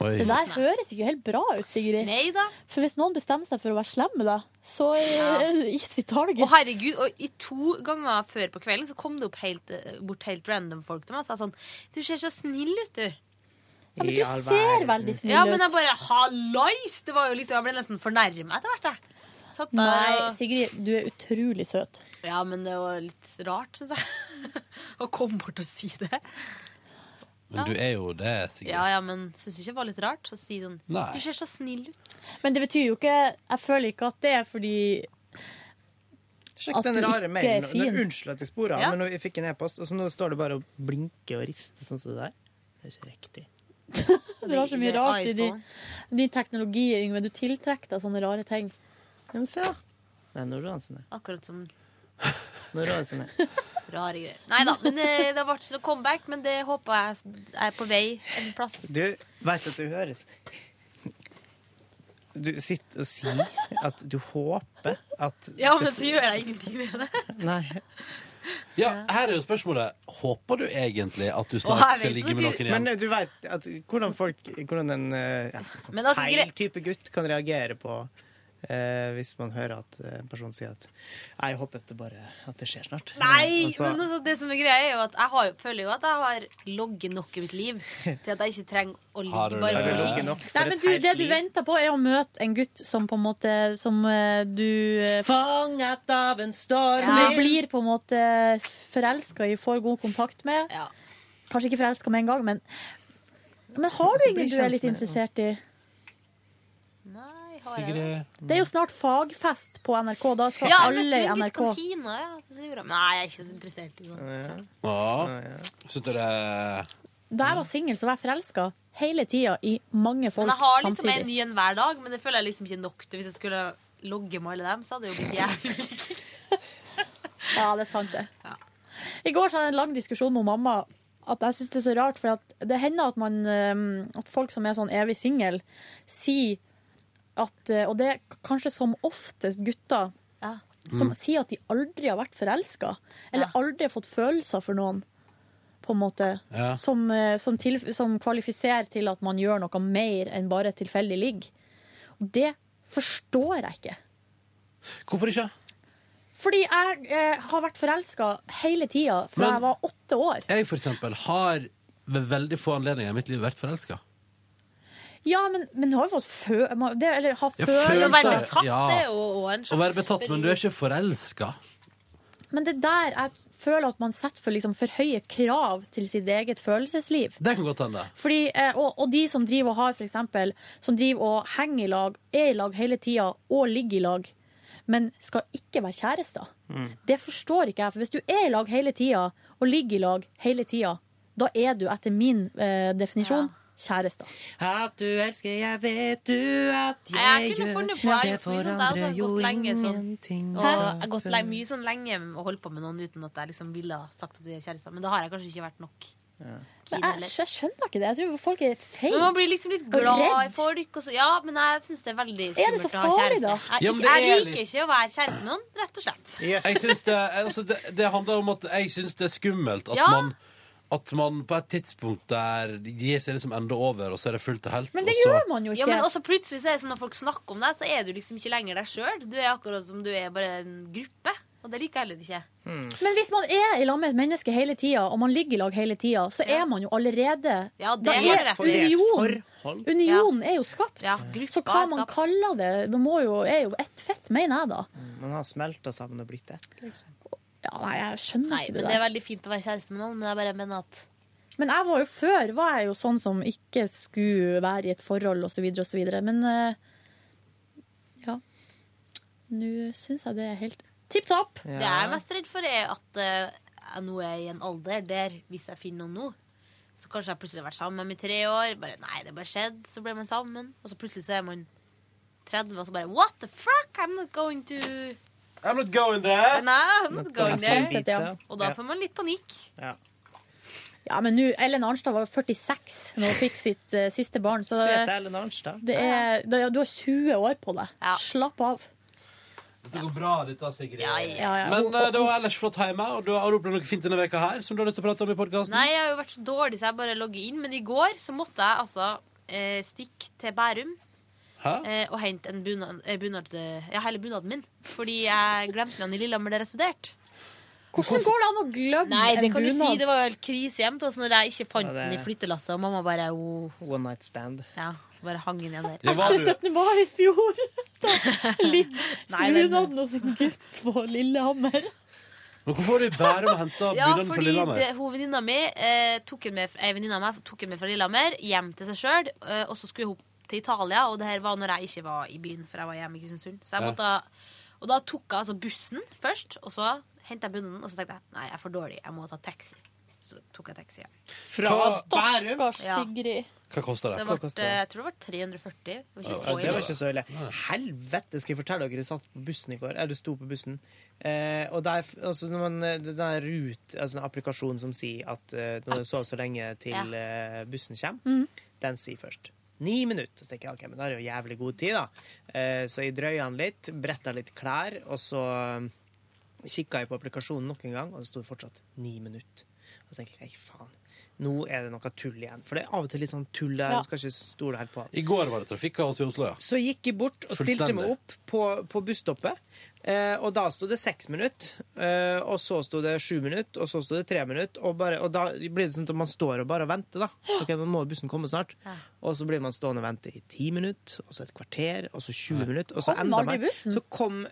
Det der høres ikke helt bra ut, Sigrid. For hvis noen bestemmer seg for å være slem med deg, så <laughs> er easy target. Og herregud, og i to ganger før på kvelden så kom det opp helt, eh, bort helt random folk til meg og sa sånn Du ser så snill ut, du. Ja, men du ser veldig snill ja, men jeg ut. bare Hallais! Det var jo liksom, jeg ble nesten fornærma etter hvert, jeg. Satt der Nei, og- Sigrid, du er utrolig søt. Ja, men det var litt rart, syns jeg. Å komme bort og si det. Men du er jo det, Sigrid. Ja, ja, men syns ikke det var litt rart å si sånn Nei. Du ser så snill ut. Men det betyr jo ikke Jeg føler ikke at det er fordi Sjekk at den du rare ikke er mailen. Nå, fin. unnskyld at jeg sporer, Ja. men nå, jeg fikk en e-post, og så nå står det bare og blinker og rister sånn som det der. Det er ikke riktig. Du har så mye rart i din, din teknologi, Yngve. Du tiltrekker deg sånne rare ting. Ja, men se, da. Nei, nå roer han seg ned. Akkurat som Nå roer han seg ned. rare greier. Nei da, men eh, det ble ikke noe comeback, men det håper jeg er på vei en plass. Du veit at du høres Du sitter og sier at du håper at Ja, men så gjør jeg ingenting med det. Nei. Ja, her er jo spørsmålet. Håper du egentlig at du Å, jeg snart skal vet ligge med ikke. noen igjen? Men eh, du vet at hvordan folk Hvordan en eh, ja, sånn Men at feil gre- type gutt kan reagere på eh, hvis man hører at eh, en person sier at Nei, jeg håper at det bare at det skjer snart. Nei, Og så- men altså, det som er greia, er jo at jeg har, jo- føler jo at jeg har logget nok i mitt liv til at jeg ikke trenger å Har ligge du bare det? Har for å du ligge. logget nok Nei, men du, Det du venter på, er å møte en gutt som på en måte Som eh, du eh, Fanget av en storm Som du Altså, blir på en måte forelska i, får god kontakt med. Kanskje ikke forelska med en gang, men Men har du Altså, bli ingen du er kjent litt med- interessert i? Nei, har jeg det? Sigrid Det er jo snart fagfest på NRK. Da skal Ja, jeg alle i møtte en gutt i NRK kantina. Ja, det sier jeg. Nei, jeg er ikke så interessert i sånn. sånt. Ja. Syns du det Da jeg var singel, så var jeg forelska hele tida i mange folk Men jeg har liksom en samtidig. ny en hver dag, men det føler jeg liksom ikke er nok til hvis jeg skulle logge med alle dem, så hadde det jo blitt jævlig. Ja, det er sant, det. I går så hadde jeg en lang diskusjon med mamma. At jeg synes det er så rart, for at det hender at, man, eh, at folk som er sånn evig singel, sier at eh, Og det er kanskje som oftest gutter som Mm. sier at de aldri har vært forelska. Eller aldri har fått følelser for noen, på en måte. Ja. Som, eh, som, til, som kvalifiserer til at man gjør noe mer enn bare et tilfeldig ligg. Og det forstår jeg ikke. Hvorfor ikke? Fordi jeg eh, har vært forelska hele tida fra Men- jeg var åtte år. Jeg, for eksempel, har ved veldig få anledninger i mitt liv vært forelska. Ja, men, men du har jo fått fø... man- Det, eller ha Ja, følelser. følelser, Å være betatt, ja. det er jo en Å være betatt, men du er ikke forelska. Men det der jeg føler at man setter for, liksom, for høye krav til sitt eget følelsesliv. Det kan godt hende. Fordi, eh, og, og de som driver og har, for eksempel, som driver og henger i lag, er i lag hele tida og ligger i lag, men skal ikke være kjærester. Mm. Det forstår ikke jeg. For hvis du er i lag hele tida og ligger i lag hele tida, da er du etter min eh, definisjon kjærester. At du elsker, jeg vet du at Jeg jeg kunne gjør. funnet på jeg har gjort mye sånt. Jeg har også gått lenge sånn. ingenting. Og jeg har gått lenge, mye sånn lenge og holdt på med noen uten at jeg liksom ville ha sagt at vi er kjærester. Men da har jeg kanskje ikke vært nok. Men jeg, jeg skjønner ikke det. Jeg tror folk er feige. Men man blir liksom litt glad i folk. Og så, ja, men jeg syns det er veldig Er det så skummelt å ha farlig, kjæreste. da? Jeg, Ja, men det ikke, jeg er liker ikke å være kjæreste med noen, rett og slett. Jeg synes det, altså det, det handler om at jeg syns det er skummelt at, Ja. man, at man på et tidspunkt der gir seg liksom enda over, og så er det fullt og helt. Men det og så, gjør man jo ikke. Ja, men også plutselig så er det sånn når folk snakker om deg, så er du liksom ikke lenger deg sjøl. Du er akkurat som du er bare en gruppe. Og det liker jeg heller ikke. Men hvis man er i lag med et menneske hele tida, og man ligger i lag hele tida, så er man jo allerede Ja, det Da er er rett. union. Unionen er jo skapt. Ja, så hva man kaller det, det må jo, er jo ett fett, mener jeg da. Man har smelta sammen og blitt ett, liksom. Ja, nei, jeg skjønner Nei, ikke men det Det er der. veldig fint å være kjæreste med noen, men jeg bare mener at Men jeg var jo før var jeg jo sånn som ikke skulle være i et forhold osv. osv. Men eh, ja. Nå syns jeg det er helt tipp topp. Det jeg er mest redd for, er at eh, jeg nå er i en alder der hvis jeg finner noen nå, så kanskje jeg plutselig har vært sammen med dem i tre år. Bare, nei, det bare skjedde, så ble man sammen. Og så plutselig så er man 30, og så bare What the fuck? I'm not going to I'm not going there. Nei, I'm not Not going gonna sånn sunset, there. ja. Og da Ja. får man litt panikk. Ja, men nå, Ellen Arnstad var jo 46 når hun fikk sitt eh, siste barn, så Sete Ellen Arnstad. det er, det, du har 20 år på deg. Slapp av. Dette går bra, dette, Sigrid. ja, ja. Men eh, det var ellers flott hjemme, og du har opplevd noe fint denne veka her som du har lyst til å prate om i podkasten? Nei, jeg har jo vært så dårlig, så jeg bare logger inn. Men i går så måtte jeg altså eh, stikke til Bærum Hæ? eh, og hente en bunad, eh, bunad, eh, ja, hele bunaden min. Fordi jeg glemte den i Lillehammer der jeg studerte. Hvordan går det an å glemme Nei, det en kan du si. bunad? Det var jo helt krisejevnt. Altså, når jeg ikke fant Ja, det- den i flyttelasset, og mamma bare oh, One night stand. ja, bare hang den igjen der. Ja, hva er Etter du- mai i fjor <laughs> så <laughs> Nei, den- bunaden hos en gutt på Lillehammer. Men hvorfor har du bare med å hente Ja, bunaden fra fordi Lillehammer? det, hun venninna mi eh, tok en med, ei venninne av meg tok en med fra Lillehammer hjem til seg sjøl, eh, og så skulle hun til Italia, og det her var når jeg ikke var i byen, for jeg var hjemme i Kristiansund. Så jeg Ja. måtte, og da tok jeg altså bussen først, og så henta jeg bunnen, og så tenkte jeg nei, jeg er for dårlig, jeg må ta taxi. Så tok jeg taxi hjem. Fra Bærum? Ja. Hva koster Det det? ble, jeg tror det var 340. Det var ikke så det var ille. ikke så ille. Helvete, skal jeg fortelle dere, jeg satt på bussen i går, eller sto på bussen, eh, og der, altså, når man, eh, den der rut, altså den applikasjonen som sier at eh, når du sover så lenge til eh, bussen kommer, den sier først. Ni minutter, så tenker jeg, ok, men da er det jo jævlig god tid da. Eh, så jeg drøyer den litt, bretter litt klær, og så eh, kikket jeg på applikasjonen nok en gang, og det stod fortsatt ni minutter. Og så tenker jeg, nei faen, nå er det noe tull igjen. For det er av og til litt sånn tull der, Ja. du skal ikke stole helt på alt. I går var det trafikkaos i Oslo, ja. Så gikk jeg bort og stilte meg opp på, på busstoppet. Eh, og da sto det seks minutter, eh, og så sto det sju minutter, og så sto det tre minutter. Og, bare, og da blir det sånn at man står og bare venter, da. Ok, nå må bussen komme snart. Og så blir man stående og vente i ti minutter, og så et kvarter, og så 20 minutter. Og så Kom enda aldri mer. bussen? Så kom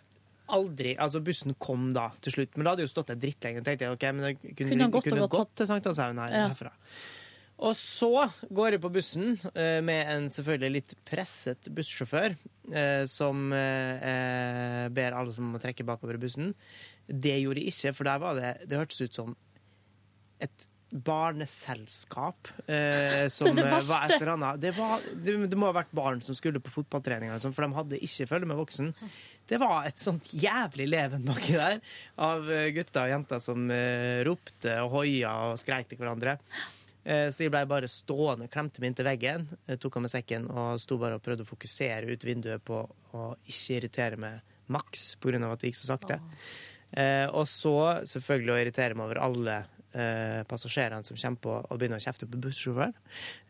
aldri, altså Bussen kom da til slutt, men da hadde jo stått der drittlenge. Tenkte jeg, ok, men da kunne, Kunne vi- han gått og kunne gått gått til Sankthanshaugen her, Ja. herfra. Og så går jeg på bussen eh, med en selvfølgelig litt presset bussjåfør, eh, som eh, eh, ber alle som må trekke bakover i bussen. Det gjorde jeg ikke, for der var det Det hørtes ut som et barneselskap <laughs> eh, som Det er det eh, var et verste. eller annet. Det, var, det, det må ha vært barn som skulle på fotballtrening, eller sånn, for de hadde ikke følge med voksen. Det var et sånt jævlig leven baki der, av eh, gutter og jenter som eh, ropte og hoia og skreik til hverandre. Eh, Så jeg blei bare stående, klemte meg inntil veggen, eh, tok av meg sekken og sto bare og prøvde å fokusere ut vinduet på å ikke irritere meg maks pga. at det gikk så sakte. Eh, og så selvfølgelig å irritere meg over alle eh, passasjerene som kommer på og begynner å kjefte på bussjåføren.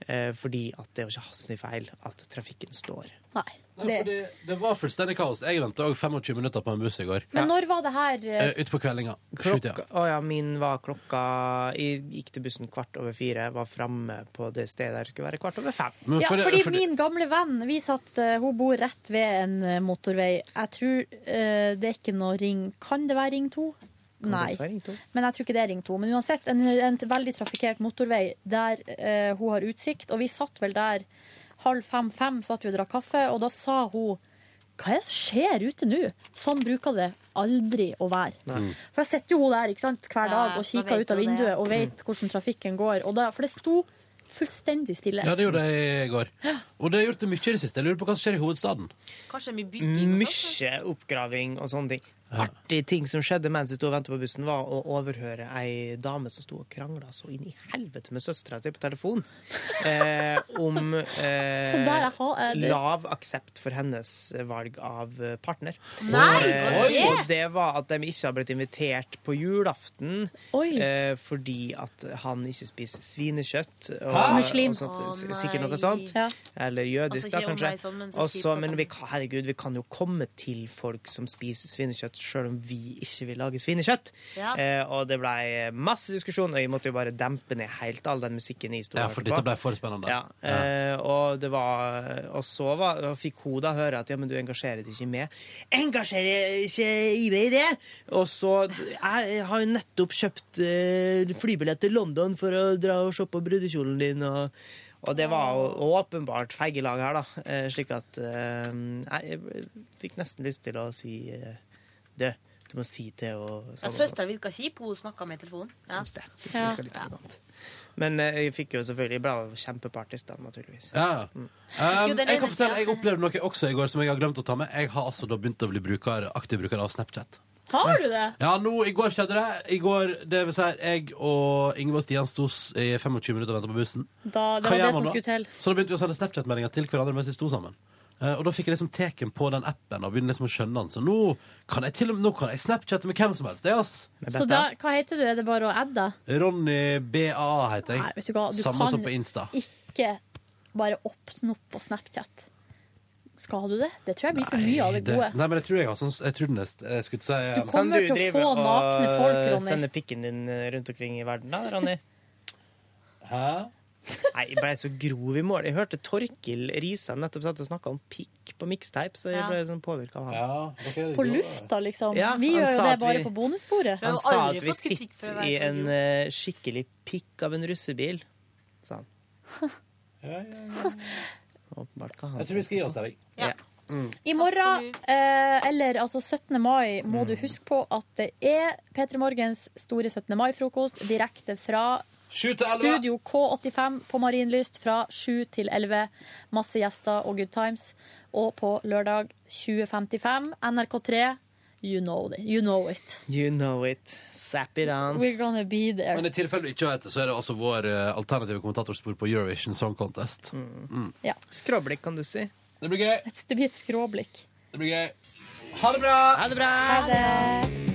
Eh, fordi at det er jo ikke hans sin feil at trafikken står. Nei, fordi det var fullstendig kaos. Jeg venta òg 25 minutter på en buss i går. Men når var det her eh, Eh, Utpå kveldinga. Sjutida. Klokka, å ja, min var klokka Jeg gikk til bussen kvart over fire, var framme på det stedet der det skulle være kvart over fem. ja, fordi min gamle venn vi satt, eh, Hun bor rett ved en eh, motorvei. Jeg tror eh, det er ikke noe ring Kan det være ring 2? Nei. Men jeg tror ikke det er Ring 2. Men uansett, en, en veldig trafikkert motorvei der eh, hun har utsikt. Og vi satt vel der halv fem-fem, satt vi og drakk kaffe, og da sa hun Hva er det som skjer ute nå? Sånn bruker det aldri å være. Nei. Mm. For jeg sitter jo hun der ikke sant, hver Ja, dag og da vet kikker ut av hun det. vinduet og vet hvordan trafikken går. Og da, for det sto fullstendig stille. Ja, det gjorde jeg i går. Og det har gjort det mye i det siste. Jeg lurer på hva som skjer i hovedstaden. Kanskje mye bygging og sånt. Mye oppgraving og sånne ting. Artig ting som skjedde mens jeg sto og ventet på bussen, var å overhøre ei dame som sto og krangla så inn i helvete med søstera si på telefon eh, om Så der eh, jeg har- eh, det- lav aksept for hennes valg av eh, partner. Nei, Eh, hva er det? og det var at de ikke har blitt invitert på julaften Oi. eh, fordi at han ikke spiser svinekjøtt. Og, Hæ? Muslim. Og sånt, Å, sikkert nei. noe sånt. Ja. Eller Altså, jødisk, da, ikke om kanskje. meg sånn, men så Og kjipt så- at men vi, herregud, vi kan jo komme til folk som spiser svinekjøtt, selv om vi ikke vil lage svinekjøtt. Ja. Eh, og det blei masse diskusjon, og jeg måtte jo bare dempe ned helt all den musikken i historien. Ja, for dette ble for spennende. Ja, eh, og det var Og så var, og fikk hun da høre at ja, men du engasjerer deg ikke med. Engasjerer ikke i meg i det! Og så Jeg har jo nettopp kjøpt eh, flybillett til London for å dra og se på brudekjolen din, og og det var jo åpenbart feigelag her, da. eh, Slik at eh, Jeg fikk nesten lyst til å si eh, Du, du må si til henne Ja, sånn og sånn. Søstera virka kjip, hun snakka med telefonen. Ja. Syns det. Syns det virker litt arrogant. Men eh, jeg fikk jo selvfølgelig Jeg ble jo kjempepartist, da, naturligvis. Ja. Mm. Um, Jo, den jeg ene- kan fortelle, jeg opplevde noe også i går som jeg har glemt å ta med. Jeg har altså da begynt å bli bruker, aktiv bruker av Snapchat. Har du det? Ja, nå, I går skjedde det. I går, det vil si, jeg og Ingeborg Stian sto s- i 25 minutter og venta på bussen. Da, Hva det var gjør det man som da? skulle til. Så da begynte vi å sende Snapchat-meldinger til hverandre mens vi sto sammen. Eh, og da fikk jeg liksom teken på den appen og begynner liksom å skjønne den. Så nå kan jeg til og med nå kan jeg Snapchatte med hvem som helst. Det, ass. Så da, hva heter du? Er det bare å adde deg? Ronny BA heter jeg. Nei, vet du hva, du Samme kan som på Insta. Ikke bare åpne opp på Snapchat. Skal du det? Det tror jeg blir for mye av det Det, gode. nei, men jeg tror jeg har sånn Jeg tror den er jeg skulle ikke si Du kommer til å få nakne folk, Ronny. sende pikken din eh, rundt omkring i verden, da, Ronny? Hæ? Nei, jeg ble så grov i mål. Jeg hørte Torkil Risan nettopp satt og snakka om pikk på miksteip, så jeg Ja. ble sånn påvirka av han. På lufta, liksom. Ja, vi han gjør jo sa det at bare vi- på bonussporet. Han sa at vi sitter i en eh, skikkelig pikk av en russebil, sa han. Åpenbart hva han Jeg tror vi skal gi oss der, jeg. Ja. I morgen, eh, eller altså 17. mai, må Mm. du huske på at det er P3 Morgens store 17. mai-frokost direkte fra til elleve. Studio K85 på Marienlyst fra 7 til 11. Masse gjester og good times. Og på lørdag 20.55 NRK3. You know it. You know it. You know it. Zap it on. We're gonna be there. Men i tilfelle du ikke vet det, så er det altså vår eh, alternative kommentatorspor på Eurovision Song Contest. Mm. Ja. Skråblikk, kan du si. Det blir gøy. Det blir et skråblikk. Det blir gøy. Ha det bra! Ha det bra!